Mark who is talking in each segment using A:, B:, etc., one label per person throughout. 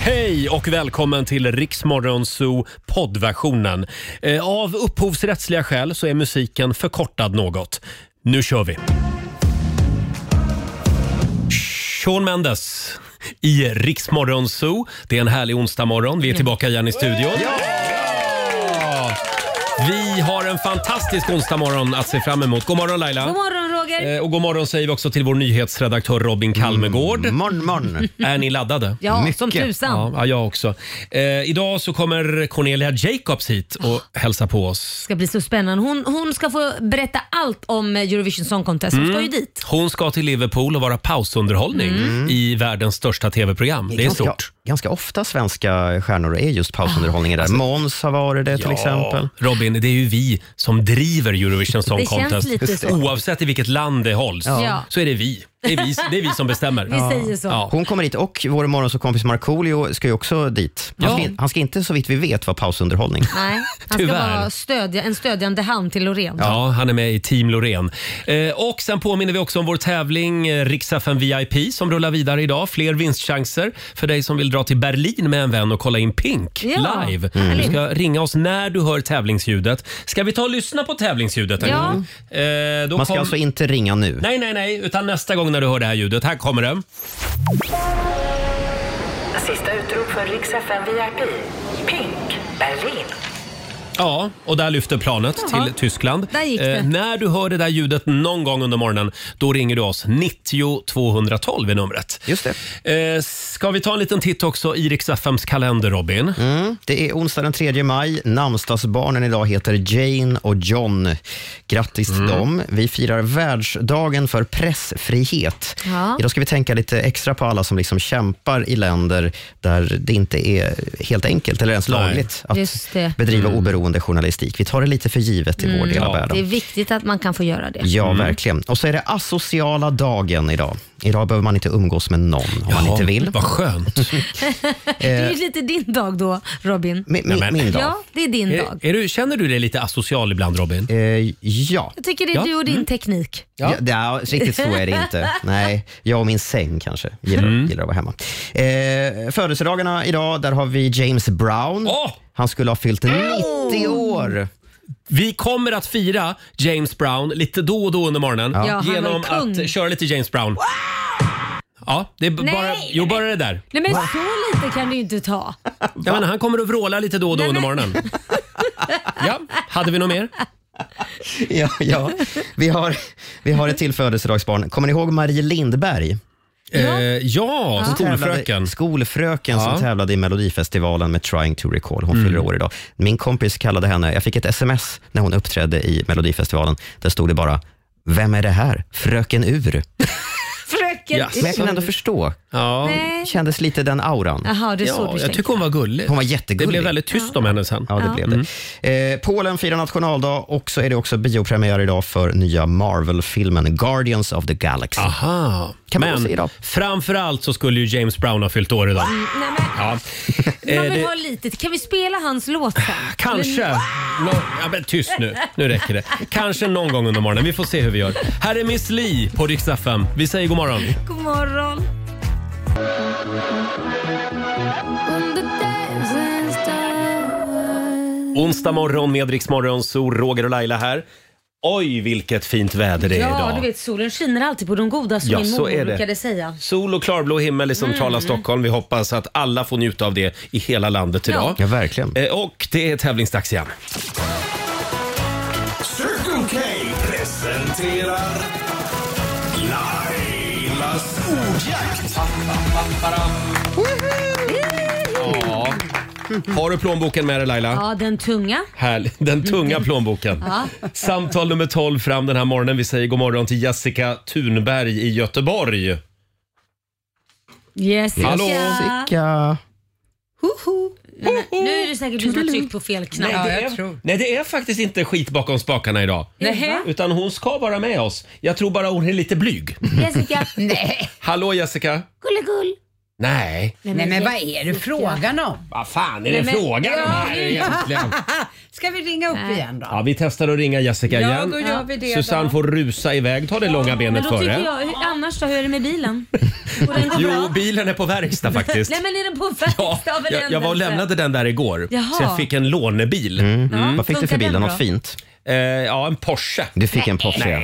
A: Hej och välkommen till Riksmorgonzoo poddversionen. Eh, Av upphovsrättsliga skäl så är musiken förkortad något. Nu kör vi! Sean Mendes i Riksmorgonzoo. Det är en härlig onsdagmorgon. Vi är tillbaka igen i studion. Ja! Vi har en fantastisk onsdagmorgon att se fram emot. God morgon Laila!
B: God morgon Roger.
A: Eh, Och god morgon säger vi också till vår nyhetsredaktör Robin Kalmegård.
C: Mm, Morgon, morgon.
A: Är ni laddade?
B: ja,
C: mycket.
B: som tusan.
A: Ja, ja, jag också. Eh, idag så kommer Cornelia Jacobs hit
B: Ah.
A: och hälsa på oss.
B: Det ska bli så spännande. Hon, hon ska få berätta allt om eh, Eurovision Song Contest. Hon ska ju dit.
A: Mm.
B: Mm.
A: Hon ska till Liverpool och vara pausunderhållning i världens största tv-program. Det är
C: ganska,
A: stort.
C: ganska ofta svenska stjärnor är just pausunderhållningen där. Måns har varit det till exempel.
A: Ah, alltså- Ja, Robin, det är ju vi som driver Eurovision Song
B: Det känns
A: Contest.
B: lite så.
A: Oavsett i vilket land det hålls
B: Ja.
A: så är det vi. Det är vi, det är vi som bestämmer.
B: Vi säger så.
A: Ja.
C: Hon kommer hit och vår morgonsåkompis Markoolio ska ju också dit. Han,
A: Ja.
C: ska, han ska inte så vitt vi vet vara pausunderhållning.
B: Nej, han ska
A: Tyvärr.
B: vara stödja, en stödjande hand till Loreen.
A: Ja, han är med i Team Loreen. Eh, och sen påminner vi också om vår tävling eh, Rix FM VIP som rullar vidare idag. Fler vinstchanser för dig som vill dra till Berlin med en vän och kolla in Pink
B: Ja,
A: live. Du ska ringa oss när du hör tävlingsljudet. Ska vi ta och lyssna på tävlingsljudet? en
B: Ja.
A: gång? Eh, då
C: Man ska
A: kom-
C: alltså inte ringa nu.
A: Nej, nej, nej, utan nästa gång när du hör det här ljudet. Här kommer det.
D: Sista utrop för Rix FM VIP. Pink, Berlin.
A: Ja, och där lyfter planet till Tyskland. Eh,
B: Där gick det.
A: när du hör det där ljudet någon gång under morgonen, då ringer du oss. 90 212 är numret.
C: Just det.
A: Eh, ska vi ta en liten titt också i Rix FMs kalender, Robin?
C: Mm. Det är onsdag den 3 maj. Namnsdagsbarnen idag heter Jane och John. Grattis
A: Mm.
C: till dem. Vi firar världsdagen för pressfrihet.
B: Ja.
C: Idag ska vi tänka lite extra på alla som liksom kämpar i länder där det inte är helt enkelt eller ens
A: Nej.
C: lagligt
B: Just det.
C: att
A: Mm.
C: bedriva oberoende journalistik. Vi tar det lite för givet i vår del av
A: Ja.
C: världen.
B: Mm. Det är viktigt att man kan få göra det. Mm.
C: Ja, verkligen. Och så är det asociala dagen idag. Idag behöver man inte umgås med någon om man inte vill.
A: Vad skönt.
B: Det är ju
A: Eh,
B: lite din dag då Robin.
C: Min, min,
A: Nämen.
C: min dag.
B: Ja, det är din
A: är,
B: dag.
A: är du, känner du dig lite asocial ibland, Robin?
C: Eh, ja.
B: Jag tycker det är
A: Ja. Mm.
B: du och din teknik. Mm.
A: Ja.
C: Ja. ja, riktigt så är det inte. Nej, jag och min säng kanske gillar,
A: Mm.
C: gillar att vara hemma. Eh, födelsedagarna idag, där har vi James Brown.
A: Åh!
C: Han skulle ha fyllt 90 år.
A: Vi kommer att fira James Brown lite då och då under morgonen
B: Ja, han var
A: genom
B: kung.
A: att köra lite James Brown. Ja, det är b-
B: Nej!
A: bara, jo, bara det där.
B: Nej men så lite kan du ju inte ta.
A: Jag menar, han kommer att vråla lite då och då
B: Nej,
A: under
B: men-
A: morgonen. Ja, hade vi något mer?
C: Ja, ja. Vi, har, vi har ett till födelsedagsbarn. Kommer ni ihåg Marie Lindberg?
A: Ja, eh, ja
C: Tävlade-
A: skolfröken.
C: Skolfröken
A: Ja. Mm.
C: som tävlade i Melodifestivalen med Trying to recall. Hon fyller år idag. Min kompis kallade henne, jag fick ett sms när hon uppträdde i Melodifestivalen. Där stod det bara, vem är det här? Fröken Ur.
B: Fröken
A: Yes.
C: Men jag kan ändå förstå.
A: Ja,
B: Nej.
C: Kändes lite den auran.
B: Jaha, det är så
A: ja
B: du
A: jag
B: tänker.
A: tycker hon var gullig.
C: Hon var
A: Det
C: jättegullig.
A: blev väldigt tyst om henne sen.
C: Ja, det blev det.
A: Mm.
C: Eh, Polen firar nationaldag och så är det också biopremiär idag för nya Marvel-filmen Guardians of the Galaxy.
A: Aha.
C: Kan man också
A: Ah, Men
C: ge dem?
A: framförallt så skulle ju James Brown ha fyllt år idag.
B: Mm, Nej, men,
A: Ja.
B: man
A: Eh,
B: vill
A: det-
B: ha lite. Kan vi spela hans låt sen?
A: Kanske. Nå, ja, men tyst nu. Nu räcker det. Kanske någon gång under morgonen. Vi får se hur vi gör. Här är Miss Li på Rix FM. Vi säger god morgon.
B: God morgon.
A: Onsdag morgon med Rix Morgon, så Roger och Laila här. Oj, vilket fint väder det är
B: Ja,
A: idag.
B: du vet solen skiner alltid på de goda som
A: Ja,
B: min
A: så är
B: mormor
A: det.
B: brukade säga. Mm.
A: Sol och klarblå himmel i centrala Stockholm. Vi hoppas att alla får njuta av det i hela landet idag.
C: Ja, verkligen.
A: Eh, Och det är tävlingsdags igen.
E: Circle K presenterar Lailas ordjakt.
A: Ja. Har du plånboken med dig Laila?
B: Ja, den tunga.
A: Härligt. Den tunga plånboken. Samtal nummer 12 fram den här morgonen. Vi säger god morgon till Jessica Thunberg i Göteborg.
B: Jessica.
A: Hallå.
C: Ja.
B: Nej, men Nu är det säkert du som har tryckt på fel knapp.
A: det är, nej, det är faktiskt inte skit bakom spakarna idag.
B: Nähä.
A: Utan hon ska vara med
F: Mm.
A: oss. Jag tror bara hon är lite blyg.
B: Jessica. Nej.
A: Hallå Jessica!
B: Gulligull.
A: Nej.
F: Nej men vad är det frågan om?
A: Vad fan är det
B: Nej, men-
A: frågan om
F: Ja.
A: här egentligen?
F: Ska vi ringa upp igen då?
A: Ja, vi testar att ringa Jessica
F: Ja,
A: igen.
F: då gör vi det
A: Susanne
F: då.
A: får rusa iväg. Ta det långa
B: Men
A: benet
B: då tycker
A: före.
B: jag, hur- annars då, hur är det med bilen? Går den bra?
A: Jo, bilen är på verkstad faktiskt.
B: Nej men är den på
A: Ja,
B: verkstad av en
A: jag, jag var och
B: händelse?
A: lämnade den där igår,
B: Jaha.
A: så jag fick en lånebil.
B: Ja,
C: Mm. Vad fick du
B: funkar
C: för bil?
B: den
C: Något
B: bra?
C: fint?
A: Eh, ja, en Porsche.
C: Du fick en Porsche. ja.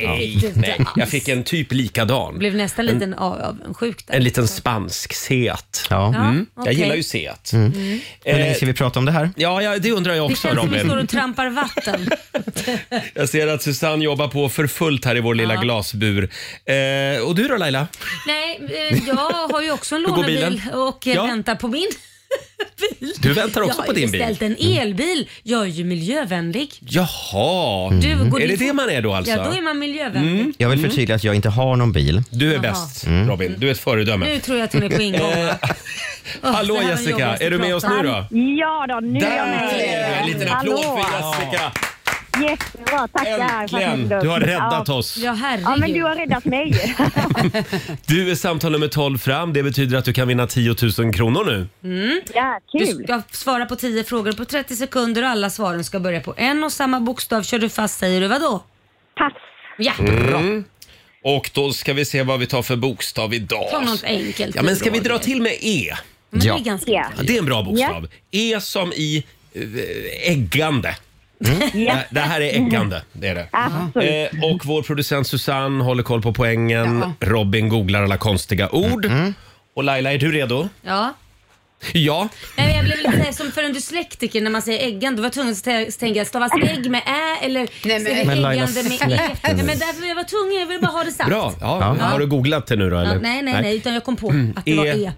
A: Nej, jag fick en typ likadan.
B: Blev nästan
A: Mm.
B: liten av, av sjuk där.
A: En liten spansk Seat. Mm.
C: Ja. Mm.
B: Ja,
A: Jag
B: okej.
A: gillar ju Seat.
B: Mm.
C: Hur länge ska vi prata om det här?
A: Ja, ja, Mm. Eh, det undrar jag
B: Det
A: också
B: känns som vi står
A: Robin.
B: och trampar vatten.
A: Jag ser att Susanne jobbar på för fullt här i vår lilla glasbur. Eh, och du då Laila?
B: Nej, eh, jag har ju också en
A: går
B: lånebil
A: bilen?
B: och eh,
A: Ja.
B: väntar på min bil.
A: Du väntar också
B: jag har
A: på
B: ju
A: din bil. Mm.
B: beställt en elbil. Jag är ju miljövänlig.
A: Jaha,
B: Du, går
A: är det
B: din
A: det
B: fot-
A: man är då alltså? Mm.
B: Ja, då är man miljövänlig.
C: Mm. Jag vill förtydliga att jag inte har någon bil. Mm.
A: Du är
B: Jaha.
A: bäst Robin, du är ett föredöme.
B: Nu tror jag att hon är på ingång.
A: Eh, Hallå
B: det här var
A: Jessica,
B: jobbigast
A: är du
B: att
A: med oss
B: prata
A: nu
B: om.
A: då?
G: Ja då, nu är jag
A: Där!
G: med. igen.
A: En liten applåd för Jessica.
G: Jättebra, tackar.
A: Äntligen! Du har räddat oss.
B: Ja, herregud.
G: Ja, men du har räddat mig.
A: Du är samtal nummer 12 fram. Det betyder att du kan vinna 10 000 kronor nu.
G: Ja,
B: Mm. Du
G: kul.
B: ska svara på 10 frågor på 30 sekunder och alla svaren ska börja på en och samma bokstav. Kör du fast säger du vadå?
G: Pass.
B: Ja, bra.
A: Mm. Och då ska vi se vad vi tar för bokstav idag.
B: Ta något enkelt.
A: Ja, men ska vi dra
B: Roger.
A: till med E?
B: Men det är
C: Ja.
B: ganska
G: Ja.
A: Ja, det är en bra bokstav. E som i eh, äggande.
G: Ja,
A: Det här är äggande, det är det.
G: absolut.
A: Eh, och vår producent Susanne håller koll på poängen. Robin googlar alla konstiga ord. Och Laila, är du redo?
B: Ja.
A: Ja.
B: Nej, men jag blev lite såhär som för en dyslektiker när man säger äggan. Då var jag tvungen att tä- tänka, stavas ägg med ä eller
F: Nej, men-
B: ser vi
C: Men Laila
B: äggande med e?
C: släppte
B: Nej,
C: nu.
B: men därför jag var tvungen, jag ville bara ha det sagt.
A: Bra. Ja.
C: Ja.
A: Har du googlat det nu då?
B: Ja,
A: Eller?
B: nej, nej, nej, utan jag kom på att det var
A: E.
B: e.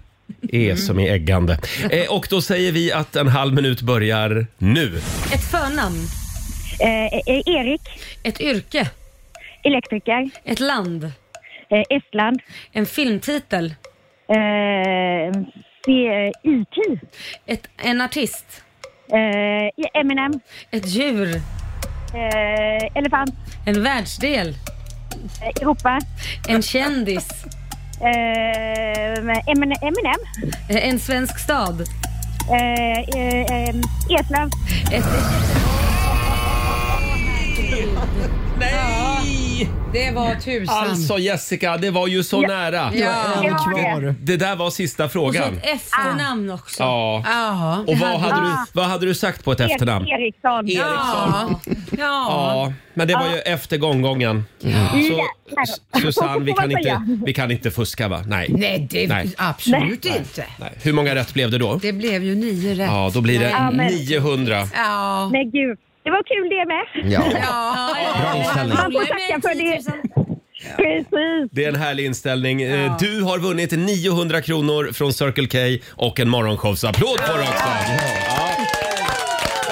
A: E som i äggande. Eh, och då säger vi att en halv minut börjar nu.
B: Ett förnamn,
G: Eh, eh, Erik,
B: ett yrke,
G: elektriker,
B: ett land,
G: eh, Estland,
B: en filmtitel,
G: eh, C- IT,
B: ett, en artist,
G: eh, Eminem,
B: ett djur,
G: eh, elefant,
B: en världsdel,
G: eh, Europa,
B: en kändis,
G: eh, Eminem, Eminem
B: eh, en svensk stad,
G: eh, eh, eh, Estland.
B: ett...
A: Nej!
F: Det var tusan.
A: Alltså Jessica, det var ju så nära.
F: Ja.
G: Det var det.
A: Det där var sista
B: Och så
A: frågan.
B: ett efternamn också.
A: Ja.
F: Ja.
A: Och vad hade, du, vad hade du sagt på ett efternamn?
G: Erik- Eriksson.
A: Eriksson.
B: Ja.
A: Ja, men det var ju efter gånggången. Så S- Susanne, vi kan, inte, vi kan inte fuska va? Nej.
F: Nej, det
A: Nej.
F: absolut inte.
A: Nej. Hur många rätt blev det då?
F: Det blev ju nio rätt.
A: Ja, då blir det
G: Ja, men-
A: 900.
F: Ja.
G: Men gud, det var kul det med.
C: Ja.
F: Ja.
C: Bra inställning.
G: Man får tacka för det. Precis.
A: Det är en härlig inställning. Eh, Du har vunnit 900 kronor från Circle K och en morgonshowsapplåd får du också. Ja.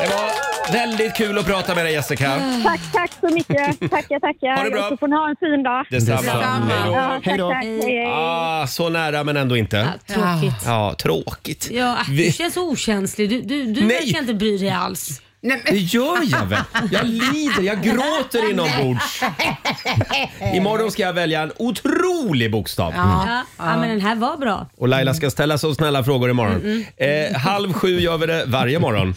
A: Det var väldigt kul att prata med dig Jessica.
G: Tack, tack så mycket. Tackar, tackar.
A: Ha det bra.
G: Och så får ni ha en fin dag.
A: Detsamma.
F: Detsamma.
A: Hej då.
G: Ja,
C: Hej då.
G: Tack, tack. Hej, hej.
A: Ah, så nära men ändå inte.
B: Tråkigt.
A: Ja, tråkigt.
B: Ja, äh,
A: Vi-
B: du känns så okänslig. Du, du, du
A: Nej.
B: verkar inte bry dig alls.
F: Nej, men,
A: Det gör jag väl? Jag lider, jag gråter inombords. Imorgon Mm. ska jag välja en otrolig bokstav.
B: Ja. Ja, men den här var bra.
A: Och Laila ska ställa så snälla frågor imorgon. Eh, halv sju gör vi det varje morgon.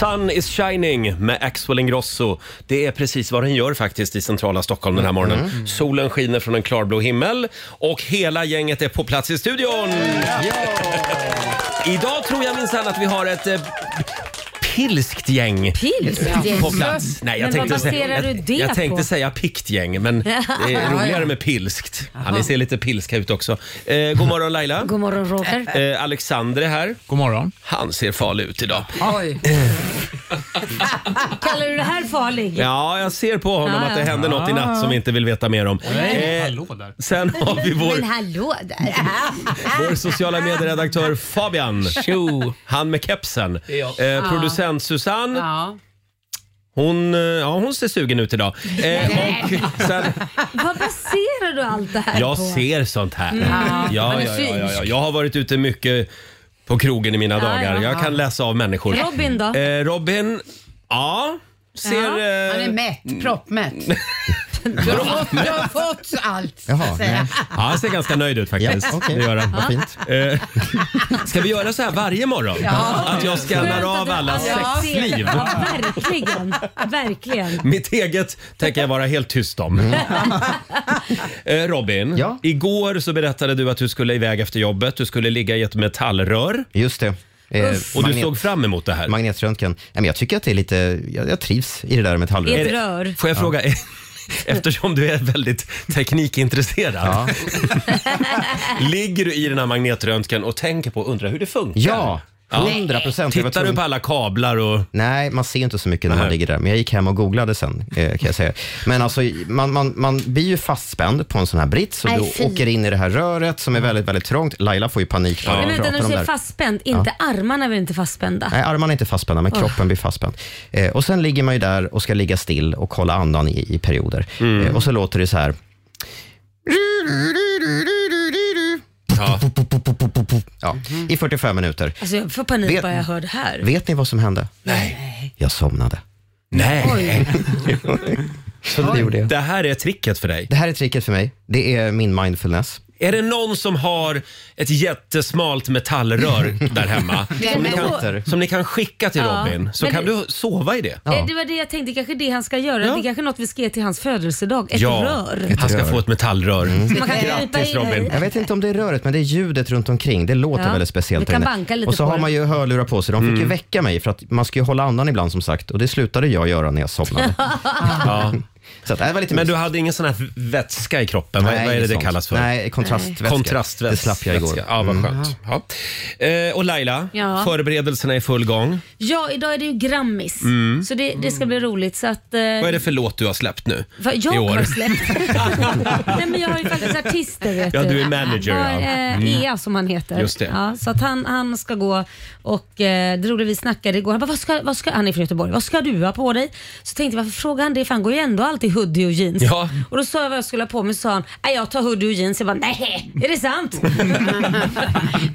A: Sun is shining med Axel Ingrosso. Det är precis vad den gör faktiskt i centrala Stockholm den här morgonen. Solen skiner från en klarblå himmel och hela gänget är på plats i studion. Idag tror jag minsann att vi har ett eh, pilskt gäng.
B: Pils.
A: på plats. Nej, jag
B: Men
A: tänkte,
B: vad baserar
A: säga,
B: du
A: jag,
B: det
A: jag tänkte
B: på?
A: säga pickt gäng, men det är roligare med pilskt. Ja, ni ser lite pilska ut också. Eh, god morgon Laila.
B: God morgon Roger.
A: Eh, Alexander är här.
H: God morgon.
A: Han ser farlig ut idag.
F: oj.
B: Kallar du det här farlig?
A: Ja, jag ser på honom
B: Ja,
A: att det
B: ja.
A: hände något i natt som vi inte vill veta mer om. Eh,
H: Hallå där.
A: sen har vi vår,
B: Men hallå där.
A: vår sociala medieredaktör Fabian. Han med kepsen. Eh, producent Susanne.
F: Ja.
A: Hon, eh, ja, hon ser sugen ut idag. Eh, och sen,
B: Vad baserar du allt det här
A: Jag
B: på? Mm.
A: ser sånt här. Ja, ja, ja, ja, ja. Jag har varit ute mycket på krogen i mina
B: Ja,
A: dagar.
B: ja,
A: Jag
B: ja.
A: kan läsa av människor.
B: Robin då?
A: Eh, Robin, ja. Ser,
B: Ja,
A: eh,
F: Han är mätt, proppmätt. Du har, fått- du har fått allt. så att
C: Jaha,
F: säga.
C: nej.
A: ja, han ser ganska nöjd ut faktiskt.
C: Ja, okej.
A: Det gör han.
C: Vad fint.
A: Eh, Ska vi göra så här varje morgon? Att jag skannar av alla
B: Ja,
A: sexliv?
B: alltså, Ja, verkligen. Verkligen.
A: Mitt eget tänker jag vara helt tyst om. Eh, Robin,
C: Mm. Ja?
A: igår så berättade du att du skulle iväg efter jobbet. Du skulle ligga i ett metallrör
C: Just det. Eh,
A: och du
C: magnet-
A: såg fram emot det här.
C: Magnetröntgen. Nej, men jag tycker att det är lite, jag, jag trivs i det där med
B: I
C: tallrör.
B: ett rör.
A: Får jag fråga, eftersom du är väldigt teknikintresserad.
C: Ja.
A: Ligger du i den här magnetröntgen och tänker på, undrar hur det funkar?
C: Ja, 100 procent.
A: Tittar du på alla kablar och...
C: Nej, man ser inte så mycket när man
A: Nej.
C: ligger där. Men jag gick hem och googlade sen, eh, kan jag säga. Men alltså, man, man, man blir ju fastspänd på en sån här brits och
B: Nej,
C: du
B: fy.
C: åker in i det här röret som är väldigt, väldigt trångt. Laila får ju panik när
B: Nej,
C: vi
B: men vänta,
C: pratar
B: när du
C: om det
B: säger
C: här.
B: fastspänd, inte armarna är väl inte fastspända?
C: Nej, armarna är inte fastspända, men kroppen blir fastspänd. Eh, och sen ligger man ju där och ska ligga still och kolla andan i, i perioder.
A: Mm.
C: Eh, och så låter det så här.
A: Ja.
C: Ja, I 45 minuter.
B: Alltså jag får panik
C: Vet-
B: bara jag hör det här.
C: Vet ni vad som hände?
A: Nej.
C: Jag somnade.
A: Nej.
C: Så det gjorde jag.
A: Det här är tricket för dig.
C: Det här är tricket för mig. Det är min mindfulness.
A: Är det någon som har ett jättesmalt metallrör där hemma som, ni
F: men
A: kan,
C: då-
A: som ni kan skicka till
B: Ja,
A: Robin så
B: men
A: kan
B: det-
A: du sova i det.
B: Eh, Det var det jag tänkte, kanske det han ska göra.
A: Ja.
B: Det är kanske något vi ska ge till hans födelsedag. Ett rör.
A: han ska
C: rör. Mm.
A: få ett metallrör.
B: Man kan krypa
A: Grattis
B: in här
A: Robin.
B: i.
C: Jag vet inte om det är röret, men det är ljudet runt omkring. Det låter
B: Ja.
C: väldigt speciellt.
B: Vi kan
C: där inne.
B: banka lite
C: och så
B: på
C: har
B: det.
C: man ju hörlurar på sig. De fick ju
A: Mm.
C: väcka mig, för att man ska ju hålla andan ibland som sagt. Och det slutade jag göra när jag somnade.
A: Ja.
C: så att, det här var lite
A: Men du
C: mysigt.
A: hade ingen sån här vätska i kroppen? vad,
C: Nej,
A: vad är det
C: inget
A: det
C: sånt.
A: kallas för?
C: Nej, kontrastvätska.
A: Kontrastvätska.
C: Det slapp jag igår.
A: Ja, vad skönt. Ja. Eh, och Laila,
B: Mm. Ja. Eh.
A: förberedelserna är i full gång.
B: Ja, idag är det ju Grammis. Så det, det ska bli roligt. Så att, eh,
A: Mm. Vad är det för låt du har släppt nu
B: Vad jag
A: i år?
B: har släppt? Nej men jag har ju faktiskt artister vet
A: Ja, du är manager,
B: Var,
A: ja. Mm.
B: eh, Ea som han heter.
A: Just det.
B: Ja, så att han, han ska gå och eh, det roliga vi snackade igår, han, bara, vad ska, vad ska, han är från Göteborg, vad ska du ha på dig? Så tänkte jag varför frågar han det för han går ju ändå alltid hoodie och jeans.
A: Ja.
B: Och då sa jag vad jag skulle ha på mig så sa han, nej jag tar hoodie och jeans. Jag bara, nej är det sant?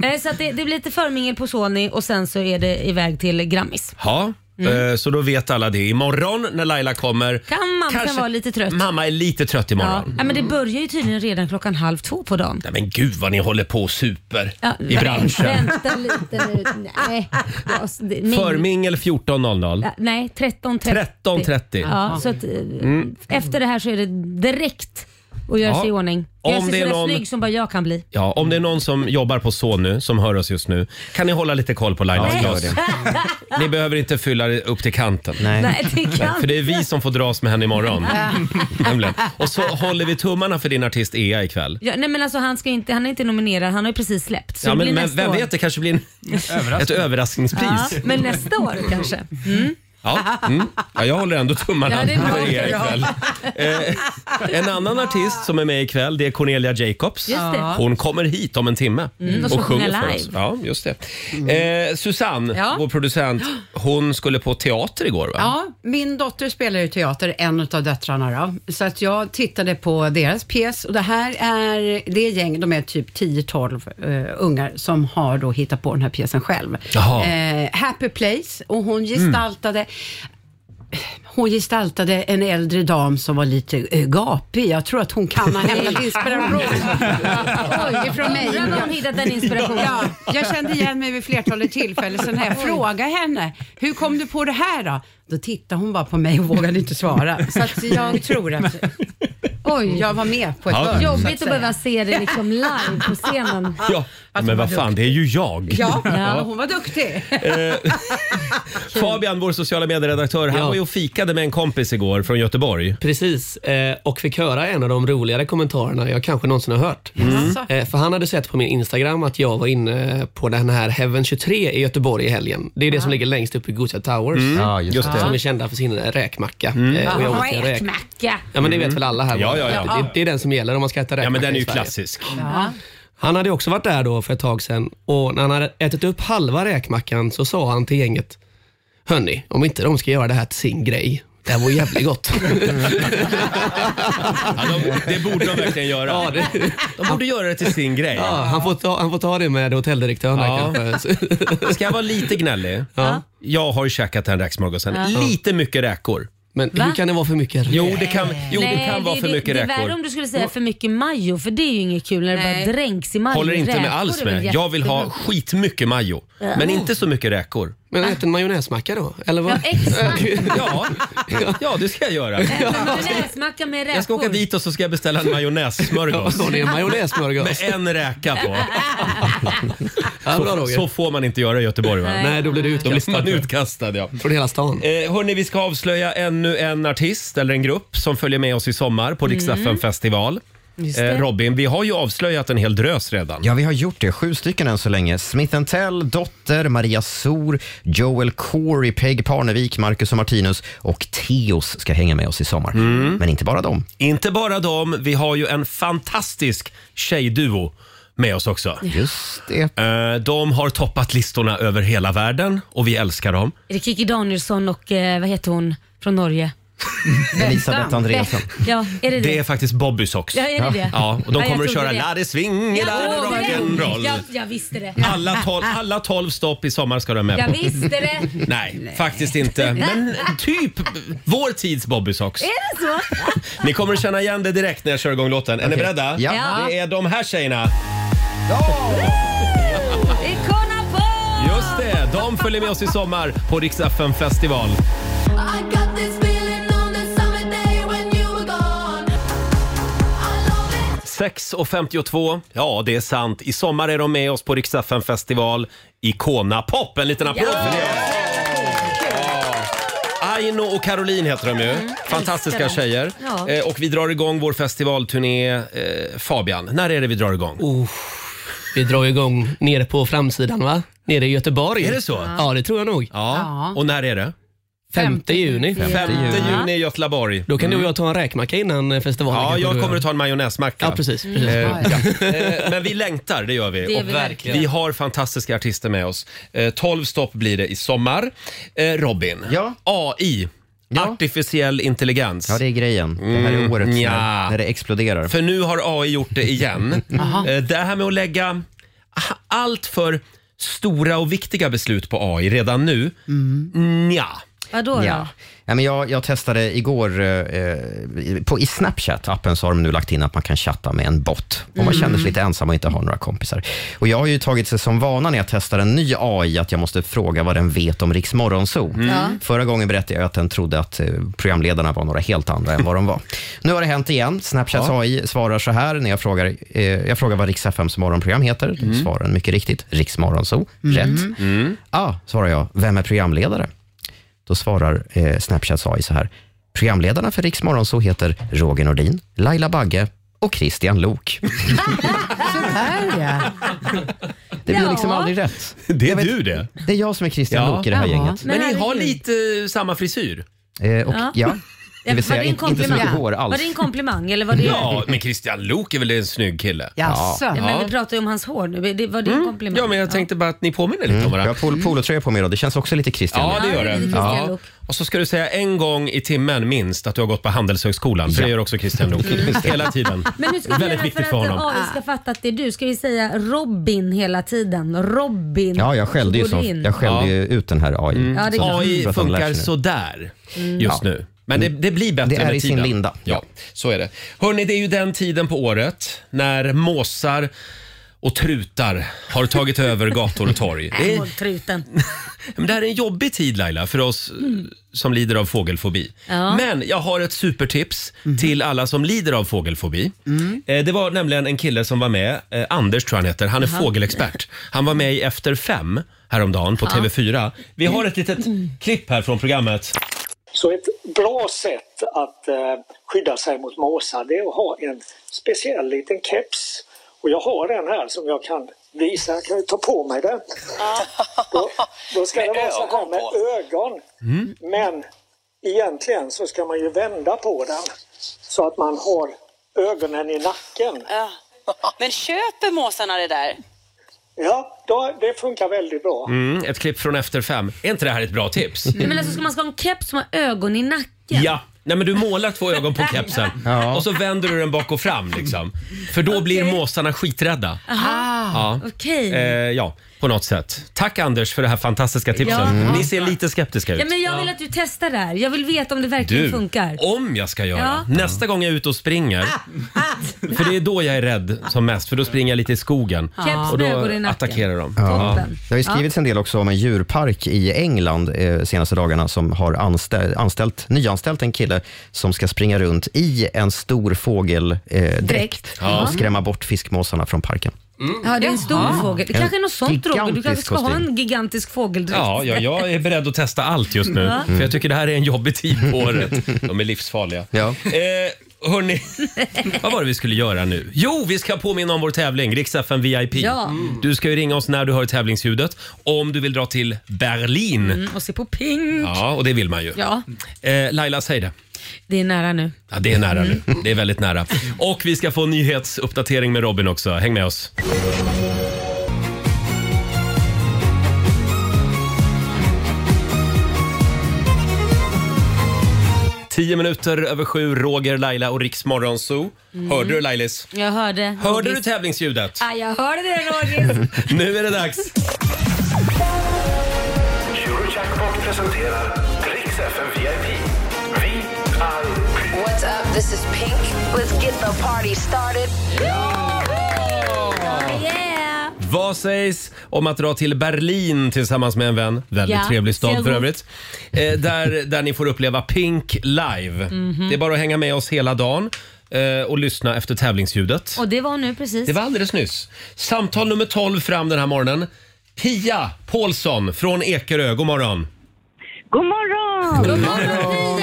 B: Eh, så att det, det blir lite förmingel på Sony och sen så är det iväg till Grammis.
A: Ja, eh, så då vet alla det. Imorgon när Laila kommer...
B: Mm. Kan mamma vara lite trött?
A: Mamma är lite trött
B: Ja.
A: imorgon.
B: ja men det börjar ju tydligen redan klockan halv två på dagen.
A: Nej, men gud vad ni håller på och super
B: Ja,
A: i branschen.
B: Vänta lite nu. Nej, Ja, så det- min-
A: Förmingel 14.00.
B: Ja, Nej, 13.30.
A: 13.30.
B: Ja, så att, eh,
A: Mm.
B: Efter det här så är det direkt att göra
A: Ja.
B: sig i ordning.
A: Om
B: Om jag
A: det är
B: är
A: någon-
B: någon... snygg som bara jag kan bli.
A: Ja, om det är någon som jobbar på så nu, som hör oss just nu, kan ni hålla lite koll på Lailas
C: Ja, gör
A: glas? Ni behöver inte fylla det upp till kanten.
C: Nej.
B: Nej, det kan
A: För det är vi som får dras med henne imorgon. Nämligen. Och så håller vi tummarna för din artist Ea ikväll.
B: Ja, nej men alltså han, ska inte, han är inte nominerad, han har ju precis släppt. Så
A: Ja,
B: det blir
A: men, men
B: nästa
A: vem
B: år.
A: vet, det kanske blir en, ett
B: Ja,
A: överraskningspris.
B: men nästa år kanske.
A: Ja, mm. ja, jag håller ändå tummarna
B: Ja, det är bra.
A: för er ikväll. Eh, en annan artist som är med ikväll det är Cornelia Jacobs.
B: Just det.
A: Hon kommer hit om en timme
B: och ska sjunga live.
A: Ja, just det. Eh, Susanne,
F: Ja.
A: vår producent, hon skulle på teater igår va?
F: Ja, min dotter spelar ju teater, en av döttrarna då. Så att jag tittade på deras pjäs och det här är, det är gäng, de är typ 10-12 eh, ungar som har då hittat på den här pjäsen själv.
A: Jaha.
F: Eh, Happy Place och hon
I: Mm.
F: gestaltade Hon gestaltade en äldre dam som var lite eh, gapig. Jag tror att hon kan ha hämtat inspiration. Oj, ifrån mig.
B: Undrar var hon hittat den inspirationen.
F: Ja, jag kände igen mig vid flertalet tillfällen. Så när jag frågade henne, hur kom du på det här då? Då tittade hon bara på mig och vågade inte svara. Så att jag tror att
B: Oj,
F: jag var med på ett
A: Ja.
F: hörn. så
B: jobbigt att
F: säga.
B: behöva se det liksom live på scenen.
A: Ja, men vad fan, det är ju jag. Eh,
F: Ja, hon var duktig.
A: Fabian, vår sociala medieredaktör, han
H: Ja.
A: var ju och fikade med en kompis igår från Göteborg.
H: Precis, eh, och fick höra en av de roligare kommentarerna jag kanske någonsin har hört.
F: Alltså.
H: Eh, För han hade sett på min Instagram att jag var inne på den här Heaven 23 i Göteborg i helgen. Det är det som ligger längst upp i Gothia Towers.
C: Ja,
A: Mm.
C: just,
A: Just Mm.
C: det.
H: Som är kända för sin räkmacka. Eh, och jag åt en räk-
B: Räkmacka.
H: Ja men det vet väl alla här?
A: Ja, ja, ja.
H: Det, det är den som gäller om man ska äta räkmacka
A: Ja, men den är
H: i
A: ju
H: Sverige.
A: klassisk.
H: Han hade också varit där då för ett tag sedan och när han hade ätit upp halva räkmackan så sa han till gänget Hörni, om inte de ska göra det här till sin grej, Det här var jävligt gott.
A: Ja, de, det borde de verkligen göra.
H: Ja, det,
A: De borde göra det till sin grej.
H: ja, han, får ta, han får ta det med hotelldirektören där
A: Ja.
H: kanske.
A: Ska jag vara lite gnällig?
H: Ja.
A: Jag har ju käkat den räksmörgåsen. Lite mycket räkor.
H: Men
B: Va?
H: hur kan det vara för mycket?
A: Jo, det kan, jo, det kan vara
B: är-
A: för mycket
B: det, Det är
A: räkor.
B: värre om du skulle säga för mycket majo för det är ju inget kul när det
F: Nej.
B: bara dränks i majo.
A: Håller inte
B: Räkor
A: med alls
B: är väl
A: med. Jag vill ha
B: jättegott.
A: skitmycket majo. Men inte så mycket räkor.
H: Men ät en majonnäsmacka då, eller vad?
B: Ja, exakt.
A: Ja, ja det ska jag göra.
B: Näsmacka med räkor.
A: Jag ska åka dit och så ska jag beställa en
H: Ja,
A: majonnässmörgås.
H: så det är en
A: Med
H: majonnässmörgås.
A: en räka på.
H: Ja, bra
A: Så,
H: Roger.
A: så får man inte göra i Göteborg va?
H: Nej, då blir du
A: Då blir
H: utkastad.
A: man utkastad ja.
H: Från hela stan.
A: Eh, hörni, vi ska avslöja ännu en artist eller en grupp som följer med oss i sommar på Rix FM festival. Eh, Robin, vi har ju avslöjat en hel drös redan.
C: Ja, vi har gjort det. Sju stycken än så länge. Smith Tell, Dotter, Maria Sor, Joel Corey, Peg Parnevik, Marcus och Martinus och Theos ska hänga med oss i sommar. Men inte bara dem.
A: Inte bara dem, vi har ju en fantastisk tjejduo med oss också.
C: Just det.
A: Eh, de har toppat listorna över hela världen och vi älskar dem.
B: Är det Kiki Danielsson och eh, vad heter hon från Norge?
C: Elisabeth Andreasson.
B: Ja, är det det?
A: Det är faktiskt Bobbys också.
B: Ja, är det det?
A: Ja, och de
B: jag
A: kommer att
B: trodde
A: köra
B: det.
A: La det svinger, la
B: Jag trodde det. Jag,
A: rock'n'roll.
B: jag visste det.
A: Alla tolv, alla tolv stopp i sommar ska de med
B: Jag
A: på.
B: visste det.
A: Nej, faktiskt inte. Men typ vår tids Bobby Socks.
B: Är det så?
A: Ni kommer att känna igen det direkt när jag kör igång låten. Är ni beredda?
C: Ja.
B: Ja.
A: Det är de här tjejerna.
B: Ikona på!
A: Just det, de följer med oss i sommar på Rix FM festival. Sex och 52. Ja, det är sant. I sommar är de med oss på Rix FM festival. Icona Pop. En liten applåd för det. Aino och Caroline heter de ju. Fantastiska
B: Mm, älskar dem.
A: tjejer.
B: Ja.
A: Eh, och vi drar igång vår festivalturné eh, Fabian. När är det vi drar igång?
H: Vi drar igång nere på framsidan va? Nere i Göteborg.
A: Är det så?
H: Ja, det tror jag nog.
A: Ja. Och när är det?
H: 5 juni.
A: 5 juni i Göteborg.
H: Då kan du och jag ta en räkmacka innan eh, festivalen.
A: Ja,
H: kanske du
A: jag
H: och
A: kommer att ta en majonnäsmacka.
H: Ja, precis. precis.
A: Eh, ja. Eh, Men vi längtar, det gör vi.
B: gör
A: Och
B: vi verkligen.
A: vi har fantastiska artister med oss. Eh, 12 stopp blir det i sommar. Eh, Robin,
C: Ja.
A: AI,
C: Ja.
A: artificiell intelligens.
C: Ja, det är grejen. Det här är året
A: nja.
C: när, när det exploderar.
A: För nu har AI gjort det igen. Eh, det här med att lägga a- allt för stora och viktiga beslut på AI redan nu, mm. ja.
B: Vadå då?
C: Ja. Ja, men jag, jag testade igår, eh, eh, på, i Snapchat, appen, så har de nu lagt in att man kan chatta med en bot. Om man känner sig lite ensam och inte har några kompisar. Och Jag har ju tagit sig som vana när jag testar en ny AI att jag måste fråga vad den vet om Riks Morgonzoo. Förra gången berättade jag att den trodde att eh, programledarna var några helt andra än vad de var. Nu har det hänt igen. Snapchats AI svarar så här när jag frågar, eh, jag frågar vad Riks FMs morgonprogram heter. Mm. Svarar den mycket riktigt, Riks Morgonzoo. Rätt. Ah, svarar jag, vem är programledare? Då svarar eh, Snapchats AI så här. Programledarna för Riks Morgonzoo heter Roger Nordin, Laila Bagge och Christian Lok.
F: Där ja.
C: Det blir
B: Ja.
C: liksom aldrig rätt.
A: Det är du det.
C: Det är jag som är Christian
A: Ja.
C: Lok i det här
F: Jaha.
C: gänget.
A: Men, ni
B: herregud.
A: har lite eh, samma frisyr.
C: Eh, och,
B: Ja.
C: ja.
B: Ja,
C: Det vill
B: var
C: säga
B: det en
C: inte, inte så
B: komplimang?
C: mycket hår
B: Var
C: alls.
B: det en komplimang eller var det...
A: Ja, men Christian Lok är väl en snygg kille?
F: Jaså?
B: Ja, Men vi pratar ju om hans hår nu. Det- Var det
A: Mm.
B: en komplimang?
A: Ja, men jag tänkte bara att ni påminner lite om
C: Jag
A: varandra.
C: har pol polotröja på mig idag, det känns också lite Christian
A: Ja,
C: Lok.
A: det
B: Ja,
A: gör
B: det är
A: det.
B: lite Christian
A: Ja.
B: Lok.
A: Och så ska du säga en gång i timmen minst att du har gått på Handelshögskolan. För det gör också Christian Lok. Hela tiden.
B: Mm. Men hur ska vi
A: Väldigt
B: göra
A: viktigt
B: för,
A: för
B: att
A: honom.
B: AI ska fatta att det är du? Ska vi säga Robin hela tiden? Robin.
C: Ja, jag skällde ju,
B: Så går
C: så,
B: du in.
C: jag skällde ju ut den här AI.
B: Ja, det är klart.
A: AI
C: För att han lär sig
A: Mm. funkar
C: nu.
A: sådär
B: Mm.
A: just nu. Men det, det blir bättre
C: Det är
A: med
C: i sin
A: tiden.
C: linda.
A: Ja, så är det. Hörni, det är ju den tiden på året när måsar och trutar har tagit över gator och torg. Det
B: Äh,
A: är,
B: håll truten.
A: men det här är en jobbig tid Laila för oss eh,
B: Mm.
A: som lider av fågelfobi.
B: Ja.
A: Men jag har ett supertips till alla som lider av fågelfobi.
J: Mm.
A: Eh, Det var nämligen en kille som var med, eh, Anders tror jag han heter, han är fågelexpert. Han var med i Efter fem häromdagen på TV4. Vi har ett litet klipp här från programmet.
K: Så ett bra sätt att eh, skydda sig mot måsar det är att ha en speciell liten keps. Och jag har en här som jag kan visa. Jag kan ju ta på mig den. Då, då ska det vara så här med ögon.
A: Mm.
K: Men egentligen så ska man ju vända på den så att man har ögonen i nacken.
L: Men köper måsarna det där?
K: Ja, då, det funkar väldigt bra.
A: Mm, ett klipp från Efter fem. Är inte det här ett bra tips?
B: alltså, Nej, Men alltså ska man ska ha en keps som har ögon i nacken? ögonlocken?
A: Ja. Nej men du målar två ögon på kepsen och så vänder du den bak och fram liksom. För då blir måsarna skiträdda.
B: Aha,
A: Ja.
B: okej.
A: Eh, ja, på något sätt. Tack Anders för det här fantastiska tipset.
B: Ja. Mm.
A: Ni ser lite skeptiska ut.
B: Ja, men jag vill att du testar det här. Jag vill veta om det verkligen funkar.
A: om jag ska göra.
B: Ja. Ah,
A: Nästa gång jag är ute och springer. För det är då jag är rädd som mest, för då springer jag lite i skogen.
B: Keps
A: och
B: med
A: då
B: ögon i nacken.
A: attackerar de.
C: Ja.
A: Ja.
C: Det har ju skrivits en del också om en djurpark i England eh, senaste dagarna som har anställt, anställt, nyanställt en kille som ska springa runt i en stor fågeldräkt eh, dräkt
B: Ja.
C: och skrämma bort fiskmåsarna från parken.
B: Mm. Ja, det är en stor fågel. Det
C: En
B: kanske är något sånt Roger. Du kanske
C: gigantisk
B: ska ha en
C: kostym.
B: gigantisk fågeldräkt.
A: Ja, ja, jag är beredd att testa allt just nu.
B: Ja.
A: För jag tycker det här är en jobbig tid på året. De är livsfarliga. Ja. Eh, hörni, vad var det vi skulle göra nu? Jo, vi ska påminna om vår tävling, Rix FM VIP.
B: Ja.
A: Du ska ju ringa oss när du hör tävlingsljudet om du vill dra till Berlin.
B: Mm, och se på Pink.
A: Ja, och det vill man ju.
B: Ja,
A: Eh, Laila, säg det.
B: det är nära nu. Mm.
A: Ja, det är nära nu. Det är väldigt nära. Och vi ska få en nyhetsuppdatering med Robin också. Häng med oss. Tio minuter över sju, Roger, Laila och Riks Morgonzoo.
B: Mm.
A: Hörde du Lailis?
B: Jag hörde.
A: Hörde du tävlingsljudet?
B: Ja, jag hörde det Roger.
A: Nu är det dags.
E: Eurojackpot presenterar Rix FM VIP. Vi är...
D: What's up? This is Pink. Let's get the party started.
B: Yeah.
A: Vad sägs om att dra till Berlin tillsammans med en vän? Väldigt
B: Ja,
A: trevlig
B: ser
A: stad
B: jag
A: för
B: god.
A: övrigt. Eh, där, där ni får uppleva Pink live.
B: Mhm.
A: Det är bara att hänga med oss hela dagen eh, och lyssna efter tävlingsljudet.
B: Och det var nu precis.
A: Det var alldeles nyss. Samtal nummer 12 fram den här morgonen. Pia Paulsson från Ekerö, god morgon.
G: God morgon!
A: God morgon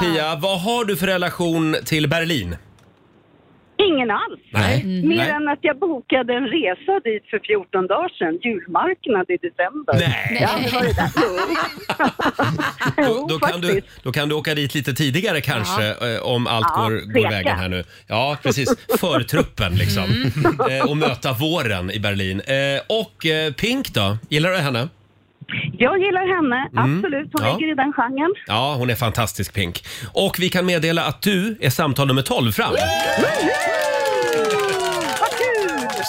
A: Pia, vad har du för relation till Berlin?
G: Ingen alls.
A: Nej. Mm.
G: Mer
A: Nej.
G: än att jag bokade en resa dit för 14 dagar sedan, julmarknad i december.
A: Nej.
G: Jag har aldrig varit där.
A: Då, då, kan du, då kan du åka dit lite tidigare kanske eh, om allt
G: Ja,
A: går, går
G: tveka.
A: vägen här nu. Ja, precis. Förtruppen liksom.
G: Mm.
A: Eh, och möta våren i Berlin. Eh, och eh, Pink då? Gillar du henne?
G: Jag gillar henne,
A: Mm.
G: absolut. Hon
A: Ja.
G: ligger i den genren.
A: Ja, hon är fantastisk Pink. Och vi kan meddela att du är samtal nummer 12 fram.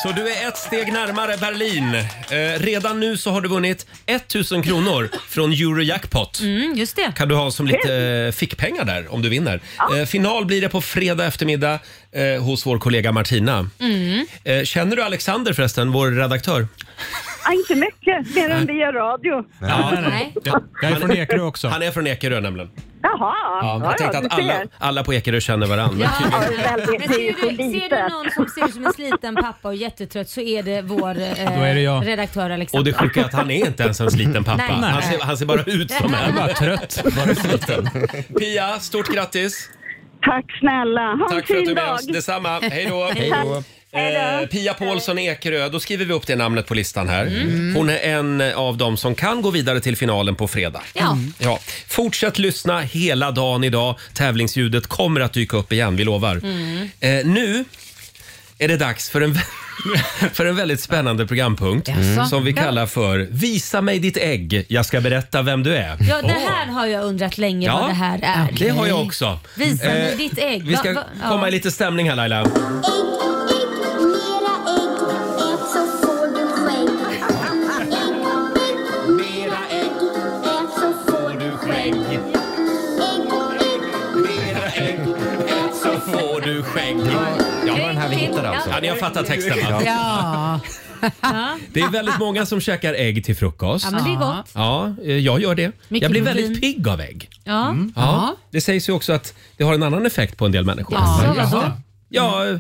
A: Så du är ett steg närmare Berlin. Eh, redan nu så har du vunnit 1000 kronor från Eurojackpot.
B: Mm, just det.
A: kan du ha som lite eh, fickpengar där om du vinner. Eh, final blir det på fredag eftermiddag eh, hos vår kollega Martina.
G: Mm.
A: Eh, känner du Alexander förresten, vår redaktör?
G: Ah, inte mycket, mer än via radio.
A: nej. Jag är från Ekerö också. Han är från Ekerö nämligen.
G: Jaha,
A: Ja,
G: ja,
A: jag tänkte
G: ja,
A: att
G: du
A: alla,
G: ser.
A: alla på Ekerö känner varandra.
B: Ja.
G: Ja, det är väldigt,
B: Men
G: det är ju
B: ser
G: så
B: du, ser du någon
G: litet.
B: som ser ut som en sliten pappa och jättetrött så är det vår eh,
A: Då är det jag.
B: redaktör Alexander.
A: Och det sjuka är att han är inte ens en sliten pappa.
B: liksom. Nej.
A: Han, ser, han ser bara ut som
B: Han är
A: en.
B: bara
A: trött. Pia, stort grattis!
G: Tack snälla, ha en
A: Tack för att du
G: fin
A: är med
G: dag.
A: oss. Detsamma. Hej då.
G: Hej då. Mm.
A: Eh, Pia Paulsson Ekerö, då skriver vi upp det namnet på listan här. Mm. Hon är en av dem som kan gå vidare till finalen på fredag.
B: Ja. Mm.
A: Ja. Fortsätt lyssna hela dagen idag. Tävlingsljudet kommer att dyka upp igen, vi lovar.
B: Mm.
A: Eh, nu är det dags för en, för en väldigt spännande programpunkt
B: Mm. Jaså?
A: som vi
B: Ja.
A: kallar för Visa mig ditt ägg, jag ska berätta vem du är.
B: Ja, det
A: Åh.
B: här har jag undrat länge
A: Ja,
B: vad det här är.
A: det har jag också.
B: Visa mig
A: Eh,
B: ditt ägg.
A: Vi ska
B: Va- va-
A: komma
B: ja.
A: i lite stämning här Laila.
J: Mera ägg, ät så får du skägg. Ägg, ägg, mera ägg, ät så får
A: Mera ägg, ät så får
J: du skägg. Ägg, ägg,
A: du skägg.
C: Ja, det var den här vi hittade alltså.
A: Ja, ni har fattat texten va?
F: Ja.
A: Det är väldigt många som käkar ägg till frukost.
B: Ja, men det är gott.
A: Ja, eh, jag gör det.
B: Mycket
A: jag blir
B: protein.
A: väldigt pigg av ägg.
B: Ja.
A: Mm. Ja. Det sägs ju också att det har en annan effekt på en del människor.
B: Jaså, Ja. vadå?
A: Ja, det-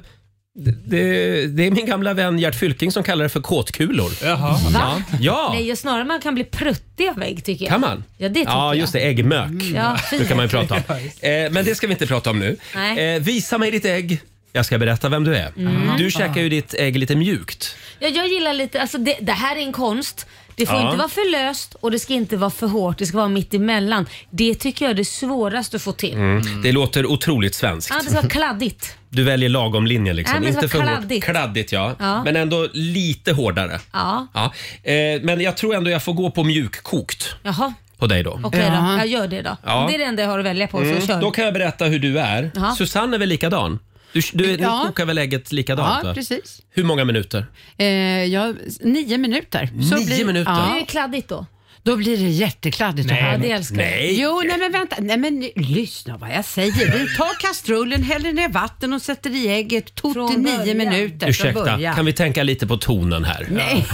A: det, det är min gamla vän Gert Fylking som kallar det för kåtkulor. Jaha. Ja.
B: Va?
A: ja.
B: Nej, ju snarare man kan bli pruttig av ägg tycker jag.
A: Kan man?
B: Ja, det tycker
A: Ja,
B: jag.
A: just det. Äggmök.
B: Mm. Ja,
A: det kan man ju
B: fint.
A: prata om. Eh, men det ska vi inte prata om nu.
B: Nej.
A: Eh, visa mig ditt ägg. Jag ska berätta vem du är.
B: Mm.
A: Du käkar ju ditt ägg lite mjukt.
B: Ja, jag gillar lite, alltså det, det här är en konst. Det får
A: Ja.
B: inte vara för löst och det ska inte vara för hårt. Det ska vara mitt emellan. Det tycker jag är det svåraste att få till.
A: Det låter otroligt svenskt.
B: Ja, det ska vara kladdigt.
A: Du väljer lagom linje liksom.
B: Nej, men det
A: inte
B: var
A: för hårt.
B: kladdigt.
A: Kladdigt ja.
B: Ja.
A: Men ändå lite hårdare.
B: Ja.
A: Ja. Eh, men jag tror ändå jag får gå på mjukkokt.
B: Jaha.
A: på dig då.
B: Okej då, jag gör det då.
A: Ja. Mm.
B: Det är det enda jag har att välja på, så kör
A: Då
B: vi.
A: kan jag berätta hur du är.
B: Ja.
A: Susanne är väl likadan? Du, du,
F: Ja.
A: Ni kokar väl ägget likadant?
F: Ja,
A: va?
F: precis.
A: Hur många minuter?
F: Eh, ja, nio minuter.
A: Nio minuter?
B: Blir det kladdigt då?
F: Då blir det jättekladdigt. och
A: Nej,
F: härligt.
A: men- Ja, det älskar jag. nej.
F: Jo, nej men vänta. Nej men nu- lyssna vad jag säger. Vi tar kastrullen, häller ner vatten och sätter i ägget. Tog till nio minuter från
A: Ursäkta,
F: början.
A: kan vi tänka lite på tonen här?
F: Nej.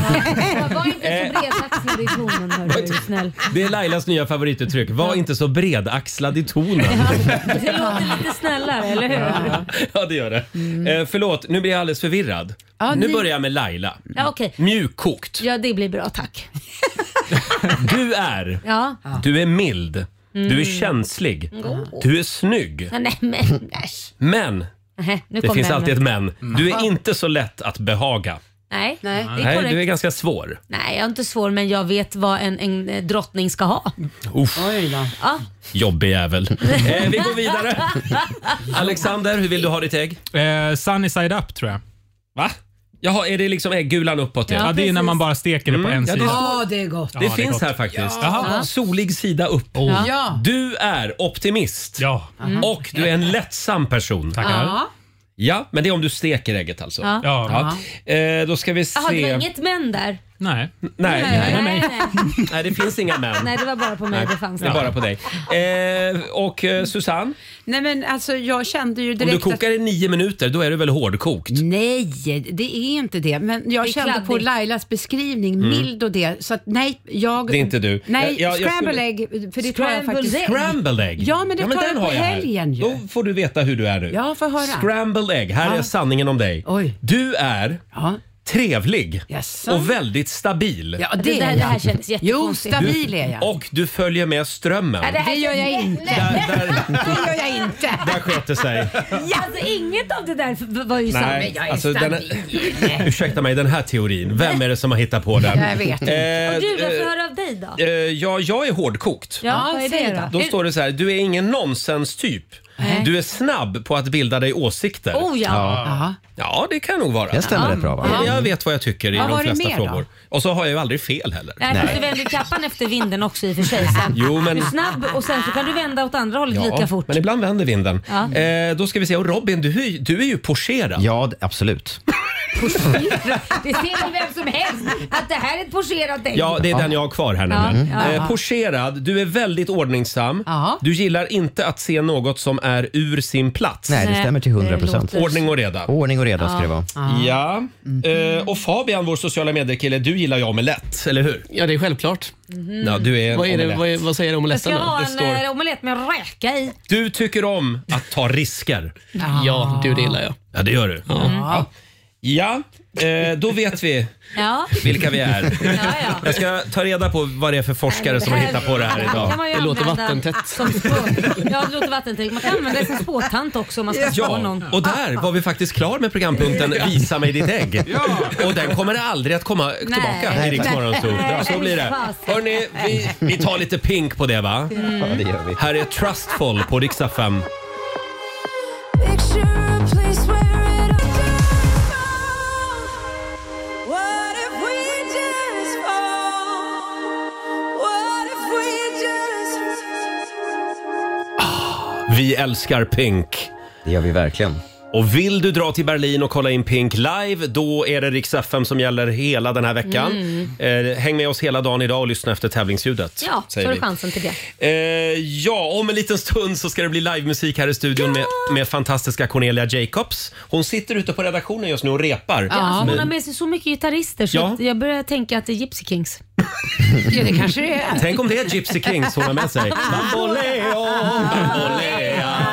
B: Var inte så bredaxlad i tonen hörru, är du snäll.
A: Det är Lailas nya favorituttryck. Var inte så bredaxlad i tonen.
B: Det låter lite snällare, eller hur? Ja,
A: Ja, det gör det. Eh, förlåt, nu blir jag alldeles förvirrad.
B: Mm. Ja,
A: nu
B: ni-
A: börjar jag med Laila.
B: okej.
A: Mjukkokt.
B: Ja, det blir bra, tack.
A: Du är...
B: Ja.
A: Du är mild. Du är
B: Mm.
A: känslig.
B: God.
A: Du är snygg.
B: Nej, men äsch.
A: Men,
B: Nähä, nu
A: det
B: kom
A: finns
B: den.
A: alltid ett men. Du är
B: Ja.
A: inte så lätt att behaga.
B: Nej, Nej. det är
A: Nej,
B: korrekt.
A: du är ganska svår.
B: Nej, jag är inte svår men jag vet vad en, en eh, drottning ska ha.
A: Uff,
F: Oj då.
B: Ja.
A: jobbig jävel. eh, vi går vidare. Alexander, hur vill du ha ditt ägg?
M: Eh, sunny side up tror jag.
A: Va? Jaha, är det liksom äggulan uppåt?
M: Ja, det är när man bara steker det på en
A: Mm. ja, det
M: sida.
F: Ja, det är gott.
A: Det finns här faktiskt.
M: Jaha.
A: Solig sida upp.
M: Oh.
F: Ja.
A: Du är optimist.
M: Mm.
A: Och du är en lättsam person.
F: Ja.
A: Ja, men det är om du steker ägget alltså.
B: Ja.
M: Ja.
A: Eh, då ska vi se.
B: Jaha, det var inget men där?
M: Nej.
A: Nej, nej, nej.
B: nej.
A: nej, det finns inga män.
B: Nej, det var bara på mig
A: Nej,
B: det fanns.
A: det är bara på dig. Eh, och eh, Susanne,
F: Nej men alltså jag kände ju
A: om du
F: direkt att
A: kokar i nio minuter då är du väl hårdkokt?
F: Nej, det är inte det. Men jag
B: Det är
F: kände på
B: kladdigt.
F: Lailas beskrivning,
A: Mm.
F: mild och det. Så att nej, jag...
A: Det är inte du.
F: Nej,
A: Jag- jag- jag
F: scramble
A: skulle-
F: egg. För det tar jag
B: Scrambled
F: faktiskt.
B: egg.
A: Scrambled egg.
F: Ja, men det tar
A: den
F: jag på
A: har här. Oh.
F: helgen ju.
A: Då får du veta hur du är nu.
F: Ja, får höra.
A: Scrambled egg. Här
F: Ja.
A: är sanningen om dig.
F: Oj.
A: Du är trevlig
F: Jaså?
A: och väldigt stabil.
F: Ja, det,
B: Det där-
F: är
B: det här
F: jag.
B: kändes jättekonstigt.
F: Jo,
A: Du-
F: stabil är jag.
A: Och du följer med strömmen.
B: Nej, det här
F: Det gör jag
B: känns
F: inte.
B: jätte-
F: Det gör jag inte.
A: Där sket det sig.
B: Alltså inget av det där f- var ju sant.
A: Nej, alltså, den här, ursäkta mig, den här teorin. Vem är det som har hittat på den?
F: Jag vet inte.
B: Och du, jag
A: eh,
B: får höra av dig då.
A: eh, ja, jag är hårdkokt.
B: Ja, vad är
F: säg
B: det då?
A: Då står det så här, du är ingen nonsens-typ. Du är snabb på att bilda dig åsikter.
B: Oh ja.
F: Ja.
A: Ja, det kan nog vara.
C: Det stämmer rätt bra va?
A: Ja, Jag vet vad jag tycker i
F: Vad
A: de
F: var det
A: flesta
F: mer då?
A: frågor. Och så har jag ju aldrig fel heller.
B: Nej, fast du vänder kappan efter vinden också i och för sig. Sen.
A: Jo, men-
B: Du är snabb och sen så kan du vända åt andra hållet lika fort.
A: men ibland vänder vinden.
B: Ja.
A: Eh, då ska vi se. Och Robin, du, är ju- du är ju pocherad.
C: Ja, d- absolut.
B: Det ser väl vem som helst att det här är ett forcerat ägg.
A: Ja, det är den jag har kvar här nämligen.
B: Ja.
A: Eh, pocherad, du är väldigt ordningsam.
F: Ja.
A: Du gillar inte att se något som är ur sin plats.
C: Nej, det stämmer till 100 procent.
B: det låter-
A: Ordning och reda.
C: Ordning och reda ska det vara.
A: Ja.
B: Mm.
A: Eh, och Fabian, vår sociala medier-kille, du gillar ju omelett, eller hur? Mm-hmm.
H: Ja, det är självklart.
A: Ja, du är en
H: Vad, är det,
A: omelett.
H: vad, är, vad säger
B: Jag
H: omeletten
B: ska
H: då?
B: ha
H: Det
B: en
H: står...
B: eh, omelett med räka i.
A: Du tycker om att ta risker.
H: Ja, du, det gillar jag.
A: Ja, det gör du. Ja, ja eh, då vet vi
B: Ja,
A: vilka vi är.
B: ja, ja.
A: Jag ska ta reda på vad det är för forskare som har hittat på det här
B: kan
A: idag.
B: man ju
H: Det låter
B: använda
H: vattentätt.
B: Som spå- ja, det låter vattentätt. Man kan använda det som spåtant också om man ska spå
A: Ja,
B: någon.
A: och där var vi faktiskt klar med programpunkten Visa mig ditt ägg. Och den kommer aldrig att komma tillbaka i
B: Nej.
A: Rix Morgonzoo.
B: Nej.
A: Så blir det. Hörni, vi, vi tar lite pink på det va?
B: Mm.
C: Ja, det gör vi.
A: Här är Trustful på Rix FM. Vi älskar pink.
C: Det gör vi verkligen.
A: Och vill du dra till Berlin och kolla in Pink live, då är det Rix FM som gäller hela den här veckan. Eh, häng med oss hela dagen idag och lyssna efter tävlingsljudet.
B: Mm. Ja, så
A: säger
B: har
A: vi.
B: du chansen till det.
A: Eh, ja, om en liten stund så ska det bli livemusik här i studion med, med fantastiska Cornelia Jacobs. Hon sitter ute på redaktionen just nu och repar.
B: Ja, alltså, hon har
A: Men,
B: med sig så mycket gitarrister så
A: Ja.
B: att jag börjar tänka att det är Gypsy Kings.
F: ja, det kanske det är.
A: tänk om det är Gypsy Kings hon har med sig. Bamboleo, bambolea.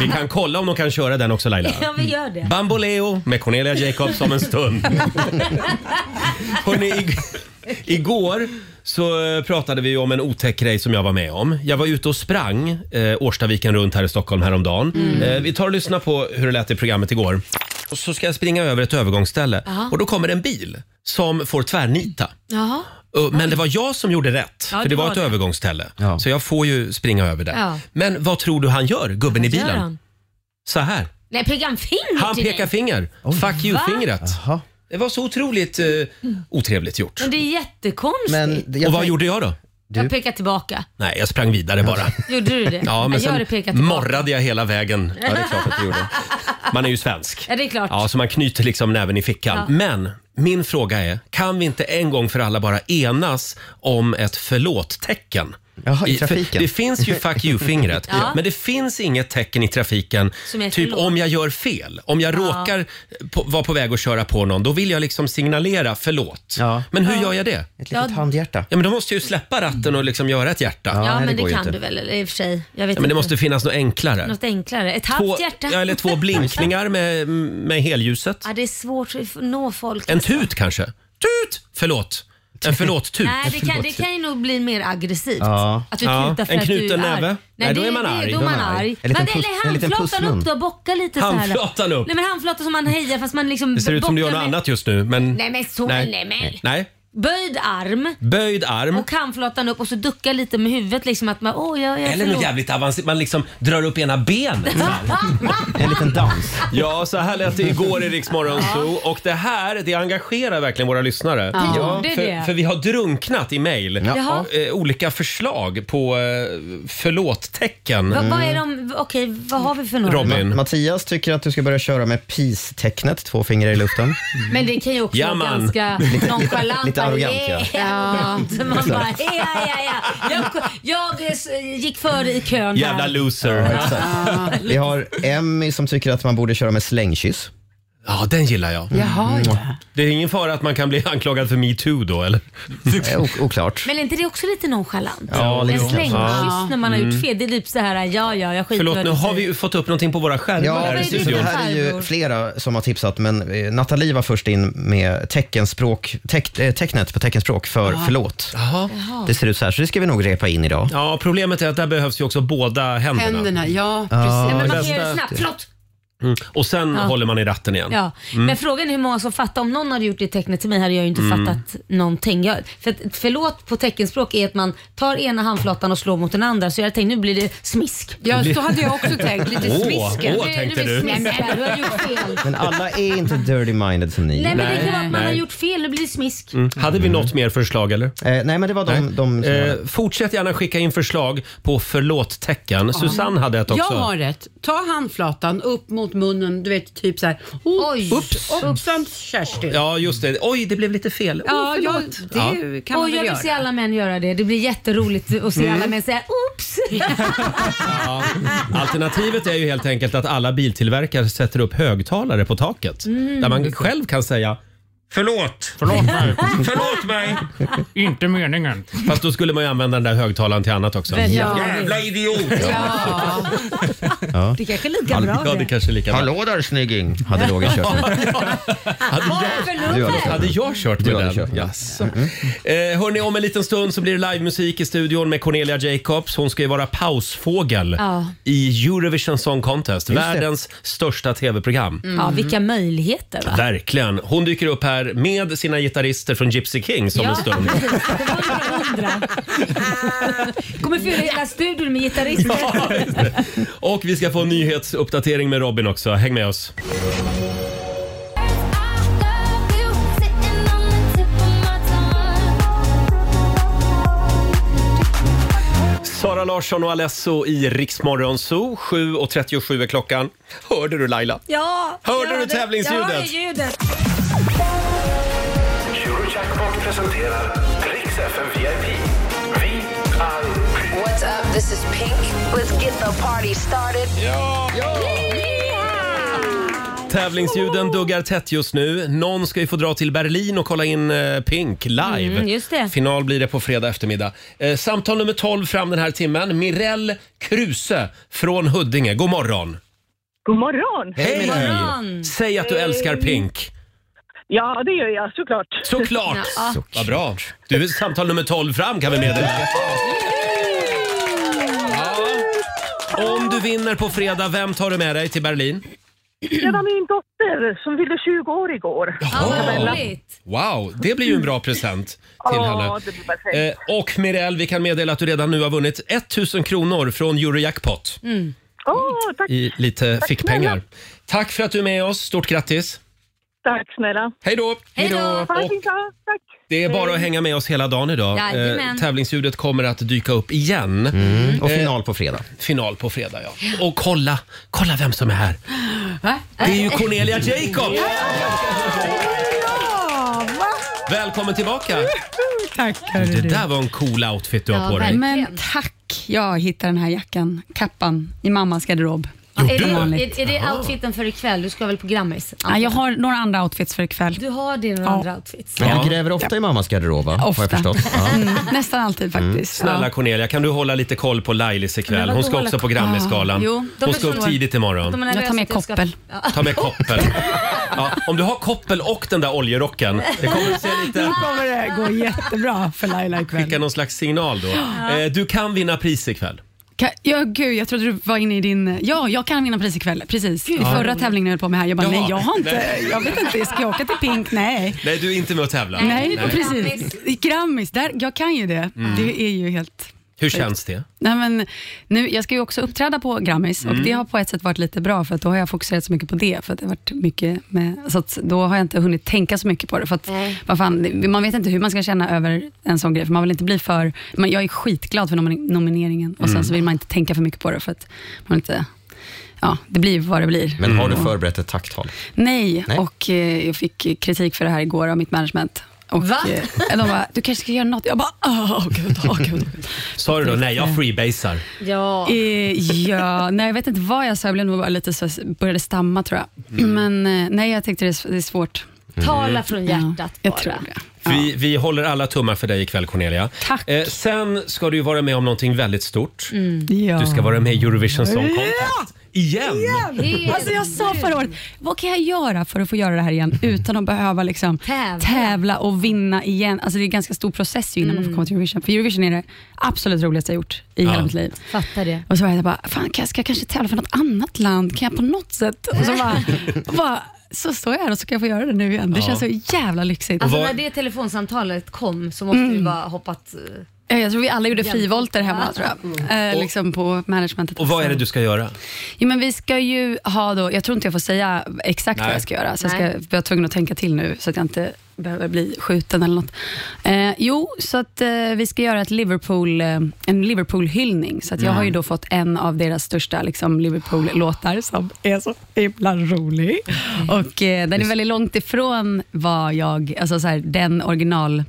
A: Vi kan kolla om de kan köra den också Laila.
B: Ja, vi gör det.
A: Bamboleo med Cornelia Jacobs om en stund. Hörrni, ig- igår så eh, pratade vi ju om en otäck grej som jag var med om. Jag var ute och sprang eh, Årstaviken runt här i Stockholm häromdagen.
B: Mm.
A: Eh, vi tar och lyssnar på hur det lät i programmet igår. Och så ska jag springa över ett övergångsställe
B: Jaha.
A: och då kommer en bil som får tvärnita.
B: Jaha.
A: Och- Men det var jag som gjorde rätt,
B: Ja,
A: för det
B: det
A: var
B: var
A: ett
B: det.
A: övergångsställe.
C: Ja.
A: Så jag får ju springa över det.
B: Ja.
A: Men vad tror du han gör, gubben i
B: Vad gör
A: bilen?
B: han?
A: Så här.
B: Nej, pekar han finger
A: Han
B: till
A: pekar
B: dig?
A: finger. Fuck you-fingret.
C: Jaha.
A: Det var så otroligt eh, otrevligt gjort.
B: Men det är jättekonstigt.
C: Men jag
A: Och vad
C: tänk-
A: gjorde jag då?
B: Jag pekar tillbaka.
A: Nej, jag sprang vidare bara.
B: Gjorde du det?
A: Ja, men
B: jag gör
A: sen
B: det pekar tillbaka.
A: morrade jag hela vägen.
B: Ja, det är klart att du
A: gjorde. Man är ju svensk.
B: Ja, det är klart.
A: Ja, så man knyter liksom näven i fickan.
B: Ja.
A: Men min fråga är, kan vi inte en gång för alla bara enas om ett förlåt-tecken?
C: Jaha, i
A: för-
C: trafiken.
A: Det finns ju fuck you-fingret,
B: Ja.
A: men det finns inget tecken i trafiken.
B: Som är
A: Typ
B: förlåt.
A: om jag gör fel, om jag
B: Ja.
A: råkar på, vara på väg att köra på någon, då vill jag liksom signalera förlåt. Men hur gör jag det?
C: Ett
B: Ja.
C: litet handhjärta.
A: Ja, men då måste jag ju släppa ratten och liksom göra ett hjärta.
B: Ja, men det, kan du väl eller, i och för sig. Jag vet
A: Ja, men det
B: inte.
A: måste finnas något enklare.
B: Något enklare. Ett
A: två,
B: halvt hjärta.
A: ja, eller två blinkningar med, med helljuset.
B: Ja, det är svårt att nå folk.
A: En tut kanske? Tut! Förlåt. En förlåt-tut.
B: Nej, det kan, det kan ju nog bli mer aggressivt.
A: Ja.
B: Att du
A: Ja,
B: tutar för
A: en
B: att du är
A: knuten näve.
B: arg.
A: Nej,
B: Nej,
A: då
B: det,
A: är man
B: det-
A: arg.
B: Då är man arg.
A: En liten
B: Men-
A: puss- en liten
B: eller handflatan
A: pussmun.
B: upp då, bocka lite så här.
A: Handflatan upp.
B: Nej, men handflatan som man hejar fast man liksom
A: Det ser ut som du gör
B: bockar
A: något
B: med-
A: annat just nu. Men...
B: Nej, men så- nej, men.
A: Nej.
B: Böjd arm
A: Böjd arm.
B: och handflatan upp och så ducka lite med huvudet liksom att man, åh, jag, jag
A: Eller något jävligt avancerat. Man liksom drar upp ena benet. En liten dans. Ja, så här lät det igår i Rix Morgon Zoo. Och det här, det engagerar verkligen våra lyssnare.
J: Ja, det gjorde det.
A: för, för vi har drunknat i mejl.
B: Jaha.
A: Eh, olika förslag på eh, förlåt-tecken.
B: Va, vad är de, okej, vad har vi för några?
C: Ma- Mattias tycker att du ska börja köra med peace-tecknet, två fingrar i luften.
B: Men det kan ju också
C: Ja,
B: vara
C: man.
B: ganska
C: Lite-
B: nonchalant.
C: lite arrogant,
B: ja.
C: ja.
B: ja. Man bara, ja, ja, ja. Jag, jag eh, gick före i kön
A: Jävla
B: här.
A: loser.
C: Vi har Emmy som tycker att man borde köra med slängkyss. Mm.
A: Ja, den gillar jag.
B: Jaha, ja.
A: Det är ingen fara att man kan bli anklagad för metoo då, eller?
C: Oklart.
B: Men är inte det också lite nonchalant?
A: Ja,
B: en
A: det är
B: slängkyss
A: klart.
B: när man har gjort
A: Mm.
B: fel. Det är typ så här, ja, ja, jag skiter
A: Förlåt,
B: vad
A: nu
B: du
A: har
B: säger.
A: vi ju fått upp någonting på våra skärmar
C: Ja,
A: här i
C: precis.
A: studion.
C: Det här är ju flera som har tipsat, men eh, Nathalie var först in med teckenspråk, teck, eh, tecknet på teckenspråk för
F: Ah.
A: Ja.
C: förlåt.
F: Jaha.
C: Det ser ut så här, så det ska vi nog repa in idag.
A: Ja, problemet är att där behövs ju också båda händerna.
F: Händerna, ja
A: Ja,
F: precis.
A: men
F: men
A: man
F: man
A: kan göra det
B: Snabbt, förlåt.
A: Mm. Och sen
B: Ja.
A: håller man i ratten igen.
B: Ja,
A: Mm.
B: men frågan är hur många som fattar. Om någon hade gjort det tecknet till mig hade jag ju inte
A: Mm.
B: fattat någonting. Jag, för att, förlåt på teckenspråk är att man tar ena handflatan och slår mot den andra. Så jag tänkte nu blir det smisk.
F: Ja, så hade jag också tänkt. Lite
C: Åh,
F: smisken.
C: åh, tänkte du.
B: Nej, men du har gjort fel.
C: Men alla är inte dirty-minded som ni.
B: Nej, men det kan vara att man har
A: Nej.
B: gjort fel. Nu blir det smisk.
A: Mm. Hade vi något mer förslag eller?
C: Eh, nej men det var de, som
A: eh, Fortsätt gärna skicka in förslag på förlåt-tecken. Susanne hade ett också.
F: Jag har ett. Ta handflatan upp mot munnen, du vet typ så här. Oj. Ups. Uppsamt Kerstin.
A: Ja just det. Oj, det blev lite fel.
F: Ja,
A: oh,
F: ja,
A: förlåt.
F: det kan man
B: och
F: väl
B: jag vill
F: göra.
B: se alla män göra det. Det blir jätteroligt att se
A: Mm.
B: alla män säga oops.
A: Ja. Alternativet är ju helt enkelt att alla biltillverkare sätter upp högtalare på taket.
B: Mm.
A: Där man själv kan säga Förlåt! Förlåt mig! Förlåt mig! Inte meningen. Fast då skulle man ju använda den där högtalaren till annat också.
J: Ja.
A: Jävla idiot!
J: Ja.
A: Ja.
B: Det kanske är lika bra
A: Ja, det
B: det.
A: kanske är lika
C: Hallå där snygging, hade Roger kört.
A: Hade
B: Varför
A: jag,
B: Lover?
A: hade jag kört med
C: Du hade
A: den?
C: kört med den.
A: Jaså.
B: Mm.
A: Eh, hörni, om en liten stund så blir det livemusik i studion med Cornelia Jacobs. Hon ska ju vara pausfågel
B: Ja.
A: i Eurovision Song Contest,
B: Just det.
A: världens största tv-program.
B: Mm. Ja, vilka möjligheter va?
A: Mm. Verkligen. Hon dyker upp här med sina gitarrister från Gypsy Kings om Mm, en stund.
B: precis. Det var det jag undrade. Kommer fylla hela studion med gitarrister.
A: Och vi ska få en nyhetsuppdatering med Robin också. Häng med oss. Sara Larsson och Alesso i Riksmorgon Zoo. 7.37 är klockan. Hörde du Laila?
B: Ja,
A: Hörde
B: jag
A: du tävlingsljudet?
B: Jag hörde ljudet.
E: Eurojackpot presenterar Rix FM VIP. Vi är...
D: What's up? This is Pink. Let's get the party started.
A: Ja! Tävlingsljuden duggar tätt just nu. Någon ska ju få dra till Berlin och kolla in eh, Pink live.
B: Mm, just det.
A: Final blir det på fredag eftermiddag. Eh, Samtal nummer 12 fram den här timmen. Mirelle Kruse från Huddinge. God morgon!
N: God morgon!
A: Hej! Säg att du älskar Pink.
N: Ja, det gör jag såklart.
A: Såklart! Vad bra. Du är samtal nummer 12 fram kan vi meddela. Ja. Om du vinner på fredag, vem tar du med dig till Berlin?
N: Redan min dotter som fyllde 20 år igår. Isabella.
A: Wow, det blir ju en bra present till
N: Ja,
D: Mm.
A: henne.
N: det blir perfekt.
A: Eh, och Mirelle, vi kan meddela att du redan nu har vunnit 1000 kronor från Eurojackpot
N: Åh,
D: Eh,
N: tack,
A: i lite
N: Tack
A: fickpengar.
N: snälla.
A: Tack för att du är med oss. Stort grattis!
N: tack snälla.
A: Hej då!
N: Hej då. Ha det
A: Och
N: fint, ja. Tack.
A: Det är bara att hänga med oss hela dagen idag. Eh,
B: Jajamän.
A: tävlingsljudet kommer att dyka upp igen.
C: Mm. Och
A: final på fredag. Final på fredag, ja. Och kolla, kolla vem som är här.
F: Va?
A: Det är ju Cornelia Jacob!
F: Ja, va?
A: Välkommen tillbaka!
I: Tack
A: Det
I: du.
A: där var en cool outfit du har på dig.
I: Men tack, jag hittade den här jackan, kappan, i mammas garderob.
B: är, det,
I: Som vanligt.
B: är, är det outfiten för ikväll? Du ska väl på Grammis?
I: Ja, jag har några andra outfits för ikväll.
B: Du har det, några andra outfits.
C: Men du gräver ofta i mammas garderob, va? har jag förstått. Ja.
I: Mm, nästan alltid faktiskt.
A: Snälla Cornelia, kan du hålla lite koll på Lailis ikväll? Hon ska också på Grammisgalan.
I: Ah, jo. De
A: Hon ska upp
I: förstår.
A: tidigt imorgon.
I: Jag tar med koppel.
A: Ta med koppel. Ja, om du har koppel och den där oljerocken, det kommer att se
I: Nu
A: lite...
I: kommer det gå jättebra för Laila ikväll.
A: Skicka någon slags signal då.
I: Ja.
A: Eh, Du kan vinna pris ikväll.
I: Ka- Ja, gud, jag trodde du var inne i din... Ja, jag kan vinna pris ikväll. Precis. I
A: Ja.
I: förra tävlingen jag höll på med här, jag bara,
A: Jaha.
I: nej, jag har inte...
A: Nej.
I: Jag vet inte, ska jag åka till Pink? Nej.
A: Nej, du är inte med och tävlar.
I: Nej, precis. Grammis, där, jag kan ju det.
A: Mm.
I: Det är ju helt...
A: Hur känns det?
I: Nej, men nu, jag ska ju också uppträda på Grammis
A: Mm.
I: och det har på ett sätt varit lite bra för att då har jag fokuserat så mycket på det. För att det har varit mycket med, så att då har jag inte hunnit tänka så mycket på det. För att, vad fan, man vet inte hur man ska känna över en sån grej, för man vill inte bli för... Men jag är skitglad för nomin- nomineringen och
C: Mm.
I: sen så vill man inte tänka för mycket på det för att man inte... Ja, det blir vad det blir.
C: Men har du
A: Mm.
I: Och-
C: förberett ett tacktal?
I: Nej,
C: Nej.
I: och eh, jag fick kritik för det här igår av mitt management. Och,
B: Va?
I: eh, De bara, du kanske ska göra något. Jag bara, åh gud, åh gud.
A: Sa du då nej, jag freebasar?
B: Ja.
I: Eh, ja, nej, jag vet inte vad jag sa. Jag blev nog bara lite så, började stamma tror jag.
A: Mm.
I: Men eh, nej, jag tänkte det är, s- det är svårt.
B: Tala från hjärtat
I: jag
B: bara.
I: tror det.
A: Vi, vi håller alla tummar för dig ikväll Cornelia.
I: Tack.
A: Eh, sen ska du ju vara med om någonting väldigt stort.
B: Mm.
I: Ja.
A: Du ska vara med i Eurovision Song Contest. Igen?
I: Igen. Alltså jag sa förra året, vad kan jag göra för att få göra det här igen utan att behöva liksom tävla. och vinna igen? Alltså det är en ganska stor process ju innan
B: Mm.
I: man får komma till Eurovision. För Eurovision är det absolut roligaste jag gjort i hela
B: Ja.
I: mitt liv.
B: Fattar det.
I: Och så var jag bara, fan kan jag, ska jag kanske tävla för något annat land? Kan jag på något sätt? Och så bara, och bara så står jag här och så kan jag få göra det nu igen. Det
B: Ja.
I: känns så jävla lyxigt.
B: Alltså när det telefonsamtalet kom så måste
A: Mm.
B: du bara hoppat... eh,
I: Ja, Eh, Jag tror vi alla gjorde frivolter hemma tror jag. Eh, liksom på managementet.
A: Och vad är det du ska göra?
I: Jo, men vi ska ju ha då, jag tror inte jag får säga exakt
A: Nej.
I: vad jag ska göra, så jag ska
A: Nej.
I: jag är tvungen att tänka till nu så att jag inte behöver bli skjuten eller något. Eh, jo, så att eh, vi ska göra ett Liverpool, eh, en Liverpool-hyllning. Så att jag
B: Mm.
I: har ju då fått en av deras största liksom, Liverpool-låtar som är så himla rolig.
A: Mm.
I: Och eh, den är väldigt långt ifrån vad jag, alltså så här, den original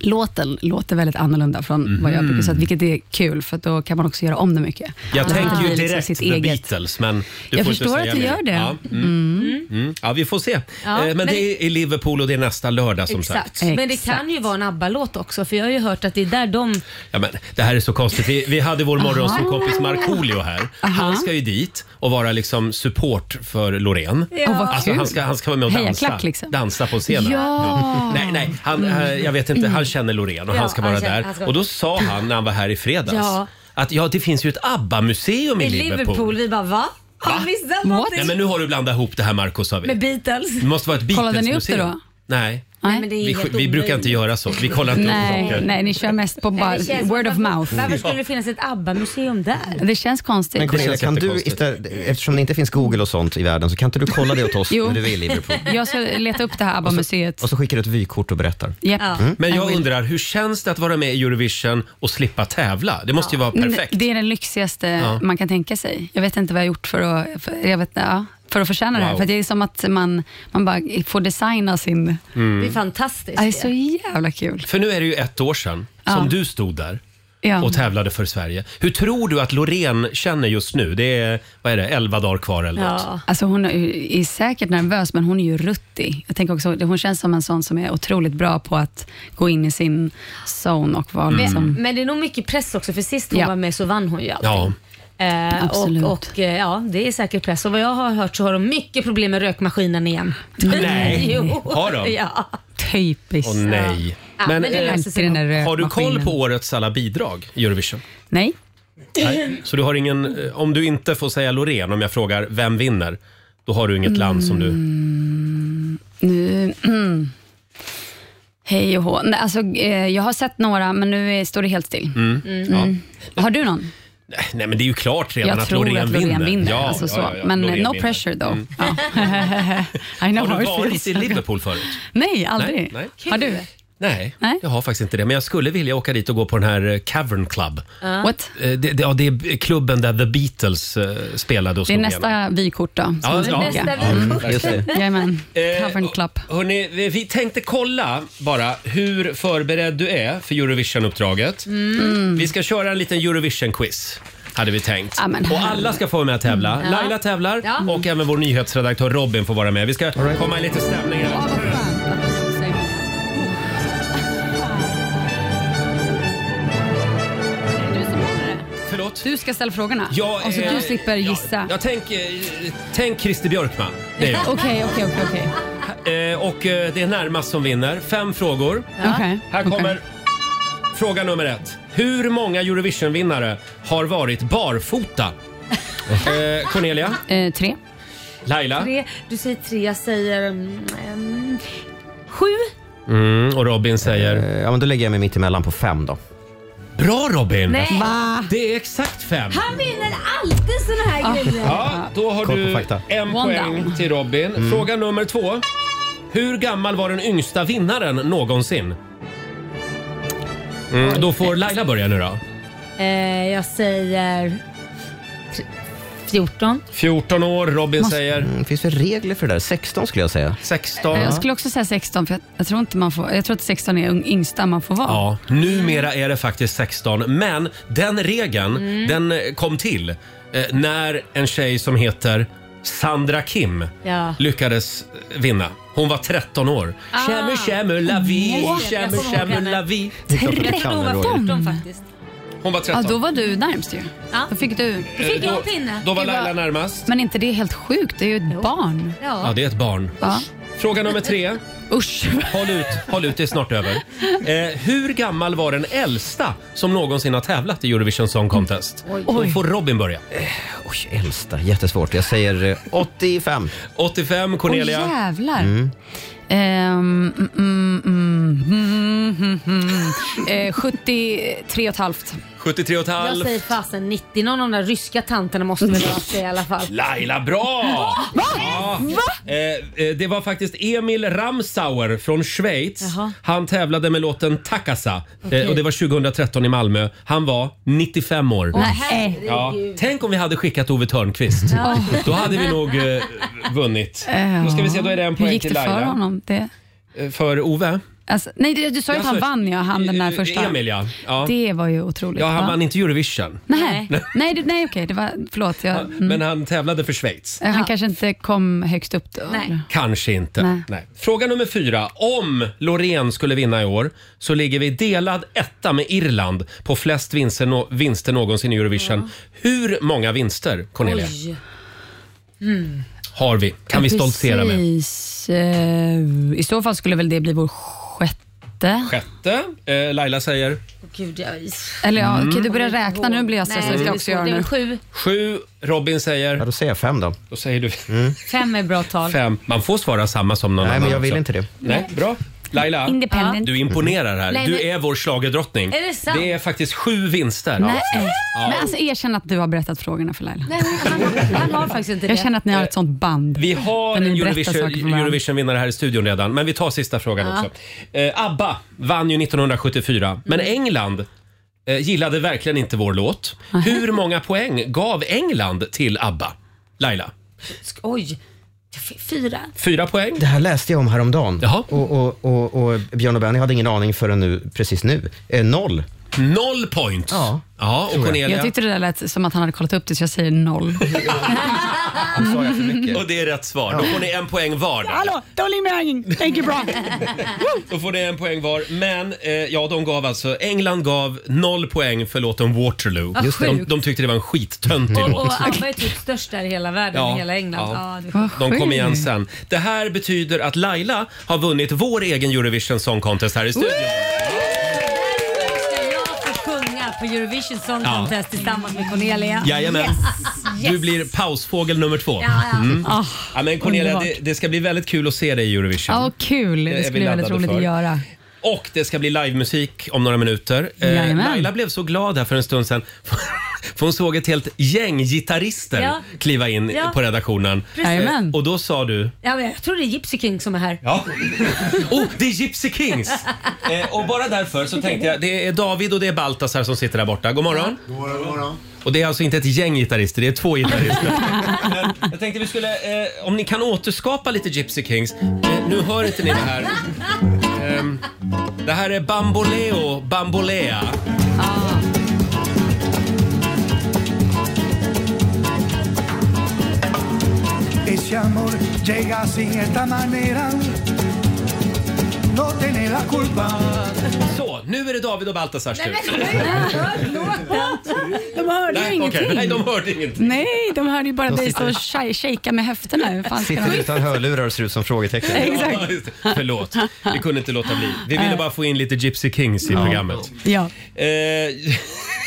I: Låten låter väldigt annorlunda från vad jag
A: Mhm.
I: brukar säga, vilket är kul för att då kan man också göra om det mycket.
A: Jag
I: Så att det
A: tänker ju
I: blir liksom
A: direkt
I: sitt
A: The
I: eget.
A: Beatles, men du
I: Jag
A: får inte
I: förstår
A: säga
I: att du
A: mer.
I: gör det.
A: Ja, mm. Mm. ja vi får se.
B: Ja,
A: Eh, men,
B: men-
A: det är i Liverpool och det är nästa lördag som
B: Exakt.
A: sagt.
B: Men det kan ju vara en ABBA-låt också för jag har ju hört att det är där de...
A: Ja, men, det här är så konstigt. Vi, vi hade vår
B: Aha.
A: morgonsåkompis Markoolio här. Han ska ju dit och vara liksom support för Loreen.
I: Ja. Åh, vad
A: Alltså, han,
I: kul.
A: ska, han ska vara med och
I: Heja
A: dansa,
I: klack, liksom.
A: dansa på scenen.
I: Ja.
A: Nej, nej, han, eh, jag vet inte. Han känner Loreen och
I: Ja,
A: han ska
I: han
A: vara
I: känner-
A: där.
I: han ska-
A: Och då sa han när han var här i fredags
B: Ja.
A: att ja, det finns ju ett ABBA-museum i,
B: I
A: Liverpool.
B: Liverpool. Vi bara va? Har vi missat någonting?
A: Nej, men nu har du blandat ihop det här Marco sa vi.
B: Med Beatles?
A: Det måste vara ett Beatles-museum.
I: Kollade ni upp det då?
A: Nej.
I: Nej, men det är
A: Vi,
I: helt
A: vi
I: omöjligt.
A: brukar inte göra så. Vi kollar inte upp
I: Nej,
A: saker.
I: nej, ni kör mest på bara
B: Nej, det känns-
I: word of mouth.
B: Varför skulle det finnas ett ABBA-museum där?
I: Det känns konstigt.
C: Men Cornelia, kan du, istället, eftersom det inte finns Google och sånt i världen, så kan inte du kolla det åt oss
I: Jo.
C: när du är i Liverpool?
I: Jag ska leta upp det här ABBA-museet.
C: Och så skickar du ett vykort och berättar. Mm.
I: Japp.
A: Men
I: I
A: jag
I: will.
A: undrar, hur känns det att vara med i Eurovision och slippa tävla? Det måste ju vara perfekt.
I: Mm, Det är den lyxigaste
A: Ja.
I: man kan tänka sig. Jag vet inte vad jag har gjort för att, för, jag vet, ja, för att förtjäna det här.
A: Wow.
I: För att det är som att man, man bara får designa sin...
A: Mm.
B: Det är fantastiskt.
I: Ja, Det är så jävla kul.
A: För nu är det ju ett år sedan som
I: Ja.
A: du stod där
I: Ja.
A: och tävlade för Sverige. Hur tror du att Loreen känner just nu? Det är, vad är det, 11 dagar kvar eller något.
I: Ja. Alltså hon är är säkert nervös, men hon är ju ruttig. Jag tänker också, hon känns som en sån som är otroligt bra på att gå in i sin zone och
A: Mm.
I: vara liksom...
B: Men, men det är nog mycket press också för sist hon
I: Ja.
B: var med så vann hon ju allting.
I: Ja.
B: Eh,
I: Absolut.
B: Och, och eh, ja, det är säkert press. Och vad jag har hört så har de mycket problem med rökmaskinen igen.
A: Nej.
B: jo.
A: Har de?
B: Ja.
I: Typiskt.
A: Åh nej.
B: Ja, men det
A: eh,
B: löser sig Alltid den där
A: har du koll
B: rökmaskinen.
A: på årets alla bidrag i Eurovision?
I: Nej.
A: Nej. Så du har ingen, eh, om du inte får säga Loreen, om jag frågar vem vinner, då har du inget land som
I: Mm.
A: du...
I: Nu... Mm. Hej och hå. Nej, alltså, eh, jag har sett några, men nu är, står det helt still.
A: Mm. Ja.
I: Mm. Har du någon?
A: Eh, Nej men det är ju klart redan
I: jag
A: att
I: tror
A: Loreen
I: att Loreen
A: vinner.
I: vinner. alltså, så. Men eh,
A: Loreen
I: no
A: vinner.
I: pressure though.
A: Mm.
I: Ja. I know
A: Har
I: how
A: du
I: it
A: varit
I: feels.
A: i Liverpool förut?
I: Nej, aldrig.
A: Nej, nej.
I: Har du?
A: Nej, jag har faktiskt inte det. Men jag skulle vilja åka dit och gå på den här eh, Cavern Club.
I: Ja. What?
A: Eh, Det, det, ja, det är klubben där The Beatles eh, spelade och
I: Det
A: slog
I: är
A: igenom.
I: nästa vykort då. som
A: Ja,
I: vi
A: ja.
I: ska åka.
A: Nästa vykort. Ja, just det. Eh,
I: Jajamän. Cavern Club.
A: Hörrni, vi vi tänkte kolla bara hur förberedd du är för Eurovision-uppdraget.
I: Mm.
A: Vi ska köra en liten Eurovision-quiz. Hade vi tänkt.
I: Ja, men Mm.
A: och alla ska få vara med och tävla.
I: Ja.
A: Laila tävlar och även vår nyhetsredaktör Robin får vara med. Vi ska komma i lite stämning. här. Förlåt?
I: Du ska ställa frågorna.
A: Ja,
I: och så
A: eh,
I: du slipper gissa.
A: Jag tänk, eh, tänk Christer Björkman. Det är jag.
I: Okej, okej, okej, okej.
A: Eh, och eh, det är närmast som vinner. Fem frågor.
I: Ja. Okej.
A: Här
I: Okej.
A: kommer fråga nummer ett. Hur många Eurovision-vinnare har varit barfota? Eh, Cornelia?
I: Eh, tre.
A: Laila?
B: Tre, du säger tre, jag säger mm, mm, sju.
A: Mm, och Robin säger?
C: Eh, Ja, men då lägger jag mig mitt emellan på fem då.
A: Bra Robin!
B: Nej.
A: Det är exakt fem.
B: Han vinner alltid såna här grejer.
A: Ja, då har
C: Koll på
A: du
C: fakta. Mm.
A: en
B: One
A: poäng
B: down.
A: till Robin. Fråga nummer två. Hur gammal var den yngsta vinnaren någonsin? Mm, då får Laila börja nu då.
B: Eh, jag säger tre- 14.
A: 14 år, Robin
I: Måste-
A: säger.
C: Mm, finns det regler för det där? 16 skulle jag säga.
A: 16?
I: Eh, Jag skulle också säga 16, för jag, jag, tror inte man får, jag tror att 16 är ung- yngsta man får vara.
A: Ja, numera är det faktiskt 16. Men den regeln,
I: Mm.
A: den eh, kom till eh, när en tjej som heter Sandra Kim
B: Ja.
A: lyckades eh, vinna. Hon var 13 år.
B: Ah.
A: Tjämu, tjämu, la vie,
I: Wow.
A: tjämu, tjämu, la vie.
I: Det är klart att du kan det, Roger.
A: Mm.
I: 14
B: faktiskt.
A: Hon var
I: Ja,
A: 13.
I: då var du närmst ju. Då fick du...
A: Eh, Då fick jag en pinne. då var
I: Det
A: Laila närmast.
I: Men inte det är helt sjukt, det är ju ett barn.
A: Ja, det är ett barn.
I: Ja.
A: Fråga nummer tre.
I: Usch.
A: Håll ut, håll ut, det är snart över. Eh, hur gammal var den äldsta som någonsin har tävlat i Eurovision Song Contest? Då får Robin börja.
C: Oj, äldsta. Jättesvårt. Jag säger eh, 85.
A: 85,
I: Cornelia. Åh, jävlar. Ehm, mm, mm, mm, mm, mm, mm. Eh, 73 och ett halvt.
A: 73 och ett
B: Jag
A: halvt.
B: säger fasen 90. Någon av de där ryska tanterna måste väl vara det i alla fall.
A: Laila, bra!
B: Va?
A: Ja.
B: Va?
A: Eh, eh, det var faktiskt Emil Ramsauer från Schweiz.
B: Jaha.
A: Han tävlade med låten Takasa
B: Okej.
A: eh, och det var 2013 i Malmö. Han var 95 år.
B: Åh, herregud.
A: ja. Tänk om vi hade skickat Ove Thörnqvist.
I: Ja. Eh,
A: Då hade vi nog eh, vunnit. Då ska vi se, då är det en
I: Hur
A: poäng
I: gick
A: till
I: det för
A: Laila.
I: honom? Det,
A: Eh, För Ove?
I: alltså, nej, du, du sa ju
A: Jag
I: att han
A: sa-
I: vann ja, han den där
A: Eh,
I: första.
A: Emil ja. ja.
I: Det var ju otroligt.
A: ja han
I: va?
A: vann inte Eurovision.
I: Nej, nej, du- nej okej, det var, förlåt. Jag, mm.
A: Men han tävlade för Schweiz.
I: Eh, Han kanske inte kom högst upp då. eller?
A: Kanske inte.
I: Nej.
A: Nej. Fråga nummer fyra. Om Loreen skulle vinna i år så ligger vi delad etta med Irland på flest vinster, nå- vinster någonsin i Eurovision. Hur många vinster, Cornelia,
B: Oj. Mm.
A: har vi? Kan vi stoltsera med?
I: Precis. Eh, I så fall skulle väl det bli vår sjätte.
A: Sjätte. Eh, Laila säger?
B: Gud, jag...
I: Eller ja,
A: Mm.
I: okej, du börjar räkna. Nu blir jag stressad.
B: Nej,
I: jag ska
B: det
I: också
B: är
I: göra
B: svårt. Det är
I: nu.
B: sju.
A: Sju. Robin säger? Ja,
C: då säger jag fem då. Mm.
A: Då säger du
B: Fem är bra tal.
A: fem. Man får svara samma som någon
C: Nej,
A: annan
C: men jag vill
A: också.
C: inte det.
A: Nej, bra. Laila,
B: Independent.
A: du imponerar
I: Mm.
A: här.
I: Nej,
A: Du
I: men-
A: är vår schlagerdrottning.
I: Är det sant?
A: det är faktiskt sju vinster.
I: Nej.
A: Ja.
I: Men alltså erkänn att du har berättat frågorna för Laila.
B: Nej, han, han har faktiskt inte det.
I: Jag känner att ni har ett sånt band.
A: Vi har
I: Där ni
A: en
I: berättar
A: Eurovision,
I: saker för varandra.
A: Eurovision-vinnare här i studion redan, men vi tar sista frågan
I: Ja. Mm.
A: också. Eh, ABBA vann ju 1974, men England eh, gillade verkligen inte vår låt. Hur många poäng gav England till ABBA? Laila,
B: Oj. Jag fick Fyra.
A: fyra poäng.
C: Det här läste jag om häromdagen. Och, och, och, och Björn och Benny hade ingen aning förrän nu, precis nu. Eh, noll.
A: Noll points. Ja, ja och Cornelia.
I: Jag tyckte det där lät som att han hade kollat upp det så jag säger noll.
A: Och det är rätt svar. Då får ni en poäng var. där.
I: Hallå, dålig mening. Thank you bra.
A: Då får ni en poäng var. Men eh, ja, de gav alltså, England gav noll poäng för låten Waterloo.
B: Vad Just det.
A: De,
B: sjukt.
A: de tyckte det var en skittöntig
B: Och,
A: låt.
B: och ABBA är typ störst där i hela världen, i hela England. Ja. det är sjukt.
A: De kom igen sen. Det här betyder att Laila har vunnit vår egen Eurovision Song Contest här i studion.
B: Ska jag få sjunga på Eurovision Song
A: Ja.
B: Contest tillsammans med Cornelia?
A: Jajamän.
B: Yes.
A: Du blir pausfågel nummer två. Mm.
B: Ja, ja.
A: Ja,
I: Ah,
A: men Cornelia, det,
I: underbart.
A: det ska bli väldigt kul att se dig i Eurovision.
I: Ja, kul.
A: Det är
I: Det
A: vi
I: skulle bli väldigt
A: laddade
I: roligt
A: för.
I: att göra.
A: Och det ska bli livemusik om några minuter. Eh,
I: Jajamän.
A: Laila blev så glad här för en stund sedan. För hon såg ett helt gäng gitarrister
B: Ja.
A: kliva in
B: Ja.
A: på redaktionen. Eh,
B: Precis. Jajamän.
A: Och då sa du?
B: Ja, men jag tror det är Gypsy King som är här.
A: Ja. Oh, det är Gypsy Kings! Eh, och bara därför så tänkte jag, det är David och det är Baltasar som sitter där borta. God morgon. Och det är alltså inte ett gäng gitarrister, det är två gitarrister. Men jag tänkte vi skulle, eh, om ni kan återskapa lite Gypsy Kings. Eh, nu hör inte ni det här. Ehm, det här är Bamboleo Bambolea.
O: Ese amor llega sin esta manera. No tiene la culpa.
A: Så, nu är det David och Baltasars tur.
I: De hörde ju
A: Nej,
I: ingenting.
A: okej. Nej, de hörde ingenting.
I: Nej, de hörde ju bara
C: De
I: dig stå
C: sitter-
I: och shaj- shaka med höfterna. Hur fan ska
C: Sitter
I: de-
C: utan hörlurar och ser ut som frågetecken.
I: Exakt.
A: Ja, just det. Förlåt, vi kunde inte låta bli. Vi ville bara få in lite Gypsy Kings i programmet.
I: Ja.
A: Eh,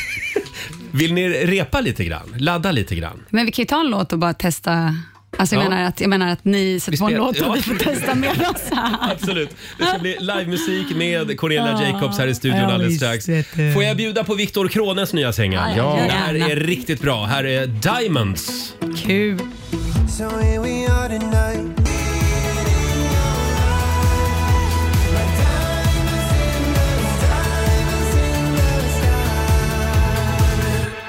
A: vill ni repa lite grann? Ladda lite grann?
I: Men vi kan ju ta en låt och bara testa. Alltså jag,
A: Ja.
I: menar, att, jag menar att ni sätter på en
A: spel-
I: låt och
A: ja.
I: vi får testa med oss.
A: Absolut. Det ska bli livemusik med Cornelia
I: Ja.
A: Jacobs här i studion
I: Ja,
A: alldeles
I: visst,
A: strax. Får jag bjuda på Viktor Krones nya singel?
J: Ja, ja,
A: Det här
J: gärna.
A: är riktigt bra. Här är Diamonds.
I: Kul.
J: So here we are tonight.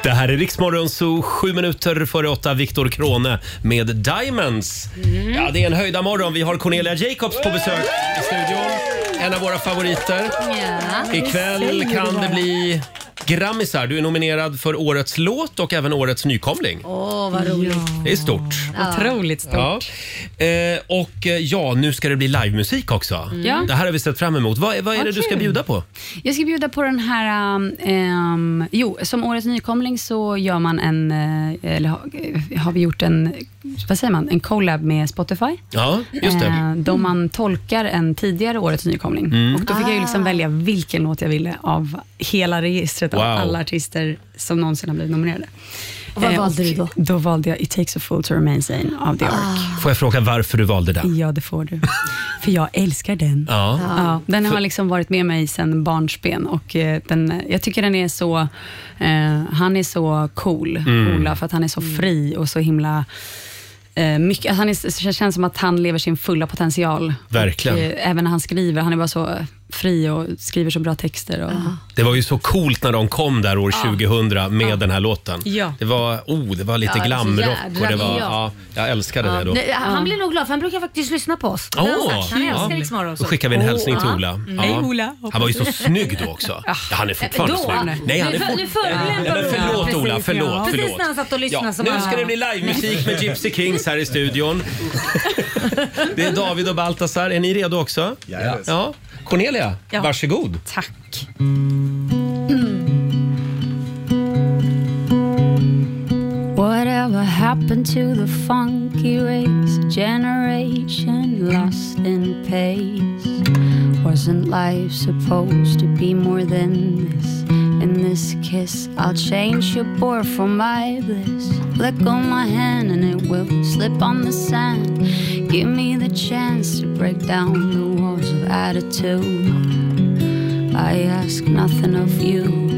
A: Det här är Riksmorgon Zoo, sju minuter före åtta. Viktor Krone med Diamonds. Ja, det är en höjda morgon. Vi har Cornelia Jacobs på besök i studion. En av våra favoriter.
B: Ja.
A: Ikväll kan det bli Grammisar. Du är nominerad för årets låt och även årets nykomling.
B: Åh, vad roligt.
A: Det är stort.
B: Ja. Otroligt
A: Ja. Eh, och eh, ja, nu ska det bli livemusik också.
I: Ja.
A: Det här har vi sett fram emot. Vad, vad är
I: Vad
A: det du ska
I: kul.
A: bjuda på?
I: Jag ska bjuda på den här... um, ehm, jo, som årets nykomling så gör man en... eh, eller har, eh, har vi gjort en... Vad säger man? En collab med Spotify.
A: Ja, just det.
I: Eh, då man tolkar en tidigare årets nykomling.
A: Mm.
I: Och då fick jag ju
B: Ah.
I: liksom välja vilken låt jag ville av hela registret
A: Wow.
I: av alla artister som någonsin har blivit nominerade.
B: Och vad valde Ah.
I: du då? Då valde jag It takes a fool to remain sane av The Ark.
A: Får jag fråga varför du valde den?
I: Ja, det får du. För jag älskar den.
A: Ja.
I: Ja, den
A: För-
I: har liksom varit med mig sedan barnsben och eh, den, jag tycker den är så, eh, han är så cool,
J: Mm.
I: Ola, för att han är så fri och så himla eh, mycket, han är, det känns som att han lever sin fulla potential.
A: Verkligen.
I: Och, eh, även när han skriver, han är bara så fri och skriver så bra texter. Och,
A: Det var ju så coolt när de kom där år
I: Ja.
A: 2000 med den här låten.
I: Ja.
A: Det var, oh, det var lite
B: Ja, det är så
A: glamrock och det
B: jädra
A: var,
B: bra.
A: ja, jag älskade det då.
B: Nej, han blir nog glad för han brukar faktiskt lyssna på oss. Det har han
A: Åh,
B: sagt. han älskar
A: ja.
B: Rix Morgon
A: Då
B: Zoo.
A: skickar vi en
B: Åh,
A: hälsning till
B: ja.
A: Ola.
B: Mm.
A: Ja. Han var ju så snygg då också. Ja, han är fortfarande
B: Då?
A: snygg. Nej, han är
B: Nu för-
A: fort...
B: nu förolämpar
A: Ja, men
B: du
A: förlåt
B: Ola.
A: Ola, förlåt.
B: Precis
A: förlåt.
B: när han satt och lyssnade
A: Ja,
B: som
A: nu
B: han-
A: ska det bli livemusik med Gypsy Kings här i studion. Det är David och Baltasar. Är ni redo också?
J: Jajamän.
A: Ja. Cornelia,
I: Ja.
A: varsågod.
I: Tack.
P: Whatever happened to the funky race? Generation lost in pace. Wasn't life supposed to be more than this? In this kiss, I'll change your bore for my bliss. Let go my hand and it will slip on the sand. Give me the chance to break down the walls of attitude. I ask nothing of you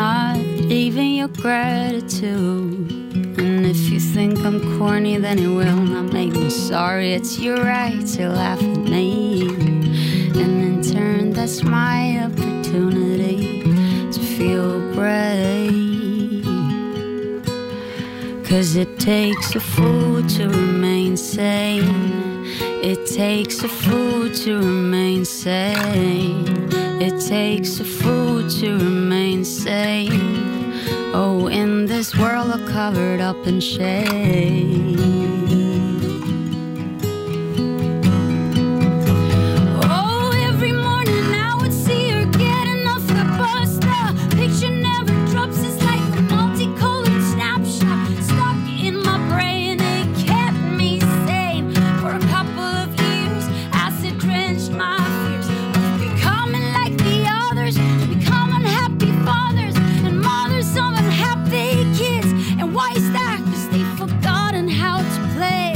P: not even your gratitude. And if you think I'm corny, then it will not make me sorry. It's your right to laugh at me. And in turn, that's my opportunity to feel brave. Cause it takes a fool to remain sane. It takes a fool to remain sane. It takes a fool to remain sane. Oh, in this world, I'm covered up in shame. Oh, every morning I would see her getting off the bus. The picture never drops, it's like a multicolored snapshot stuck in my brain. It kept me sane for a couple of years as it drenched my fears of becoming like the others, becoming happy fathers and mothers of unhappy kids. And why is that? Cause they've forgotten how to play.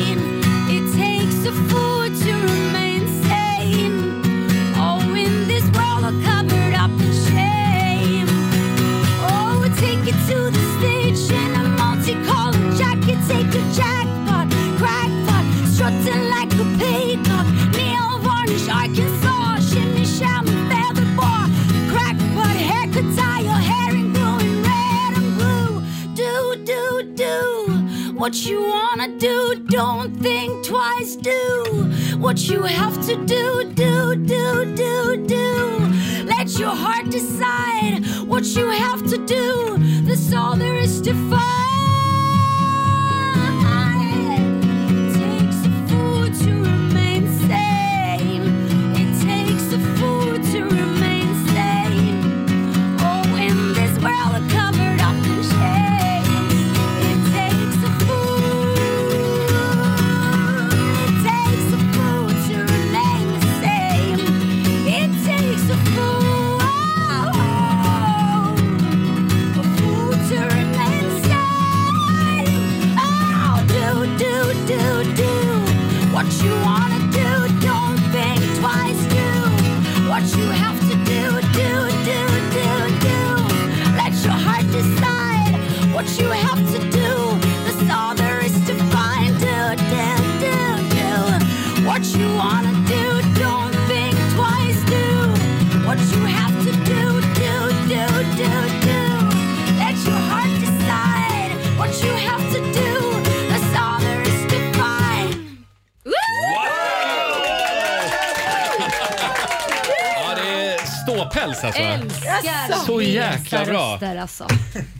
J: Oh, Oh, strutting like a peacock. Nail varnish, Arkansas, shimmy sham, feather bar. Crack, but haircut tie, your hair and growing red and blue. Do, do, do what you wanna do. Don't think twice, do what you have to do. Do, do, do, do. Let your heart decide what you have to do. That's all there is to find. Takes a fool to remain sane. It takes a fool to remain sane. Oh, in this world covered up in shame, it takes a fool. It takes a fool to remain the same. It takes a fool. A fool to remain the same. Oh, do, do, do, do. What you wanna do, don't think twice, do. What you have to do, do, do, do, do. Let your heart decide what you have to do. That's all there is to find. Do, do, do, do. What you wanna do, don't think twice, do. What you have to do, do, do, do, do. Let your heart decide what you have to do. That's all there is to find.
A: Ja, det är ståpäls alltså.
J: Älskar
A: Så jäkla
J: resa
A: bra.
J: röster, alltså.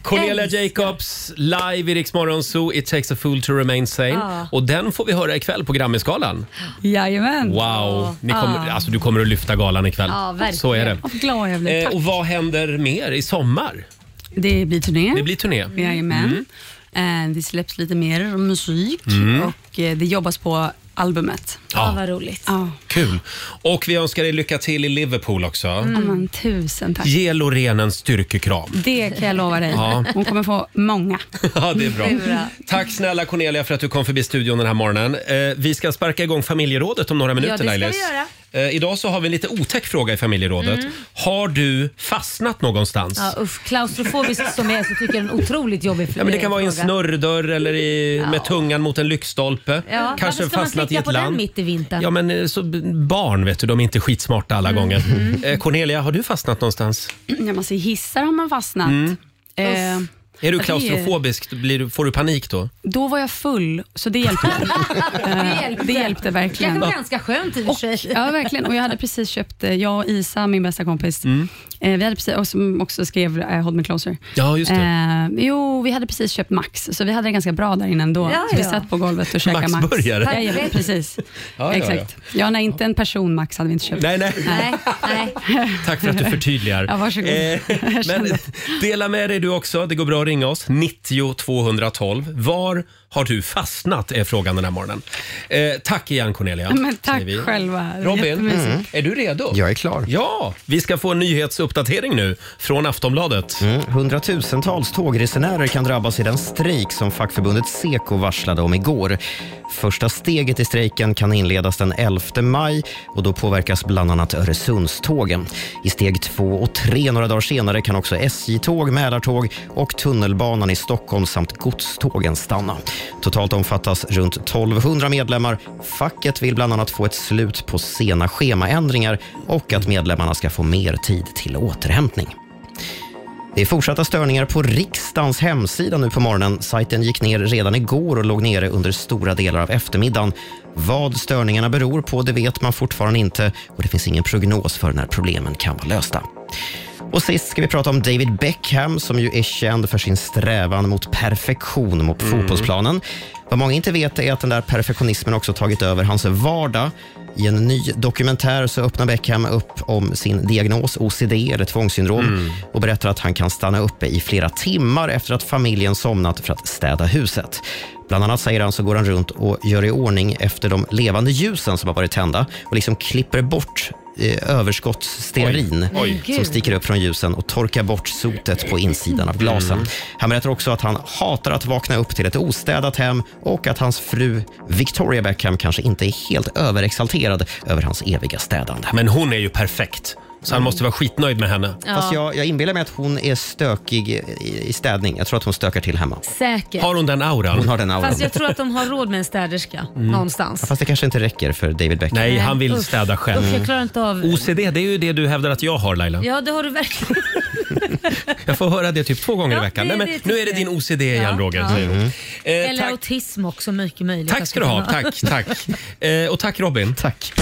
A: Cornelia Jacobs live i Rix Morgon Zoo, It takes a fool to remain sane.
I: Ja.
A: Och den får vi höra ikväll på Grammisgalan.
I: Jajamän.
A: Wow! Ni kommer,
I: Ja.
A: alltså, du kommer att lyfta galan ikväll.
I: Ja, verkligen.
A: Så är det.
I: Vad glad jag blir.
A: Eh,
I: Tack.
A: och vad händer mer i sommar?
I: Det blir turné.
A: Det blir turné.
I: Mm. Jajamän. Eh, Det släpps lite mer musik
A: Mm.
I: och eh, det jobbas på albumet.
A: Ja.
I: vad roligt. Ja.
A: Kul! Och vi önskar dig lycka till i Liverpool också.
I: Mm. Ja, men, tusen tack.
A: Ge Loreen en styrkekram.
I: Det kan jag lova dig.
A: Ja.
I: Hon kommer få många.
A: Ja, det är bra.
I: Det är bra.
A: Tack snälla Cornelia för att du kom förbi studion den här morgonen. Eh, vi ska sparka igång familjerådet om några minuter
B: det ska vi
A: Lailis. Eh, idag så har vi en lite otäck fråga i familjerådet.
B: Mm.
A: Har du fastnat någonstans?
B: Ja, usch, klaustrofobisk som jag är så tycker jag det är en otroligt jobbig
A: Ja, men det kan vara i en
B: fråga.
A: snurrdörr eller i,
B: Ja.
A: med tungan mot en lyktstolpe.
B: Ja,
A: Kanske
B: varför ska man
A: fastnat i
B: slicka
A: ett
B: på den
A: land.
B: mitt i vintern?
A: Ja, men eh, så, barn vet du, de är inte skitsmarta alla gånger.
I: Mm.
A: Eh, Cornelia, har du fastnat någonstans?
I: Ja, man ser hissar har man fastnat.
A: Mm.
I: Eh,
A: Är du
I: det-
A: klaustrofobisk? Blir du, får du panik då?
I: Då var jag full, så det hjälpte. Eh,
B: Det hjälpte.
I: det hjälpte verkligen.
B: Det var ganska skönt i och för sig.
I: Ja, verkligen. Och jag hade precis köpt, eh, jag och Isa, min bästa kompis,
A: Mm.
I: eh, vi hade precis, och som också skrev eh, Hold Me Closer.
A: Ja, just
I: det. Eh, jo, vi hade precis köpt Max, så vi hade det ganska bra där inne ändå.
B: Ja,
I: så vi
B: ja.
I: satt på golvet och käkade Max.
A: Maxburgare.
I: Ja, ja, precis.
A: Ja, ja,
I: Exakt. Ja, nej, inte en person Max hade vi inte köpt.
A: Nej, nej.
I: nej,
A: Tack för att du förtydligar.
I: Ja, varsågod.
A: Eh, men dela med dig du också. Det går bra att ringa oss. 90 212. Var har du fastnat? är frågan den här morgonen. Eh, tack igen Cornelia.
I: Men tack
A: säger vi.
I: själva. Det var
A: Robin, mm.
I: jättemysigt.
A: är du redo?
C: Jag är klar.
A: Ja, vi ska få en nyhetsuppdatering nu från Aftonbladet.
C: Mm. Hundratusentals tågresenärer kan drabbas i den strejk som fackförbundet Seko varslade om igår. Första steget i strejken kan inledas den 11 maj och då påverkas bland annat Öresundstågen. I steg två och tre några dagar senare kan också SJ-tåg, Mälartåg och tunnelbanan i Stockholm samt godstågen stanna. Totalt omfattas runt 1200 medlemmar. Facket vill bland annat få ett slut på sena schemaändringar och att medlemmarna ska få mer tid till återhämtning. Det är fortsatta störningar på riksdagens hemsida nu på morgonen. Sajten gick ner redan igår och låg nere under stora delar av eftermiddagen. Vad störningarna beror på det vet man fortfarande inte och det finns ingen prognos för när problemen kan vara lösta. Och sist ska vi prata om David Beckham som ju är känd för sin strävan mot perfektion mot
Q: Mm.
C: fotbollsplanen. Vad många inte vet är att den där perfektionismen också tagit över hans vardag. I en ny dokumentär så öppnar Beckham upp om sin diagnos OCD, eller tvångssyndrom,
Q: Mm.
C: och berättar att han kan stanna uppe i flera timmar efter att familjen somnat för att städa huset. Bland annat säger han så går han runt och gör i ordning efter de levande ljusen som har varit tända och liksom klipper bort eh, överskottsstearin
Q: Oj. Oj.
C: som sticker upp från ljusen och torkar bort sotet på insidan av glasen. Han berättar också att han hatar att vakna upp till ett ostädat hem och att hans fru Victoria Beckham kanske inte är helt överexalterad över hans eviga städande. Mm.
A: Men hon är ju perfekt. Så han måste vara skitnöjd med henne.
C: Fast jag, jag inbillar mig att hon är stökig i, i städning. Jag tror att hon stökar till hemma.
B: Säkert.
A: hon den auran?
C: Hon har den auran.
B: Fast jag tror att de har råd med en städerska
C: Mm. Ja,
B: någonstans.
C: Fast det kanske inte räcker för David Beckham.
A: Nej, han vill
B: Usch.
A: städa själv. Mm.
B: Usch, jag klarar inte av...
A: OCD, det är ju det du hävdar att jag har Laila.
B: Ja, det har du verkligen.
A: Jag får höra det typ två gånger
B: Ja,
A: i veckan.
B: det-
A: Nej, men,
B: det
A: nu är det
B: tycker
A: din OCD igen Roger.
B: ja.
A: säger hon. Eh,
B: Eller
A: tack,
B: autism också, mycket möjligt. Alltså,
A: tack ska du ha. Tack, tack. Eh, och tack Robin.
C: Tack.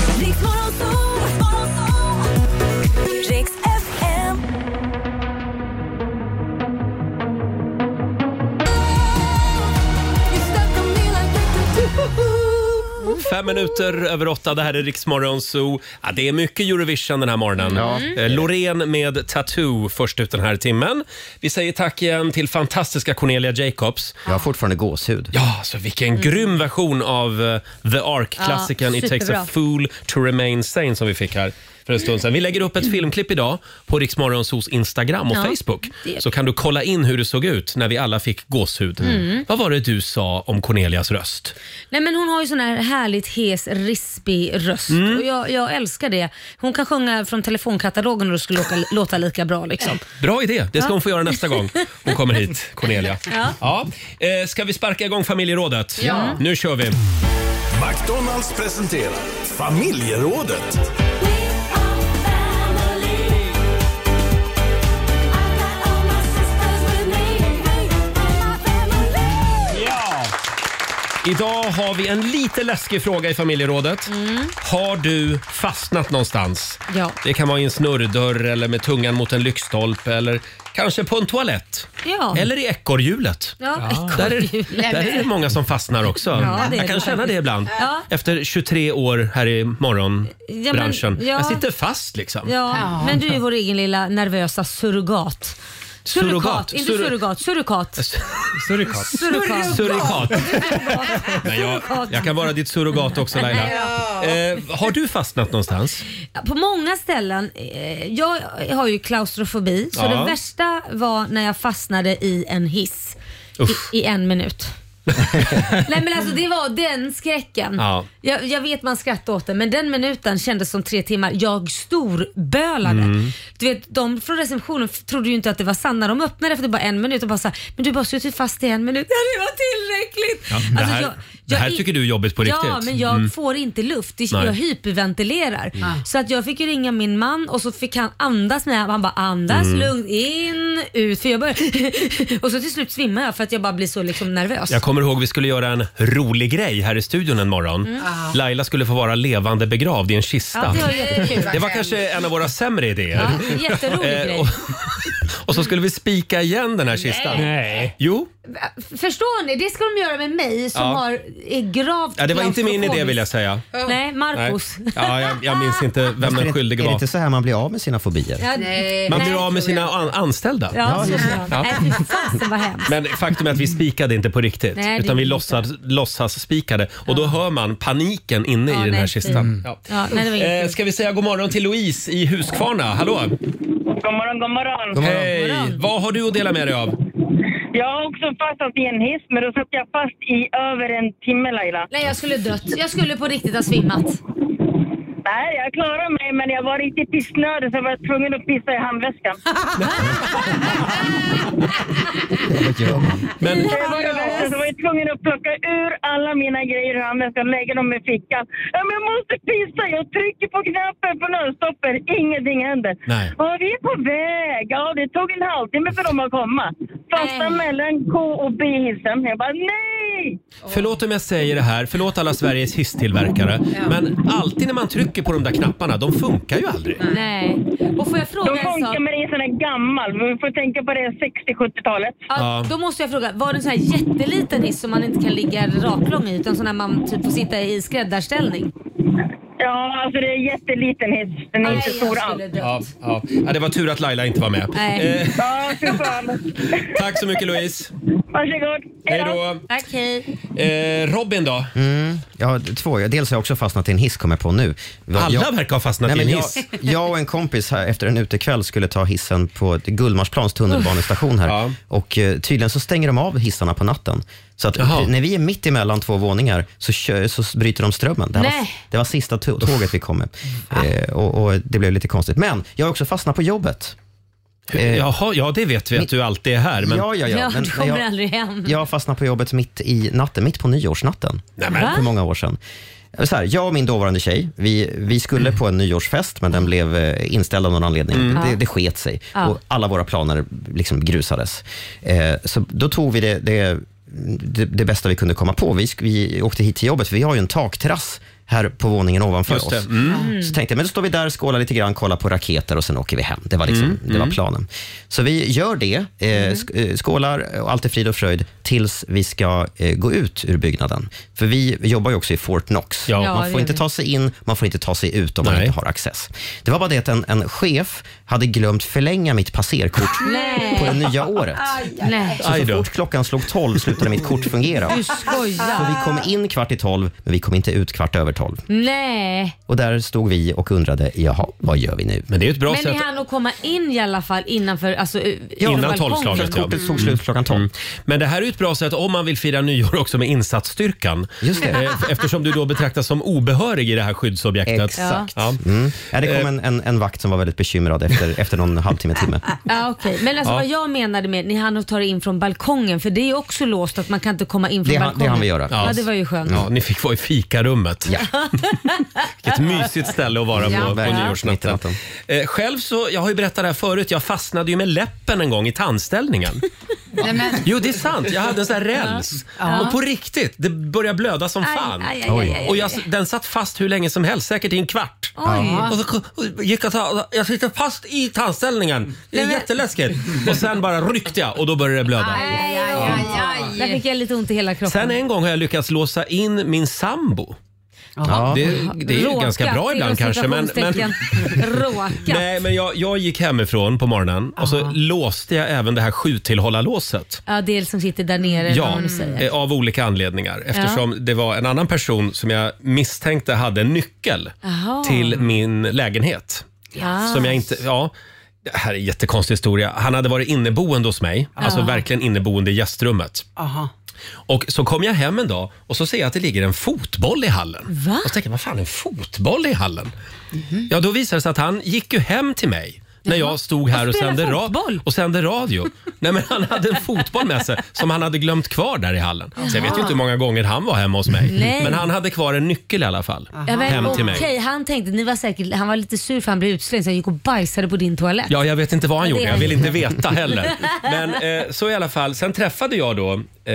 A: Fem minuter över åtta, det här är Riksmorgon Zoo. Ja, det är mycket Eurovision den här morgonen.
C: Ja.
A: Eh, Loreen med Tattoo först ut den här timmen. Vi säger tack igen till fantastiska Cornelia Jacobs.
C: Jag har fortfarande gåshud.
A: Ja, så vilken
B: Mm.
A: grym version av eh, The Ark-klassikern
C: Ja,
A: It takes a
C: superbra.
A: fool to remain sane som vi fick här för en stund sedan. Vi lägger upp ett filmklipp idag på Riksmorgonsos Instagram och
B: Mm. Ja,
A: Facebook.
B: det-
A: Så kan du kolla in hur det såg ut när vi alla fick gåshud.
B: Mm.
A: Vad var det du sa om Cornelias röst?
B: Nej men hon har ju sån här härligt hes, rispig röst
A: Mm.
B: och jag, jag älskar det. Hon kan sjunga från telefonkatalogen och det skulle låta, låta lika bra liksom.
A: Bra idé, det ska
B: Ja.
A: hon få göra nästa gång hon kommer hit, Cornelia.
B: Ja.
A: Ja. Eh, ska vi sparka igång familjerådet?
E: Ja.
A: Nu kör vi!
E: McDonalds presenterar familjerådet.
A: Idag har vi en lite läskig fråga i familjerådet.
B: Mm.
A: Har du fastnat någonstans?
B: Ja.
A: Det kan vara i en snurrdörr eller med tungan mot en lyktstolpe eller kanske på en toalett.
B: Ja.
A: Eller i ekorrhjulet.
B: Ja,
A: Där är,
B: ekorrhjulet.
A: där är det många som fastnar också.
B: Ja, det är
A: jag kan
B: det
A: känna det
B: faktiskt.
A: ibland.
B: Ja.
A: Efter 23 år här i
B: Ja, men-
A: morgonbranschen.
B: ja.
A: Jag sitter fast liksom.
B: Ja, men du är vår egen lilla nervösa surrogat.
A: Surrogat? Alltså,
B: Inte
A: Sur-
B: surrogat, surrokat.
A: Surikat.
B: Surikat.
A: Surikat. Nej, jag, jag kan vara ditt surrogat också Laila.
B: Ja.
A: Eh, har du fastnat någonstans?
B: På många ställen, eh, jag har ju klaustrofobi, så
A: Ja.
B: det värsta var när jag fastnade i en hiss i, i en minut. Nej men alltså det var den skräcken.
A: Ja.
B: Jag, jag vet man skrattar åt det men den minuten kändes som tre timmar. Jag storbölade.
J: Mm.
B: Du vet de från receptionen f- trodde ju inte att det var sant när de öppnade efter bara en minut och bara sa men du har bara suttit fast i en minut. Ja, det var tillräckligt.
A: Ja, det,
B: Alltså,
A: här,
B: jag-
A: det
B: jag
A: här
B: är-
A: tycker du är jobbigt på riktigt.
B: Ja, men jag
A: Mm.
B: får inte luft. Det-
A: Nej.
B: Jag hyperventilerar.
A: Mm.
B: Så att jag fick ju ringa min man och så fick han andas med Han bara andas
A: Mm.
B: lugnt in, ut. För jag började, och så till slut svimmar jag för att jag bara blir så liksom nervös.
A: Jag kommer ihåg vi skulle göra en rolig grej här i studion en morgon.
B: Mm.
A: Laila skulle få vara levande begravd i en kista.
B: Ja, det var jättekul.
A: Det var kanske en av våra sämre idéer.
B: Ja, jätterolig
A: Eh,
B: grej.
A: och, och så skulle vi spika igen den här kistan.
M: Nej.
A: Jo,
B: Förstår ni? Det ska de göra med mig som
A: Ja.
B: har är gravt
A: ja, det var inte min idé
B: klaustrofobisk.
A: vill jag säga.
B: Nej, Marcos.
A: Nej. Ja, jag, jag minns inte vem
C: Fast är
A: den
C: det-
A: skyldige
C: Är det
A: var.
C: inte så här man blir av med sina fobier?
B: Ja, nej.
A: Man
B: nej.
A: blir av med sina an- anställda.
B: Ja, så
A: just
B: bra.
A: det. Ja.
B: Nej, fy fasen vad hemskt.
A: Men faktum är att vi spikade inte på riktigt.
B: Nej, det
A: utan vi
B: gjorde
A: låtsas, låtsas spikade Och då hör man paniken inne i den här
B: nej,
A: kistan.
B: fy.
A: Ja.
B: Ja, nej, det var
A: Eh, ska vi säga god morgon till Louise i Huskvarna? Hallå!
Q: God morgon, god morgon.
B: Eh,
A: Hej! Vad har du att dela med dig av?
Q: Jag har också fastnat i en hiss, men då satt jag fast i över en timme, Laila.
B: Nej, jag skulle dött. Jag skulle på riktigt ha svimmat.
Q: Nej, jag klarade mig, men jag var riktigt pissnödig så jag var tvungen att pissa i handväskan.
A: Men...
Q: Det var det värsta, så jag var ju tvungen att plocka ur alla mina grejer ur handväskan och lägga dem i fickan. Ja, men jag måste pissa, jag trycker på knappen på nödstoppen, ingenting händer.
A: Nej.
Q: Ja, vi är på väg, ja det tog en halvtimme för dem att komma. Fasta mellan K och B-hissen. Jag bara nej!
A: Förlåt om jag säger det här, förlåt alla Sveriges hisstillverkare. Men alltid när man trycker på de där knapparna, de funkar ju aldrig.
B: Nej. Och får jag fråga
Q: De
B: en sak?
Q: funkar men det är sån här gammal. Vi får tänka på det 60-70-talet.
A: Ja.
B: Ja, då måste jag fråga, var det en sån här jätteliten hiss som man inte kan ligga raklång i utan sån här man typ får sitta i skräddarställning?
Q: Ja, alltså det är en jätteliten hiss. Den är inte stor alls.
A: Ja, ja. ja, det var tur att Laila inte var med. Eh,
Q: Ja, fy fan.
A: tack så mycket Louise.
Q: Varsågod.
A: Hej då.
B: Tack, hej.
A: Eh, Robin då?
C: Mm, ja, två. Dels har jag också fastnat i en hiss, kom jag på nu.
A: Alla
C: jag,
A: verkar ha fastnat
C: Nej,
A: i en
C: men
A: hiss.
C: Jag, jag och en kompis här efter en utekväll skulle ta hissen på Gullmarsplans tunnelbanestation här. Och eh, tydligen så stänger de av hissarna på natten. Så att när vi är mitt emellan två våningar så, kö- så bryter de strömmen. Det, här var,
J: Nej.
C: det var sista to- tåget vi kom med. Eh, och, och det blev lite konstigt. Men jag har också fastnat på jobbet. Eh,
A: Jaha, ja det vet vi att du alltid är här. Men...
C: Ja, ja, ja. men-
B: du
C: men
B: kommer
C: jag,
B: aldrig hem.
C: jag fastnade på jobbet mitt i natten, mitt på nyårsnatten.
B: Va?
C: För många år sedan. Så här, jag och min dåvarande tjej, vi, vi skulle
A: Mm.
C: på en nyårsfest men den blev eh, inställd av någon anledning.
J: Mm.
C: Det,
J: Ja.
C: det sket sig
J: Ja.
C: och alla våra planer liksom grusades. Eh, så då tog vi det, det, det, det bästa vi kunde komma på. Vi, sk- vi åkte hit till jobbet för vi har ju en takterrass här på våningen ovanför
A: Just det.
C: oss.
A: Mm.
C: Så tänkte jag, men då står vi där, skålar lite grann, kollar på raketer och sen åker vi hem. Det var, liksom,
A: Mm,
C: det var
A: mm.
C: planen. Så vi gör det, eh, sk- eh, skålar och allt är frid och fröjd tills vi ska eh, gå ut ur byggnaden. För vi jobbar ju också i Fort Knox.
A: Ja. Ja,
C: Man
A: det
C: får
A: gör
C: inte
A: vi.
C: ta sig in, man får inte ta sig ut om man inte har access. Det var bara det att en, en chef hade glömt förlänga mitt passerkort
B: Nej.
C: på det nya året.
B: Nej.
C: Så, så fort klockan slog 12 slutade mitt kort fungera.
B: Du skojar.
C: Så vi kom in kvart i 12, men vi kom inte ut kvart över 12.
B: Nej.
C: Och där stod vi och undrade, jaha, vad gör vi nu?
A: Men det är ett
B: Men det hann att komma in i alla fall innanför, alltså
A: Innan tolvslaget ja. Mm.
C: klockan tolv.
A: Men det här är ett bra sätt om man vill fira nyår också med insatsstyrkan.
C: Just det.
A: Eh, Eftersom du då betraktas som obehörig i det här skyddsobjektet.
C: Exakt.
A: Ja.
C: Mm. Ja, det kom en, en, en vakt som var väldigt bekymrad efter, efter någon halvtimme, timme.
B: Ja, okej. Men alltså
C: Ja.
B: vad jag menade med ni hann att ta det in från balkongen för det är ju också låst att man kan inte komma in från
A: Det hann- det
B: balkongen.
A: hann vi göra.
B: Ja,
A: Ja.
B: det var ju skönt.
A: Ja, ni fick vara i fikarummet.
C: Ja.
A: Vilket mysigt ställe att vara
B: Ja,
A: på, på
B: verkligen.
A: nyårsnatten. Eh, själv så, jag har ju berättat det här förut, jag fastnade ju med läppen en gång i tandställningen.
F: Nej, men,
A: Jo, det är sant. Jag hade en sån här räls.
F: Ja.
A: Och på riktigt, det började blöda som
F: Aj,
A: fan.
F: aj, aj, aj, aj, aj.
A: Och jag, den satt fast hur länge som helst, säkert i en kvart.
J: Oj.
A: Och så och gick jag, ta- jag sitter fast i tandställningen. Det är jätteläskigt. Och sen bara ryckte jag och då började det blöda.
B: Aj, aj, aj, aj. Där fick jag lite ont i hela kroppen.
A: Sen en gång har jag lyckats låsa in min sambo.
B: Jaha.
A: Det, det är ju ganska bra ibland kanske. Men, men,
B: Råkat.
A: nej, men jag, jag gick hemifrån på morgonen och så låste jag även det här sjutillhållarlåset.
B: Ja, del som sitter där nere. vad
A: Ja,
B: man nu säger.
A: eh, av olika anledningar. Eftersom det var en annan person som jag misstänkte hade en nyckel
B: Jaha.
A: till min lägenhet.
B: Ja.
A: Som jag inte... Ja, det här är en jättekonstig historia. Han hade varit inneboende hos mig.
B: Ah.
A: Alltså
F: Ja.
A: verkligen inneboende i gästrummet.
F: aha.
A: Och så kom jag hem en dag och så ser jag att det ligger en fotboll i hallen. Va? Och så tänker jag, vad fan en fotboll i hallen?
B: Mhm.
A: Ja, då visade det sig att han gick ju hem till mig när jag stod här och
J: spelade
A: sände, ra- och sände radio. Nej, men han hade en fotboll med sig som han hade glömt kvar där i hallen. Så jag vet ju
B: Jaha.
A: inte hur många gånger han var hemma hos mig.
B: Nej.
A: Men han hade kvar en nyckel i alla fall.
B: Ja, men,
A: Hem till
B: okej,
A: mig.
B: han tänkte, ni var säkert, han var lite sur för han blev utslängd så han gick och bajsade på din toalett.
A: Ja, jag vet inte vad han
B: Ja, det
A: gjorde.
B: är-
A: Jag vill inte veta heller. Men eh, så i alla fall. Sen träffade jag då eh,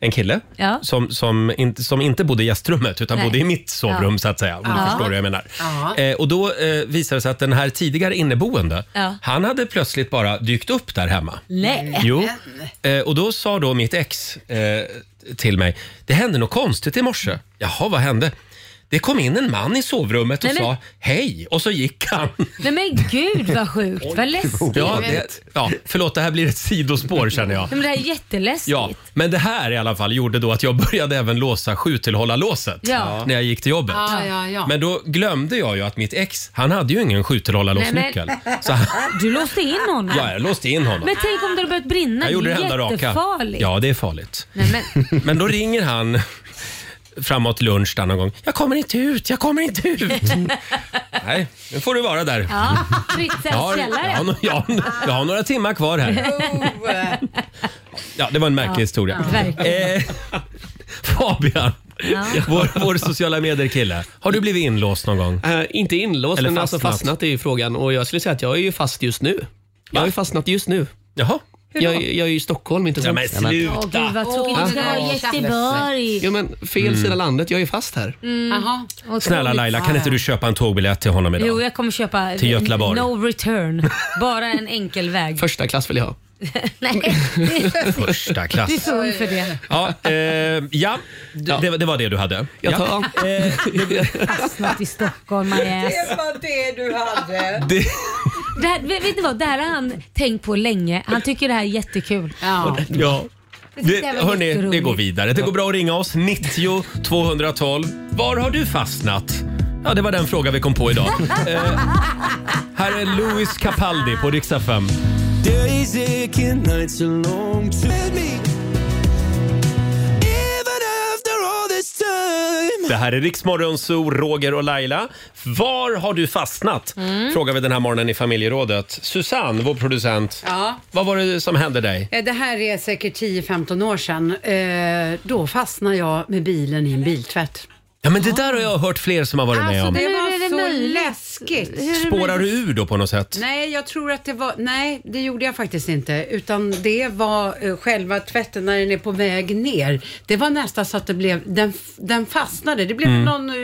A: en kille
J: Ja.
A: som, som, in, som inte bodde i gästrummet utan
J: Nej.
A: bodde i mitt sovrum
J: Ja.
A: så att säga. Om
J: Ja.
A: du förstår vad jag menar.
J: Ja.
A: Eh, och då eh, visade det sig att den här tidigare inneboende,
J: Ja.
A: han hade plötsligt bara dykt upp där hemma.
J: Nej.
A: Jo, eh, och då sa då mitt ex eh, till mig, det hände något konstigt i morse. Jaha, vad hände? Det kom in en man i sovrummet och
B: Nej, men-
A: sa hej och så gick han.
B: Nej men gud vad sjukt, vad läskigt.
A: Ja, det, ja, förlåt, det här blir ett sidospår känner jag.
B: Nej, men det här är jätteläskigt.
A: Ja, men det här i alla fall gjorde då att jag började även låsa sjutillhållarlåset
B: Ja.
A: när jag gick till jobbet.
B: Ja, ja, ja.
A: Men då glömde jag ju att mitt ex, han hade ju ingen sjutillhållarlåsnyckel.
B: Nej, men-
A: Så han,
B: Du låste in honom.
A: ja, jag låste in honom.
B: Men tänk om det hade börjat brinna.
A: jag gjorde det
B: är
A: enda raka.
B: Jättefarligt.
A: Ja, det är farligt.
B: Nej, men,
A: Men då ringer han framåt lunch där någon gång. Jag kommer inte ut, jag kommer inte ut. Nej, nu får du vara där.
B: ja,
A: Jag har,
B: Fritzels
A: jag,
B: källare.
A: har, no- jag, har, jag har några timmar kvar här. Ja, det var en märklig
B: Ja,
A: historia.
B: ja. Verkligen.
A: Eh, Fabian,
H: Ja.
A: vår, vår sociala medier-kille. Har du blivit inlåst någon gång?
H: Eh, inte inlåst,
A: Eller
H: men alltså
A: fastnat.
H: fastnat är ju frågan. Och jag skulle säga att jag är ju fast just nu. Jag har ju fastnat just nu.
A: Jaha.
H: Jag, jag är ju i Stockholm, inte
A: Ja,
H: sant?
A: men sluta.
B: Åh gud vad tråkigt. Du ska vara i Göteborg.
H: Ja, men fel
A: Mm.
H: sida landet. Jag är ju fast här.
B: Mm. Vad
A: Snälla
B: tråkigt.
A: Laila, kan inte du köpa en tågbiljett till honom idag?
B: Jo, jag kommer köpa
A: Till Götlaborg.
B: No return. Bara en enkel väg.
H: Första klass vill jag ha.
B: Nej.
A: Första klass.
B: Du är för ung för det.
A: Ja, eh, ja. Det, det var det du hade.
H: Jag tar
A: ja. Eh,
H: av.
B: Fastnat i Stockholm, my ass.
R: var det du hade.
A: Det-
B: Det här, vet vet ni vad? Det här har han tänkt på länge. Han tycker det här är jättekul. Ja.
A: Ja.
B: Det
A: Det,
B: där var
A: hörni,
B: jätteroligt.
A: det går vidare. Det går bra att ringa oss. 90 212. Var har du fastnat? Ja, det var den fråga vi kom på idag. eh, här är Louis Capaldi på riksdag 5.
J: Days aching, nights are long. Let me
A: Det här är Riksmorgon Zoo, Roger och Laila. Var har du fastnat?
F: Mm.
A: Frågar vi den här morgonen i familjerådet. Susanne, vår producent.
F: Ja.
A: Vad var det som hände dig?
F: Eh, Det här är säkert 10-15 år sedan. Eh, Då fastnade jag med bilen i en biltvätt.
A: Ja, men det där har jag hört fler som har varit med
F: Alltså,
A: om.
F: det
B: Hur är det
F: var så
B: möjligt?
F: läskigt.
A: Spårar du ur då på något sätt?
F: Nej, jag tror att det var, nej det gjorde jag faktiskt inte. Utan det var eh, själva tvätten när den är på väg ner. Det var nästan så att det blev, den, den fastnade. Det blev
A: Mm.
F: någon eh,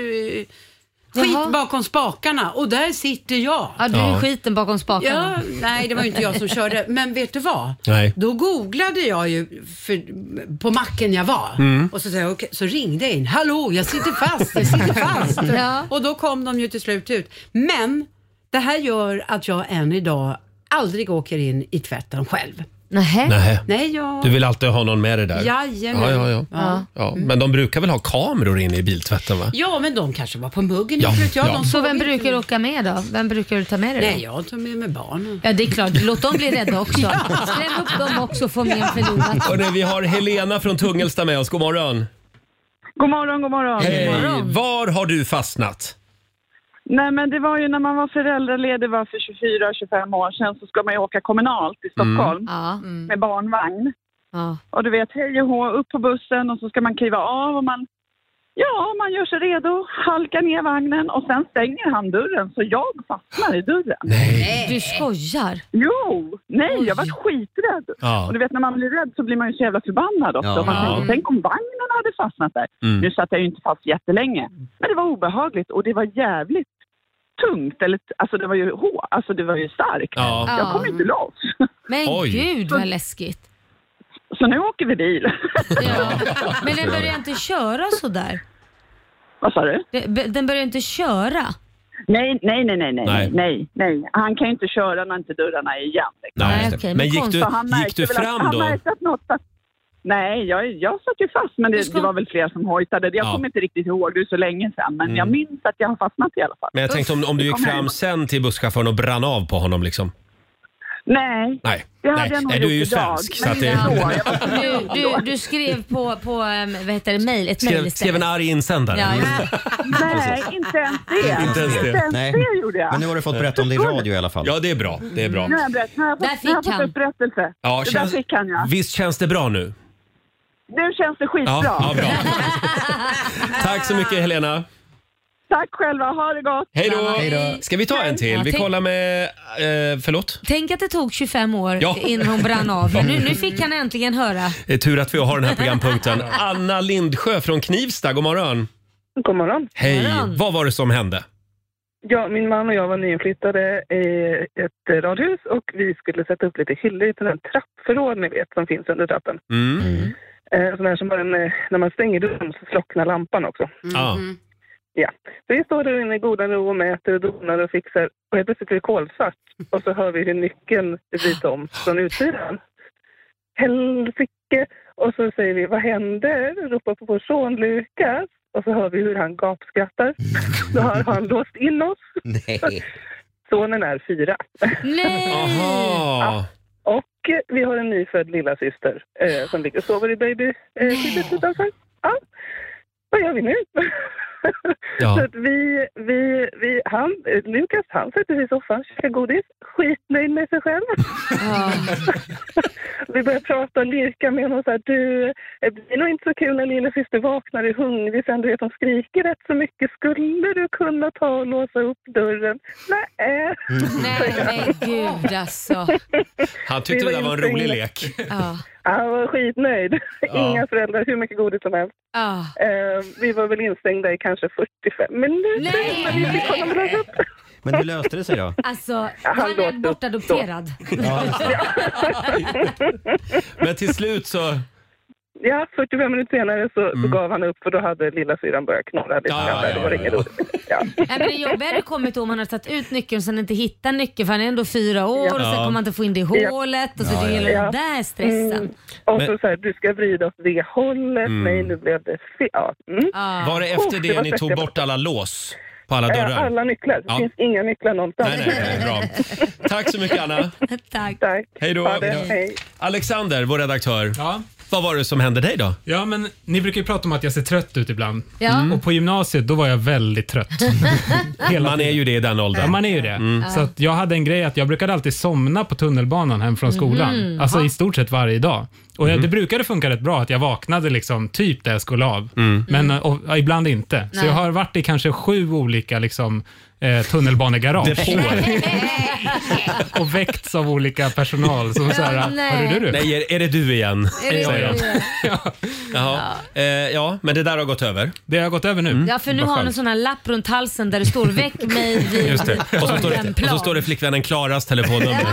F: skit bakom spakarna och där sitter jag.
B: Ja, du är Ja. skiten bakom spakarna.
F: Ja, nej det var ju inte jag som körde. Men vet du vad?
A: Nej.
F: Då googlade jag ju för, på macken jag var
A: Mm.
F: och så, sa jag, okej, så ringde jag in. Hallå, jag sitter fast, jag sitter fast.
B: Ja.
F: Och då kom de ju till slut ut. Men det här gör att jag än idag aldrig åker in i tvätten själv.
N: Eh?
B: Nähä.
A: Nähä.
F: Nej, jag...
A: Du vill alltid ha någon med dig där?
F: Jajamän.
A: Ja, ja, ja.
F: Ja.
A: Ja,
N: Mm.
A: men de brukar väl ha kameror inne i biltvätten? va?
F: Ja, men de kanske var på muggen.
A: Ja,
F: inte vet jag,
A: ja.
F: de
B: Så
F: såg
B: vem
F: inte
B: brukar
F: mig.
B: åka med då? Vem brukar du ta med dig då?
F: Nej, jag tar med mig barnen.
B: Ja, det är klart. Låt dem bli rädda också. Skräm upp dem också och få med en förlorad.
A: Hörrni, vi har Helena från Tungelsta med oss. God morgon.
N: God morgon, god morgon.
A: Hej. Var har du fastnat?
N: Nej, men det var ju när man var föräldraledig var för 24-25 år sedan så ska man ju åka kommunalt
J: Mm.
N: i Stockholm med barnvagn. Och du vet, hej och hå, upp på bussen och så ska man kliva av och man, ja, man gör sig redo, halkar ner vagnen och sen stänger han dörren så jag fastnar i dörren.
B: Nej. Du skojar?
N: Jo! Nej, jag var skiträdd.
J: Ja.
N: Och du vet, när man blir rädd så blir man ju så jävla förbannad också.
J: Ja.
N: Man
J: Ja.
N: tänker, tänk om vagnen hade fastnat där.
J: Mm.
N: Nu satt jag ju inte fast jättelänge. Men det var obehagligt och det var jävligt tungt. Eller, t- alltså det var ju hår, alltså det var ju starkt.
A: Ja.
N: Jag
B: Ja.
N: kom inte loss.
B: Men
N: Oj.
B: gud vad läskigt.
N: Så nu åker vi bil.
B: Men den börjar inte köra sådär.
N: Vad sa du?
B: Den- Den börjar inte köra.
N: Nej, nej, nej, nej,
A: Nej.
N: nej, nej, nej. Han kan ju inte köra när inte dörrarna är igen. liksom.
A: Nej, Nej, okej, men Men gick konstigt. du-
N: Så han
A: gick
N: märkte
A: du
N: väl att-
A: fram
N: Han
A: då?
N: märkte att något satt- Nej, jag, jag satt ju fast, men det, det var väl fler som hojtade. Jag
A: Ja.
N: kommer inte riktigt ihåg, det är så länge sedan, men
A: Mm.
N: jag minns att jag har fastnat i alla fall.
A: Men jag tänkte om, om du
N: Det
A: gick
N: kom
A: fram
N: hem.
A: sen till busschauffören och brann av på honom liksom.
N: Nej,
A: Nej,
N: det hade
A: nej.
N: jag nog
A: nej
N: gjort
A: du är ju
N: idag.
A: svensk. Så
N: Men
A: att det...
N: ändå, jag
B: Du, du, du skrev på, på ehm, vad heter det, mail, ett mail
A: skrev,
B: istället.
A: skrev en arg insändare.
B: Ja,
N: Nej, inte ens det.
A: Inte ens det.
N: Nej.
A: Nej.
N: det gjorde jag.
C: Men nu har du fått berätta om det i radio i alla fall.
A: Ja, det är bra. Det är bra.
N: Nu har jag berättat. Nu har jag fått,
B: Där fick
N: nu har jag fått
B: han.
N: upprättelse.
A: Ja,
N: det
A: känns-
N: där fick han, ja.
A: Visst känns det bra nu?
N: Nu känns det skitbra.
A: Ja, ja bra. Tack så mycket Helena.
N: Tack själva, ha det gott.
A: Hej då. Ska vi ta en till?
B: Ja,
A: Vi
B: tänk-
A: kollar med... Eh, förlåt?
B: Tänk att det tog 25 år
A: Ja.
B: innan hon brann av.
A: Ja.
B: Nu, nu fick han äntligen höra.
A: Det är tur att vi har den här programpunkten. Anna Lindsjö från Knivsta, god morgon.
S: God morgon.
A: Hej.
S: God morgon.
A: Vad var det som hände?
S: Ja, min man och jag var nyinflyttade i ett radhus och vi skulle sätta upp lite hyllor till den trappförråd ni vet som finns under trappen.
A: Mm.
S: Eh, sån här som har en, eh, när man stänger dörren så slocknar lampan också.
J: Mm.
A: Ah.
S: Ja. Så vi står där inne i goda ro och mäter och donar och fixar och helt plötsligt blir det kolsvart och så hör vi hur nyckeln bryts om från utsidan. Helsike! Och så säger vi, vad händer? Ropar på vår son Lukas och så hör vi hur han gapskrattar. Då har han låst in oss.
C: Nej.
S: Sonen är fyra.
B: Nej!
A: Aha.
S: Och eh, vi har en nyfödd lilla syster eh, som ligger och sover i babyskyddet utanför. Ja. Vad gör vi nu?
J: Ja.
S: Så att vi, vi, vi, han, eh, Lukas han sätter sig i soffan, käkar godis, skitnöjd med sig själv. vi börjar prata och lirka med honom. Så här, du, eh, det är nog inte så kul när lilla syster vaknar och är hungrig sen. Du vet, hon skriker rätt så mycket. Skulle du kunna ta och låsa upp dörren? Nej.
B: Nej, men gud alltså.
A: Han tyckte det där var en rolig lek.
B: Ja.
S: Han var skitnöjd. Inga föräldrar, hur mycket godis som helst.
B: Ja.
S: Eh, vi var väl instängda i kanske 45 minuter.
B: Nej.
S: Men vi fick honom att lösa upp.
C: Men hur löste det sig då?
B: Alltså, han är bortadopterad.
A: Men till slut så... Mm.
S: Ja, 45 minuter senare så, så gav han upp för då hade lilla syran börjat knorra lite
A: Ja,
S: grann.
A: ja,
S: där. det var
A: ja,
S: inget
A: ja.
S: roligt.
B: Nej, men det jobbiga hade kommit om han hade tagit ut nyckeln och sen inte hittat nyckeln för han är ändå fyra år och sen
S: Ja.
B: kommer han inte få in det i
S: Ja.
B: hålet. Och så
S: Ja,
B: det
S: ja.
B: gäller
S: Ja.
B: den där stressen.
S: Mm. Och så
A: Men-
S: så här, du ska vrida åt det hållet.
A: Mm.
S: Nej, nu blev det fel. Ja. Mm.
A: Var det efter
S: Oh,
A: det
S: var
A: ni tog
S: stressigt.
A: bort alla lås på alla
S: Eh,
A: dörrar?
S: Alla nycklar. Det
A: Ja.
S: finns inga nycklar någonstans.
A: Nej, nej, nej, bra. Tack så mycket Anna.
B: Tack.
A: Hej då.
S: Ha det. Hej.
A: Alexander, vår redaktör. Vad var det som hände dig då?
M: Ja, men ni brukar ju prata om att jag ser trött ut ibland.
A: Ja. Mm.
M: Och på gymnasiet, då var jag väldigt trött. Hela
A: Man är ju det i den åldern.
M: Ja, man är ju det.
A: Mm.
M: Så att jag hade en grej att jag brukade alltid somna på tunnelbanan hem från skolan.
A: Mhm.
M: Alltså i stort sett varje dag. Och
A: Mm.
M: det brukade funka rätt bra att jag vaknade liksom typ där jag skulle av.
A: Mm.
M: Men eh, och, ja, ibland inte. Så
A: Nej.
M: jag har varit i kanske sju olika liksom, eh, tunnelbanegarage.
A: Depåer.
M: och väckts av olika personal som så här,
A: Ja,
M: "Hörru, du, du?"
A: Nej, är, är det du igen?
M: Är det
A: Säger
M: du
A: de. Jaha. Eh, ja, men det där har gått över.
M: Det har gått över nu.
B: Ja, för nu har han en sån här lapp runt halsen där det står väck mig vid
A: Mm. Just det. Och så, står
B: en
A: det, och
B: plan.
A: så står det flickvännen Klaras telefonnummer.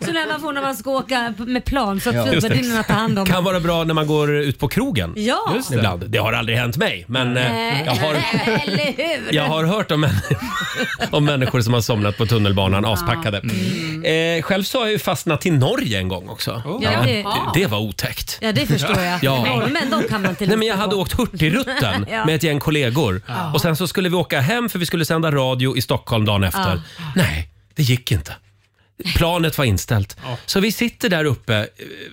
B: Så när man får när man ska åka med plan så att
A: Ja. Just det.
B: flygvärdinnorna tar hand om
A: Kan vara bra när man går ut på krogen.
B: Ja. Just det.
A: Ibland. Det har aldrig hänt mig, men eh,
B: Nej,
A: jag, har,
B: Eller hur?
A: jag har hört om, om människor som har somnat på tunnelbanan aspackade. Eh, själv så har jag ju fastnat till Norge en gång också.
B: Mm. Ja,
A: Ja,
B: det-
A: det, det var otäckt.
B: Ja, det förstår jag.
A: Ja.
B: Norrmän, de kan man till
A: Nej, men jag hade åkt Hurtigruten
B: Ja.
A: med ett gäng kollegor. Och sen så skulle vi åka hem för vi skulle sända radio i Stockholm dagen efter.
B: Ja.
A: Nej, det gick inte. Planet var inställt. Så vi sitter där uppe eh,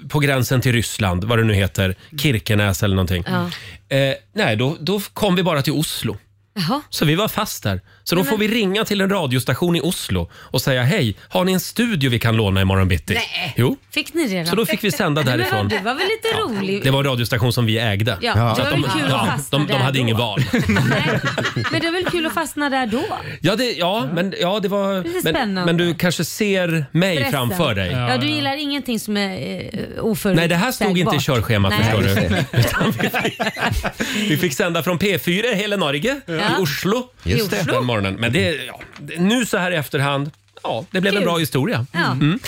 A: på gränsen till Ryssland, vad det nu heter, Kirkenäs eller någonting.
B: Ja.
A: Eh, nej, då, då kom vi bara till Oslo.
B: Jaha.
A: Så vi var fast där. Så då
B: Men-
A: får vi ringa till en radiostation i Oslo och säga hej, har ni en studio vi kan låna imorgon bitti?
B: Nej.
A: Jo.
B: Fick ni det då?
A: Så då fick vi sända
B: Men
A: därifrån.
B: Du var väl lite rolig?
A: Det var en radiostation som vi ägde.
B: Ja, det
A: Så
B: var
A: att
B: väl kul att fastna
A: de, de
B: där
A: hade
B: då.
A: inget val.
B: Men det var väl kul att fastna där då?
A: Ja, det, ja, men, ja, det var...
B: Lite
A: Men,
B: spännande.
A: men du kanske ser mig
B: Stressen.
A: framför dig.
B: Ja, du gillar ingenting som är eh, oförutsägbart.
A: Nej, det här stod inte i körschemat
B: Nej.
A: förstår du. Utan vi, fick, vi fick sända från P4 i hela Norge,
B: Ja.
A: i Oslo,
B: Just det.
A: den morgonen. Men det, ja, det- nu så här i efterhand, ja, det blev en
B: Kul.
A: bra historia.
B: Ja.
A: Mm.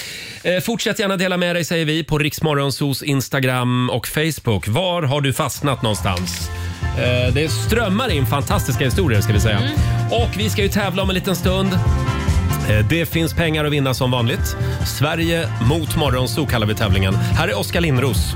A: Eh, fortsätt gärna dela med dig säger vi på Riksmorgonsos Instagram och Facebook. Var har du fastnat någonstans? Eh, det strömmar in fantastiska historier ska vi säga.
B: Mm.
A: Och vi ska ju tävla om en liten stund. Eh, Det finns pengar att vinna som vanligt. Sverige mot Morgonzoo kallar vi tävlingen. Här är Oskar Lindros.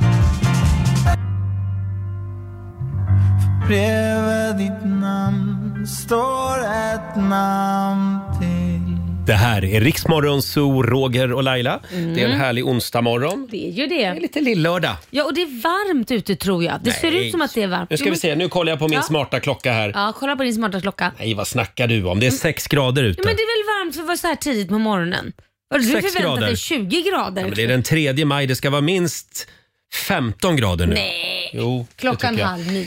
O: Bredvid ditt namn står ett namn till
A: Det här är Riksmorgonzoo, Roger och Laila.
B: Mm.
A: Det är en härlig onsdagmorgon.
B: Det är ju det. Det är
A: lite lill-lördag.
B: Ja, och det är varmt ute tror jag. Det ser
A: Nej.
B: ut som att det är varmt.
A: Nu ska
B: Jo,
A: vi
B: men-
A: se, nu kollar jag på min
B: Ja.
A: smarta klocka här.
B: Ja, kolla på din smarta klocka.
A: Nej, vad snackar du om? Det är sex grader ute.
B: Mm. Ja, men det är väl varmt för att vara så här tidigt på morgonen? Har du
A: Sex
B: förväntat
A: grader.
B: dig 20 grader?
A: Ja, men det är den 3 maj, det ska vara minst 15 grader nu.
B: Nej.
A: Jo, det
B: Klockan
A: tycker jag.
B: halv nio.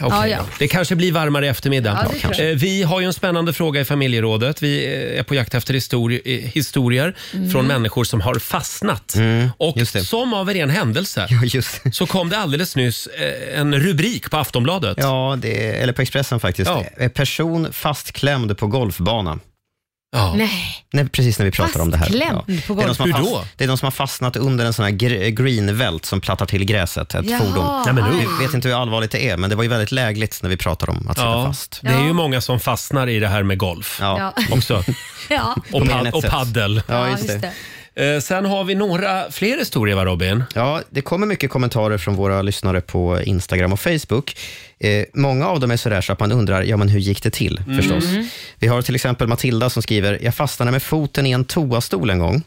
A: Okej
B: Ja, ja.
A: då. Det kanske blir varmare i eftermiddag.
B: Ja, det tror jag.
A: Eh, vi har ju en spännande fråga i familjerådet. Vi eh, är på jakt efter histori- eh, historier
B: Mm.
A: från människor som har fastnat.
C: Mm,
A: och som av en ren händelse så kom det alldeles nyss eh, en rubrik på Aftonbladet.
C: Ja, det, eller på Expressen faktiskt.
A: Ja.
C: Eh, Person fastklämd på golfbana.
B: Nej.
C: Nej, precis när vi pratar om det här.
B: Fastklämd på
C: Det är de som har
B: golf- Hur
C: fast-
B: då?
C: Det är de som har fastnat under en sån här gr- greenvält som plattar till gräset, ett
B: Jaha,
C: fordon.
B: Nej, men aj.
C: jag vet inte hur allvarligt det är, men det var ju väldigt lägligt när vi pratar om att sitta
A: Ja,
C: fast.
A: det är ju många som fastnar i det här med golf
C: Ja.
B: Ja.
A: också.
B: Ja.
A: Och, pad- och paddel.
C: Ja, just det.
A: Eh, Sen har vi några fler historier va Robin?
C: Ja, det kommer mycket kommentarer från våra lyssnare på Instagram och Facebook. Eh, många av dem är sådär så att man undrar, ja men hur gick det till
O: Mm.
C: förstås?
O: Mm.
C: Vi har till exempel Matilda som skriver, jag fastnade med foten i en toastol en gång.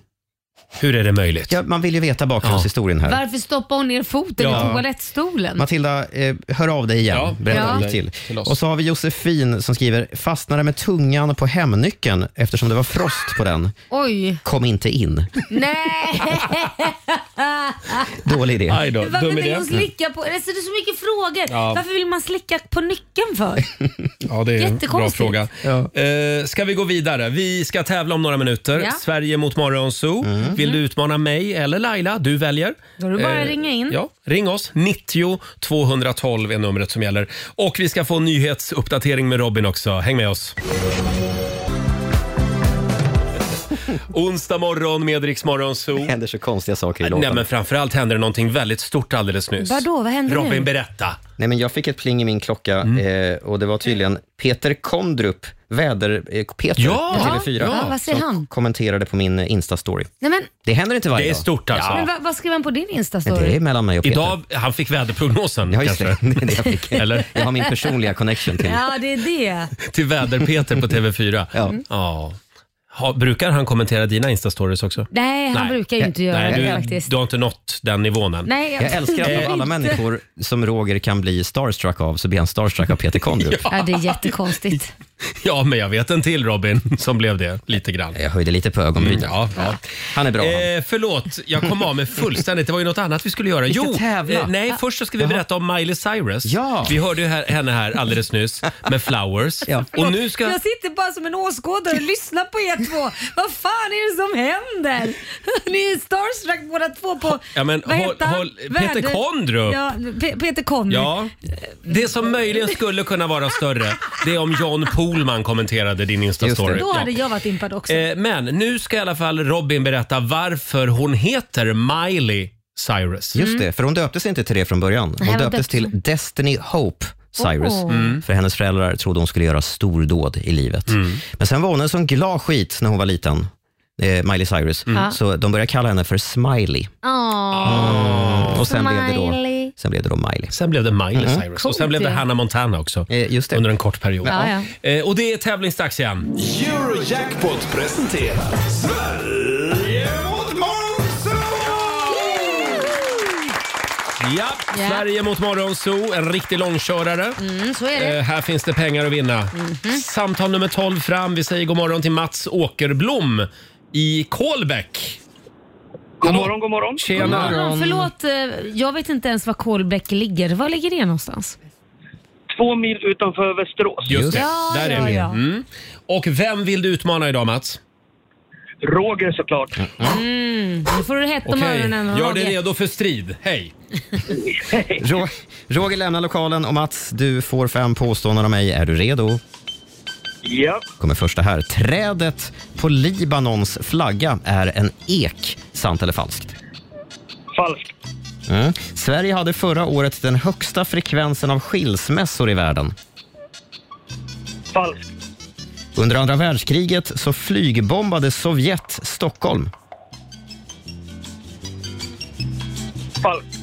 A: Hur är det möjligt?
C: Ja, man vill ju veta bakgrundshistorien här.
B: Varför stoppar hon ner foten
C: Ja.
B: i toalettstolen?
C: Matilda, eh, hör av dig igen.
B: Ja,
C: Berätta
B: hör
C: hur
B: av
C: det
B: dig
C: gick till.
B: till oss.
C: och så har vi Josefin som skriver, fastnade med tungan på hemnyckeln eftersom det var frost på den.
B: Oj.
C: Kom inte in.
B: Nej.
C: Dålig idé.
A: Aj då,
B: Varför vill hon slicka på... Alltså, det är så mycket frågor.
A: Ja.
B: Varför vill man slicka på nyckeln för?
A: Ja, det är en bra
B: Jättekonstigt.
A: fråga. Eh, ska vi gå vidare? Vi ska tävla om några minuter.
B: Ja.
A: Sverige mot Morgonzoo.
C: Mm.
A: Vill du utmana mig eller Laila? Du väljer. Eh,
B: Då är det bara att ringa in.
A: Ja, ring oss. 90 212 är numret som gäller. Och vi ska få en nyhetsuppdatering med Robin också. Häng med oss. Onsdag morgon med Rix Morgonzoo. Det
C: händer så konstiga saker i
A: Nej,
C: låtarna.
A: men framförallt händer det någonting väldigt stort alldeles nyss.
B: Vadå? Vad hände
A: Robin,
B: nu?
A: berätta. Mm.
C: Nej, men jag fick ett pling i min klocka eh, och det var tydligen Peter Kondrup, eh, väder-Peter
B: Ja!
C: på
B: Ja,
C: TV4,
B: ja, vad säger
C: som
B: han?
C: kommenterade på min eh, Insta-story.
B: Nej, men,
C: Det händer inte varje dag.
A: Det är stort alltså.
B: men vad, vad skrev han på din Insta-story?
C: Det är mellan mig och Peter.
A: Idag, han fick väderprognosen
C: Ja, just
A: kanske.
C: det. det, är det jag, fick.
A: Eller?
C: jag har min personliga connection till
B: Ja, det är det.
A: till väder-Peter på TV4. Ja. ja. Ha, brukar han kommentera dina Insta-stories också?
B: Nej, han brukar ju inte göra
A: nej,
B: det
A: du,
B: faktiskt.
A: Du har inte nått den nivån än. Eh,
B: Nej, jag
C: Jag älskar att av alla
B: inte.
C: människor som Roger kan bli starstruck av så blir han starstruck av Peter Kondrup.
B: Ja, det är jättekonstigt.
A: Ja, men jag vet en till Robin som blev det lite grann. Mm,
C: Jag höjde lite på ögonbrynen.
A: ja, ja.
C: Han är bra.
A: Eh, förlåt, jag kom av mig fullständigt. Det var ju något annat vi skulle göra.
C: Vi ska
A: jo, eh,
C: tävla.
A: nej, först så ska vi berätta om Miley Cyrus.
C: Ja.
A: Vi hörde ju här, henne här alldeles nyss med Flowers. Och nu ska...
B: Jag sitter bara som en åskådare och lyssnar på er två. Vad fan är det som händer? Ni är starstruck båda två på...
A: Ja, men
B: vad
A: håll-
B: heter han?
A: håll- Peter
B: Värde-
A: Kondrup.
B: Ja, Pe- Peter Kondrup.
A: Ja, det som möjligen skulle kunna vara större, det är om John Pohlman kommenterade din Insta-story.
B: Då
A: Ja.
B: hade jag varit impad också.
A: Eh, Men nu ska i alla fall Robin berätta varför hon heter Miley Cyrus.
C: Just
B: Mm.
C: det, för hon döptes inte till det från början.
A: Mm. Nej,
C: Hon
A: hon döptes
C: döptes till Destiny Hope Cyrus.
A: Åh. Mm.
C: För hennes föräldrar trodde hon skulle göra stordåd i livet. Men sen var hon en sån glad skit när hon var liten, eh, Miley Cyrus.
B: Mm.
C: Så de började kalla henne för Smiley. Mm. Och sen blev, det då,
B: Smiley.
C: sen blev det då Miley.
A: Sen blev det Miley
C: Mm.
A: Cyrus och sen blev det
C: Coolt ju.
A: Hannah Montana också.
C: Just det.
A: Under en kort period.
E: Ja,
A: Eh, Och det är tävlingsdags igen.
E: Eurojackpot presenterar Sverige mot Monzo!
A: Ja,
B: Ja.
A: Sverige mot Morgonzoo, en riktig långkörare.
B: Mm, Mhm. så är det.
A: Eh, här finns det pengar att vinna. Samtal nummer 12 fram. Vi säger god morgon till Mats Åkerblom i Kolbäck. God morgon,
T: god morgon.
A: Tjena.
B: God morgon. Förlåt, eh, jag vet inte ens var Kolbäck ligger. Var ligger det någonstans?
T: Två mil utanför Västerås.
A: Just det,
B: Ja,
A: där är
B: ja,
A: vi.
B: ja.
A: Mm. Och vem vill du utmana idag Mats?
T: Roger såklart.
B: Mm, nu får du hett om
A: Okej,
B: öronen.
A: gör
B: Roger.
A: dig redo för strid. Hej!
C: Ro- Roger lämnar lokalen och Mats, du får fem påståenden av mig. Är du redo?
T: Ja.
C: Kommer första här. Trädet på Libanons flagga är en ek. Sant eller falskt?
T: Falskt.
C: Mm. Sverige hade förra året den högsta frekvensen av skilsmässor i världen.
T: Falskt.
C: Under andra världskriget så flygbombade Sovjet Stockholm.
T: Falskt.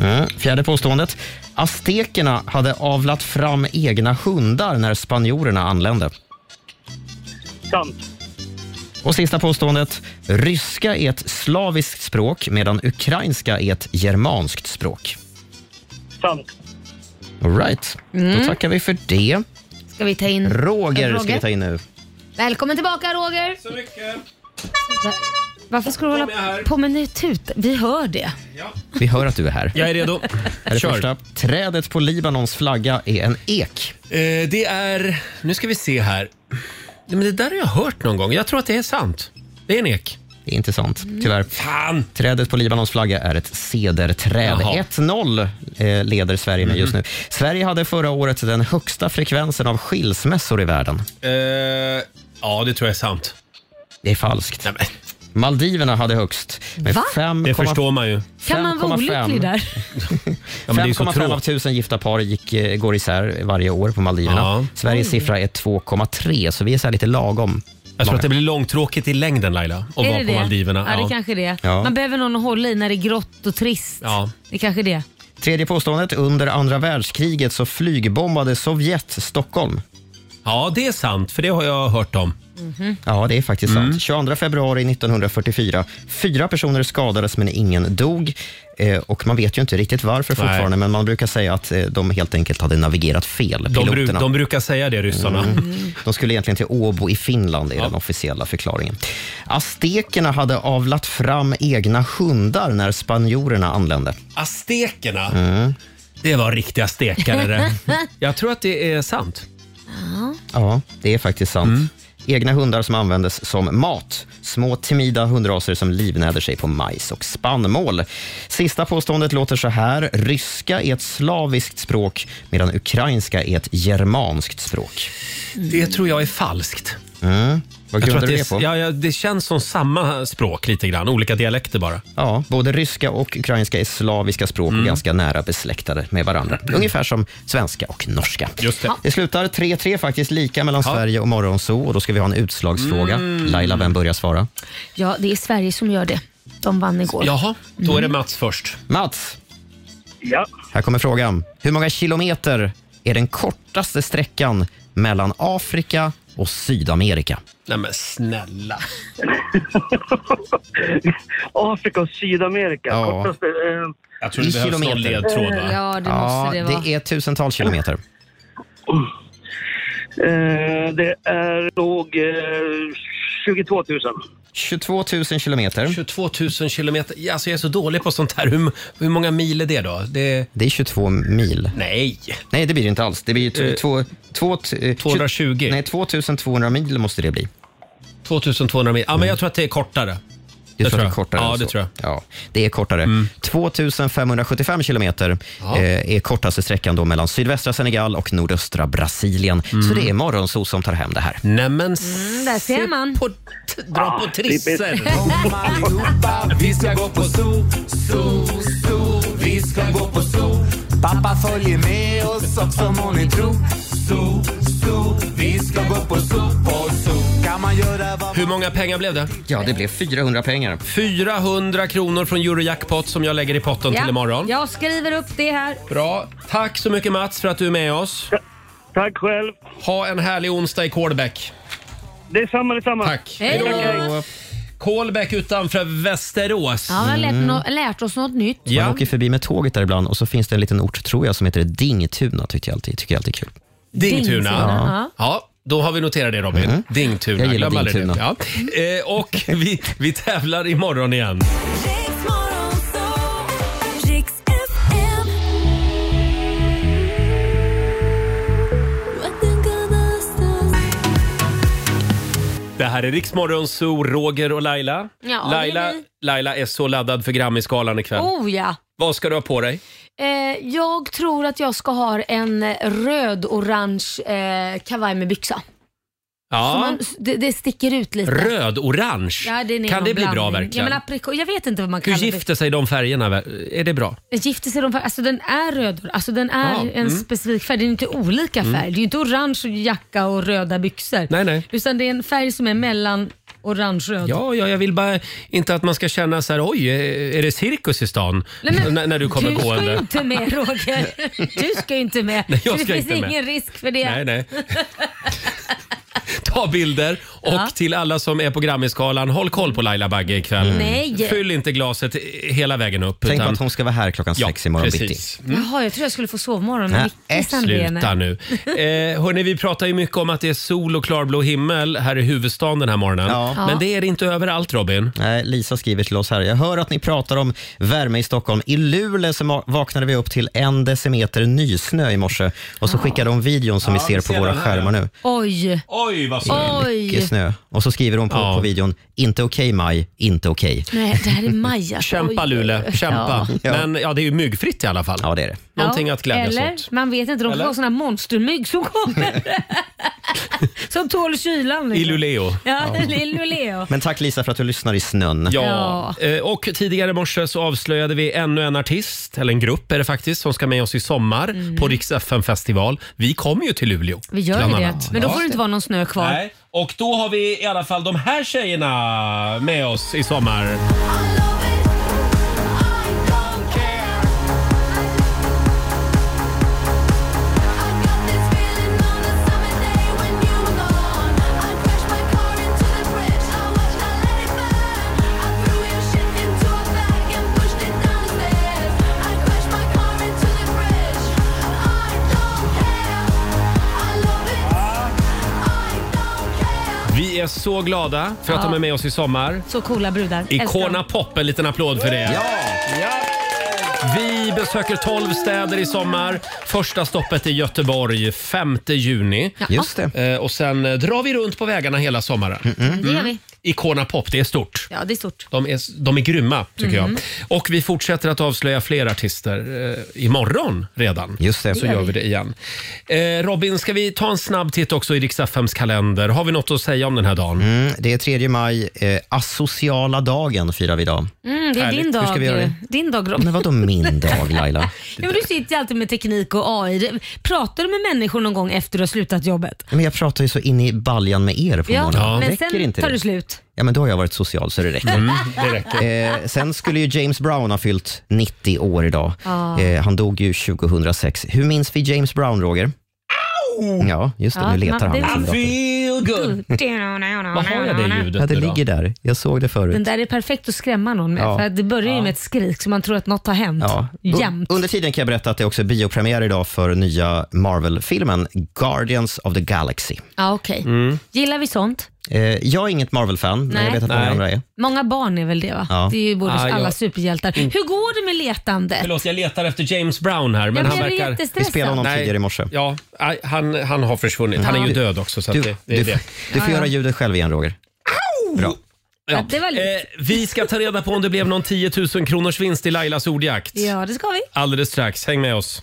C: Mm. Fjärde påståendet. Aztekerna hade avlat fram egna hundar när spanjorerna anlände.
T: Sant.
C: Och sista påståendet. Ryska är ett slaviskt språk medan ukrainska är ett germanskt språk.
T: Sant.
C: All right.
B: Mm.
C: Då tackar vi för det.
B: Ska vi ta in
C: Roger, ska vi ta in nu.
B: Välkommen tillbaka Roger! Så mycket! Varför ska du hålla på med ny tut? Vi hör det.
C: Vi hör att du är här.
A: Jag är redo.
C: Här är
A: Kör.
C: första. Trädet på Libanons flagga är en ek.
A: Eh, det är... Nu ska vi se här. Nej, Men det där har jag hört någon gång. Jag tror att det är sant. Det är en ek.
C: Det är inte sant, tyvärr.
A: Fan!
C: Trädet på Libanons flagga är ett cederträd.
A: Jaha. Mm.
C: 1-0 eh, leder Sverige med just nu. Sverige hade förra året den högsta frekvensen av skilsmässor i världen.
A: Eh, ja, det tror jag är sant.
C: Det är falskt. Maldiverna hade högst. Med
B: Va?
C: fem
A: Det
C: komma-
A: förstår man ju.
B: Kan man vara
C: 5,5.
B: olycklig där?
C: Ja,
A: men det är ju så
C: 5,5 av
A: tråkigt.
C: tusen gifta par gick, eh, går isär varje år på Maldiverna.
A: Ja.
C: Sveriges siffra är 2,3, så vi är så här lite lagom.
A: Jag tror att det blir långtråkigt i längden Laila, att
B: Är
A: vara
B: det
A: på
B: det?
A: Maldiverna.
B: Ja, det kanske är det
C: Ja.
B: Man behöver någon att hålla i när det är grått och trist.
C: Ja.
B: Det är kanske är det.
C: Tredje påståendet. Under andra världskriget så flygbombade Sovjet Stockholm.
A: Ja, det är sant, för det har jag hört om.
E: Mhm.
C: Ja, det är faktiskt
A: Mm.
C: sant. 22 februari 1944. Fyra personer skadades men ingen dog. Eh, och Man vet ju inte riktigt varför
A: Nej.
C: fortfarande, men man brukar säga att eh, de helt enkelt hade navigerat fel,
A: De,
C: piloterna.
A: bru- de brukar säga det ryssarna.
C: Mm. De skulle egentligen till Åbo i Finland, är den officiella förklaringen. Aztekerna hade avlat fram egna hundar när spanjorerna anlände.
A: Aztekerna,
C: Mm.
A: det var riktiga stekare det. Jag tror att det är sant.
C: Ja, det är faktiskt sant.
A: Mm.
C: Egna hundar som användes som mat. Små timida hundraser som livnäder sig på majs och spannmål. Sista påståendet låter så här. Ryska är ett slaviskt språk medan ukrainska är ett germanskt språk.
A: Det tror jag är falskt.
C: Mm. Vad
A: jag tror
C: grundar
A: att
C: du
A: det,
C: det på?
A: Ja, ja, det känns som samma språk lite grann, olika dialekter bara.
C: Ja, både ryska och ukrainska är slaviska språk
A: Mm.
C: och ganska nära besläktade med varandra. Ungefär som svenska och norska.
A: Just det.
C: det slutar 3-3 faktiskt, lika mellan
A: Ja.
C: Sverige och Morgonzoo. Och då ska vi ha en utslagsfråga.
B: Mm.
C: Laila, vem börjar svara?
B: Ja, det är Sverige som gör det. De vann igår.
A: Jaha, då är det Mats först.
C: Mats,
T: Ja.
C: här kommer frågan. Hur många kilometer är den kortaste sträckan mellan Afrika och Sydamerika.
A: Nej men snälla.
T: Afrika och Sydamerika.
C: Ja.
T: Kortaste, eh,
A: Jag
C: I kilometer. det är tusentals kilometer.
T: Eh, det är nog eh, 22 000.
C: 22 000 kilometer.
A: 22 000 kilometer. Ja, Alltså jag är så dålig på sånt här. Hur, hur många mil är det då? Det...
C: Det är 22 mil.
A: Nej.
C: Nej, det blir det inte alls. Det blir ju t-
A: Eh,
C: två, två, t- eh,
A: 220.
C: Nej, 2200 mil måste det bli.
A: 2200 mil. Ja, men jag tror att det är kortare.
C: Du
A: Det tror
C: tror att det är
A: jag.
C: kortare?
A: Ja,
C: än
A: det
C: så.
A: tror jag. Mm.
C: Ja, det är kortare. 2575 kilometer
A: Ja.
C: eh, är kortaste sträckan då mellan sydvästra Senegal och nordöstra Brasilien. Så det är Morgonzoo som tar hem det här.
A: Mm. Nämen,
B: Mm, där ser man.
A: dra
B: Ah,
A: på trisser.
E: Kom allihopa, vi ska gå på zoo, zoo, zoo. Vi ska gå på zoo. Pappa följer med oss också må ni tro. Zoo, zoo. Vi ska gå på zoo, på zoo. Kan man göra vad
A: Hur många pengar blev det?
C: Ja, det blev 400 pengar.
A: 400 kronor från Eurojackpot som jag lägger i potten till imorgon.
B: Jag skriver upp det här.
A: Bra. Tack så mycket Mats för att du är med oss.
T: Tack själv.
A: Ha en härlig onsdag i Kolbäck.
T: Detsamma, detsamma.
A: Tack.
B: Hej då.
A: Kolbäck utanför Västerås.
B: Ja, vi har
C: Mm.
B: lärt, no- lärt oss något nytt.
C: Man åker förbi med tåget där ibland och så finns det en liten ort, tror jag, som heter Dingtuna. Tycker jag alltid, tycker jag alltid är kul.
A: Dingtuna.
C: Ja.
A: Ja. då har vi noterat det Robin. Dingtuna.
C: Mm. Jag gillar
A: Glöm aldrig
C: Dingtuna.
A: Det. Ja. Eh, och vi, vi tävlar imorgon igen. Det här är Riksmorgon Zoo, Roger och Laila.
B: Ja, det
A: Laila,
B: är vi.
A: Laila är så laddad för Grammisgalan ikväll.
B: Oh ja.
A: Vad ska du ha på dig?
B: Eh, jag tror att jag ska ha en eh, röd-orange eh, kavaj med byxa. Så
A: Ja.
B: man, s- det, det sticker ut lite.
A: Röd-orange.
B: Ja, det är
A: kan
B: någon
A: det bli bra
B: blandning. Ja,
A: verkligen?
B: men aprikos, jag vet inte vad man
A: Hur
B: kallar
A: gifter sig de färgerna? ver- Är det bra?
B: det. Gifter sig de färg- Alltså den är röd. Alltså den är
A: Ja,
B: en
A: mm.
B: specifik färg. Det är inte olika färg.
A: Mm.
B: Det är ju inte orange och jacka och röda byxor.
A: Nej, nej.
B: Utan det är en färg som är mellan orange-röd.
A: Ja, ja, jag vill bara inte att man ska känna så här, oj, är det cirkus i stan?
B: Nej, men
A: N- när du kommer
B: du ska ju
A: gående.
B: inte med Roger. Du ska ju inte med.
A: Nej, jag
B: Så
A: ska
B: det finns
A: inte med.
B: ingen risk för det.
A: Nej, nej. Ta bilder och
B: Ja.
A: till alla som är på Grammisgalan, håll koll på Laila Bagge ikväll.
B: Mm. Nej.
A: Fyll inte glaset hela vägen upp.
C: Tänk på
A: utan-
C: att hon ska vara här klockan
A: Ja,
C: sex imorgon
A: precis.
C: bitti.
B: Jaha, jag tror jag skulle få sovmorgon med
C: Nej,
B: Micke Sandén.
A: Mm. Sluta nu. Eh, hörni, vi pratar ju mycket om att det är sol och klarblå himmel här i huvudstaden den här morgonen.
B: Ja.
A: Men det är det inte överallt Robin.
C: Nej, Lisa skriver till oss här. Jag hör att ni pratar om värme i Stockholm. I Luleå så ma- vaknade vi upp till en decimeter nysnö i morse och så skickade de videon som vi ser på våra skärmar nu.
B: Oj.
A: Alltså, Oj, vad
B: snyggt.
C: Mycket
B: Oj.
C: snö. Och så skriver hon på, på videon, inte okej Maj, inte okej.
B: Nej, det här är Maja.
A: Kämpa
B: Oj.
A: Luleå, kämpa.
C: Ja.
A: Men ja, det är ju myggfritt i alla fall.
C: Ja, det är det.
A: Någonting att glädjas
B: eller,
A: åt.
B: Man vet inte, de
A: Eller?
B: kan vara såna här monstermygg som kommer. som tål kylan.
A: I Luleå.
B: Ja, i Luleå.
C: Men tack Lisa för att du lyssnar i snön.
A: Ja, eh, och tidigare i morse så avslöjade vi ännu en artist, eller en grupp är det faktiskt, som ska med oss i sommar på Rix festival Vi kommer ju till Luleå.
B: Mm. Vi gör ju
A: bland
B: det,
A: annat.
B: men då
A: Ja.
B: får det inte vara någon snö kvar.
A: Nej, och då har vi i alla fall de här tjejerna med oss i sommar. Vi är så glada för att
B: Ja.
A: de är med oss i sommar.
B: Så coola brudar. Älskar
A: Icona
B: dem.
A: Pop, en liten applåd för det. Vi besöker 12 städer i sommar. Första stoppet är Göteborg 5 juni.
B: Ja. Just
A: Eh, Och sen eh, drar vi runt på vägarna hela sommaren.
B: Mm,
A: Mm.
B: Det gör vi.
A: Icona Pop, det är stort.
B: Ja, det är stort.
A: De är, de är grymma, tycker
B: Mm.
A: jag. Och vi fortsätter att avslöja fler artister eh, imorgon redan.
C: Just det.
A: Så gör vi det igen. Eh, Robin, ska vi ta en snabb titt också i Rix FMs kalender? Har vi något att säga om den här dagen?
C: Mm, det är 3 maj, eh, asociala dagen firar vi idag.
B: Mm, det är din dag. eh,
C: Hur ska vi göra det?
B: Din dag, Rob.
C: Men vadå min dag Laila?
B: Ja, men du sitter ju alltid med teknik och AI. Pratar du med människor någon gång efter du har slutat jobbet?
C: Men jag pratar ju så in i baljan med er på
B: Ja,
C: morgonen.
B: men
C: Räcker
B: sen
C: inte
B: tar
C: det?
B: det slut.
C: Ja, men då har jag varit social så det räcker.
B: Mm, det räcker.
C: Eh, sen skulle ju James Brown ha fyllt 90 år idag.
B: Ja.
C: Eh, han dog ju 2006. Hur minns vi James Brown, Roger? Ja, just det.
B: Ja,
C: nu letar
B: man-
C: han.
B: det-
C: i sin dator.
A: feel
B: good.
C: Vad har jag det ljudet Ja, det ligger där. Jag såg det förut.
B: Den där är perfekt att skrämma någon med.
C: Ja.
B: För att det börjar ju med ett skrik så man tror att något har hänt.
C: Ja.
B: Jämt.
C: Under tiden kan jag berätta att det också är biopremiär idag för nya Marvel-filmen Guardians of the Galaxy.
B: Ja, okej.
C: Mm.
B: Gillar vi sånt?
C: Eh, jag är inget Marvel-fan, men
B: Nej.
C: jag vet att många
B: Nej.
C: andra är.
B: Många barn är väl det va?
C: Ja.
B: Det är ju både
C: Ah,
B: alla
C: jag-
B: superhjältar. Hur går det med letandet?
A: Förlåt, jag letar efter James Brown här, men
B: Jag
A: han
B: blev
A: verkar...
B: jättestressad. Vi spelade honom
C: tidigare i morse.
A: Ja, aj, han, han har försvunnit. Han är ju
C: Du-
A: död också, så
C: du,
A: att det, det är
C: du,
A: det.
C: Du får
A: Ja, ja.
C: göra ljudet själv igen, Roger. Bra.
A: Ja. Eh, vi ska ta reda på om det blev någon 10 000 kronors vinst i Lailas ordjakt.
B: Ja, det ska vi.
A: Alldeles strax. Häng med oss.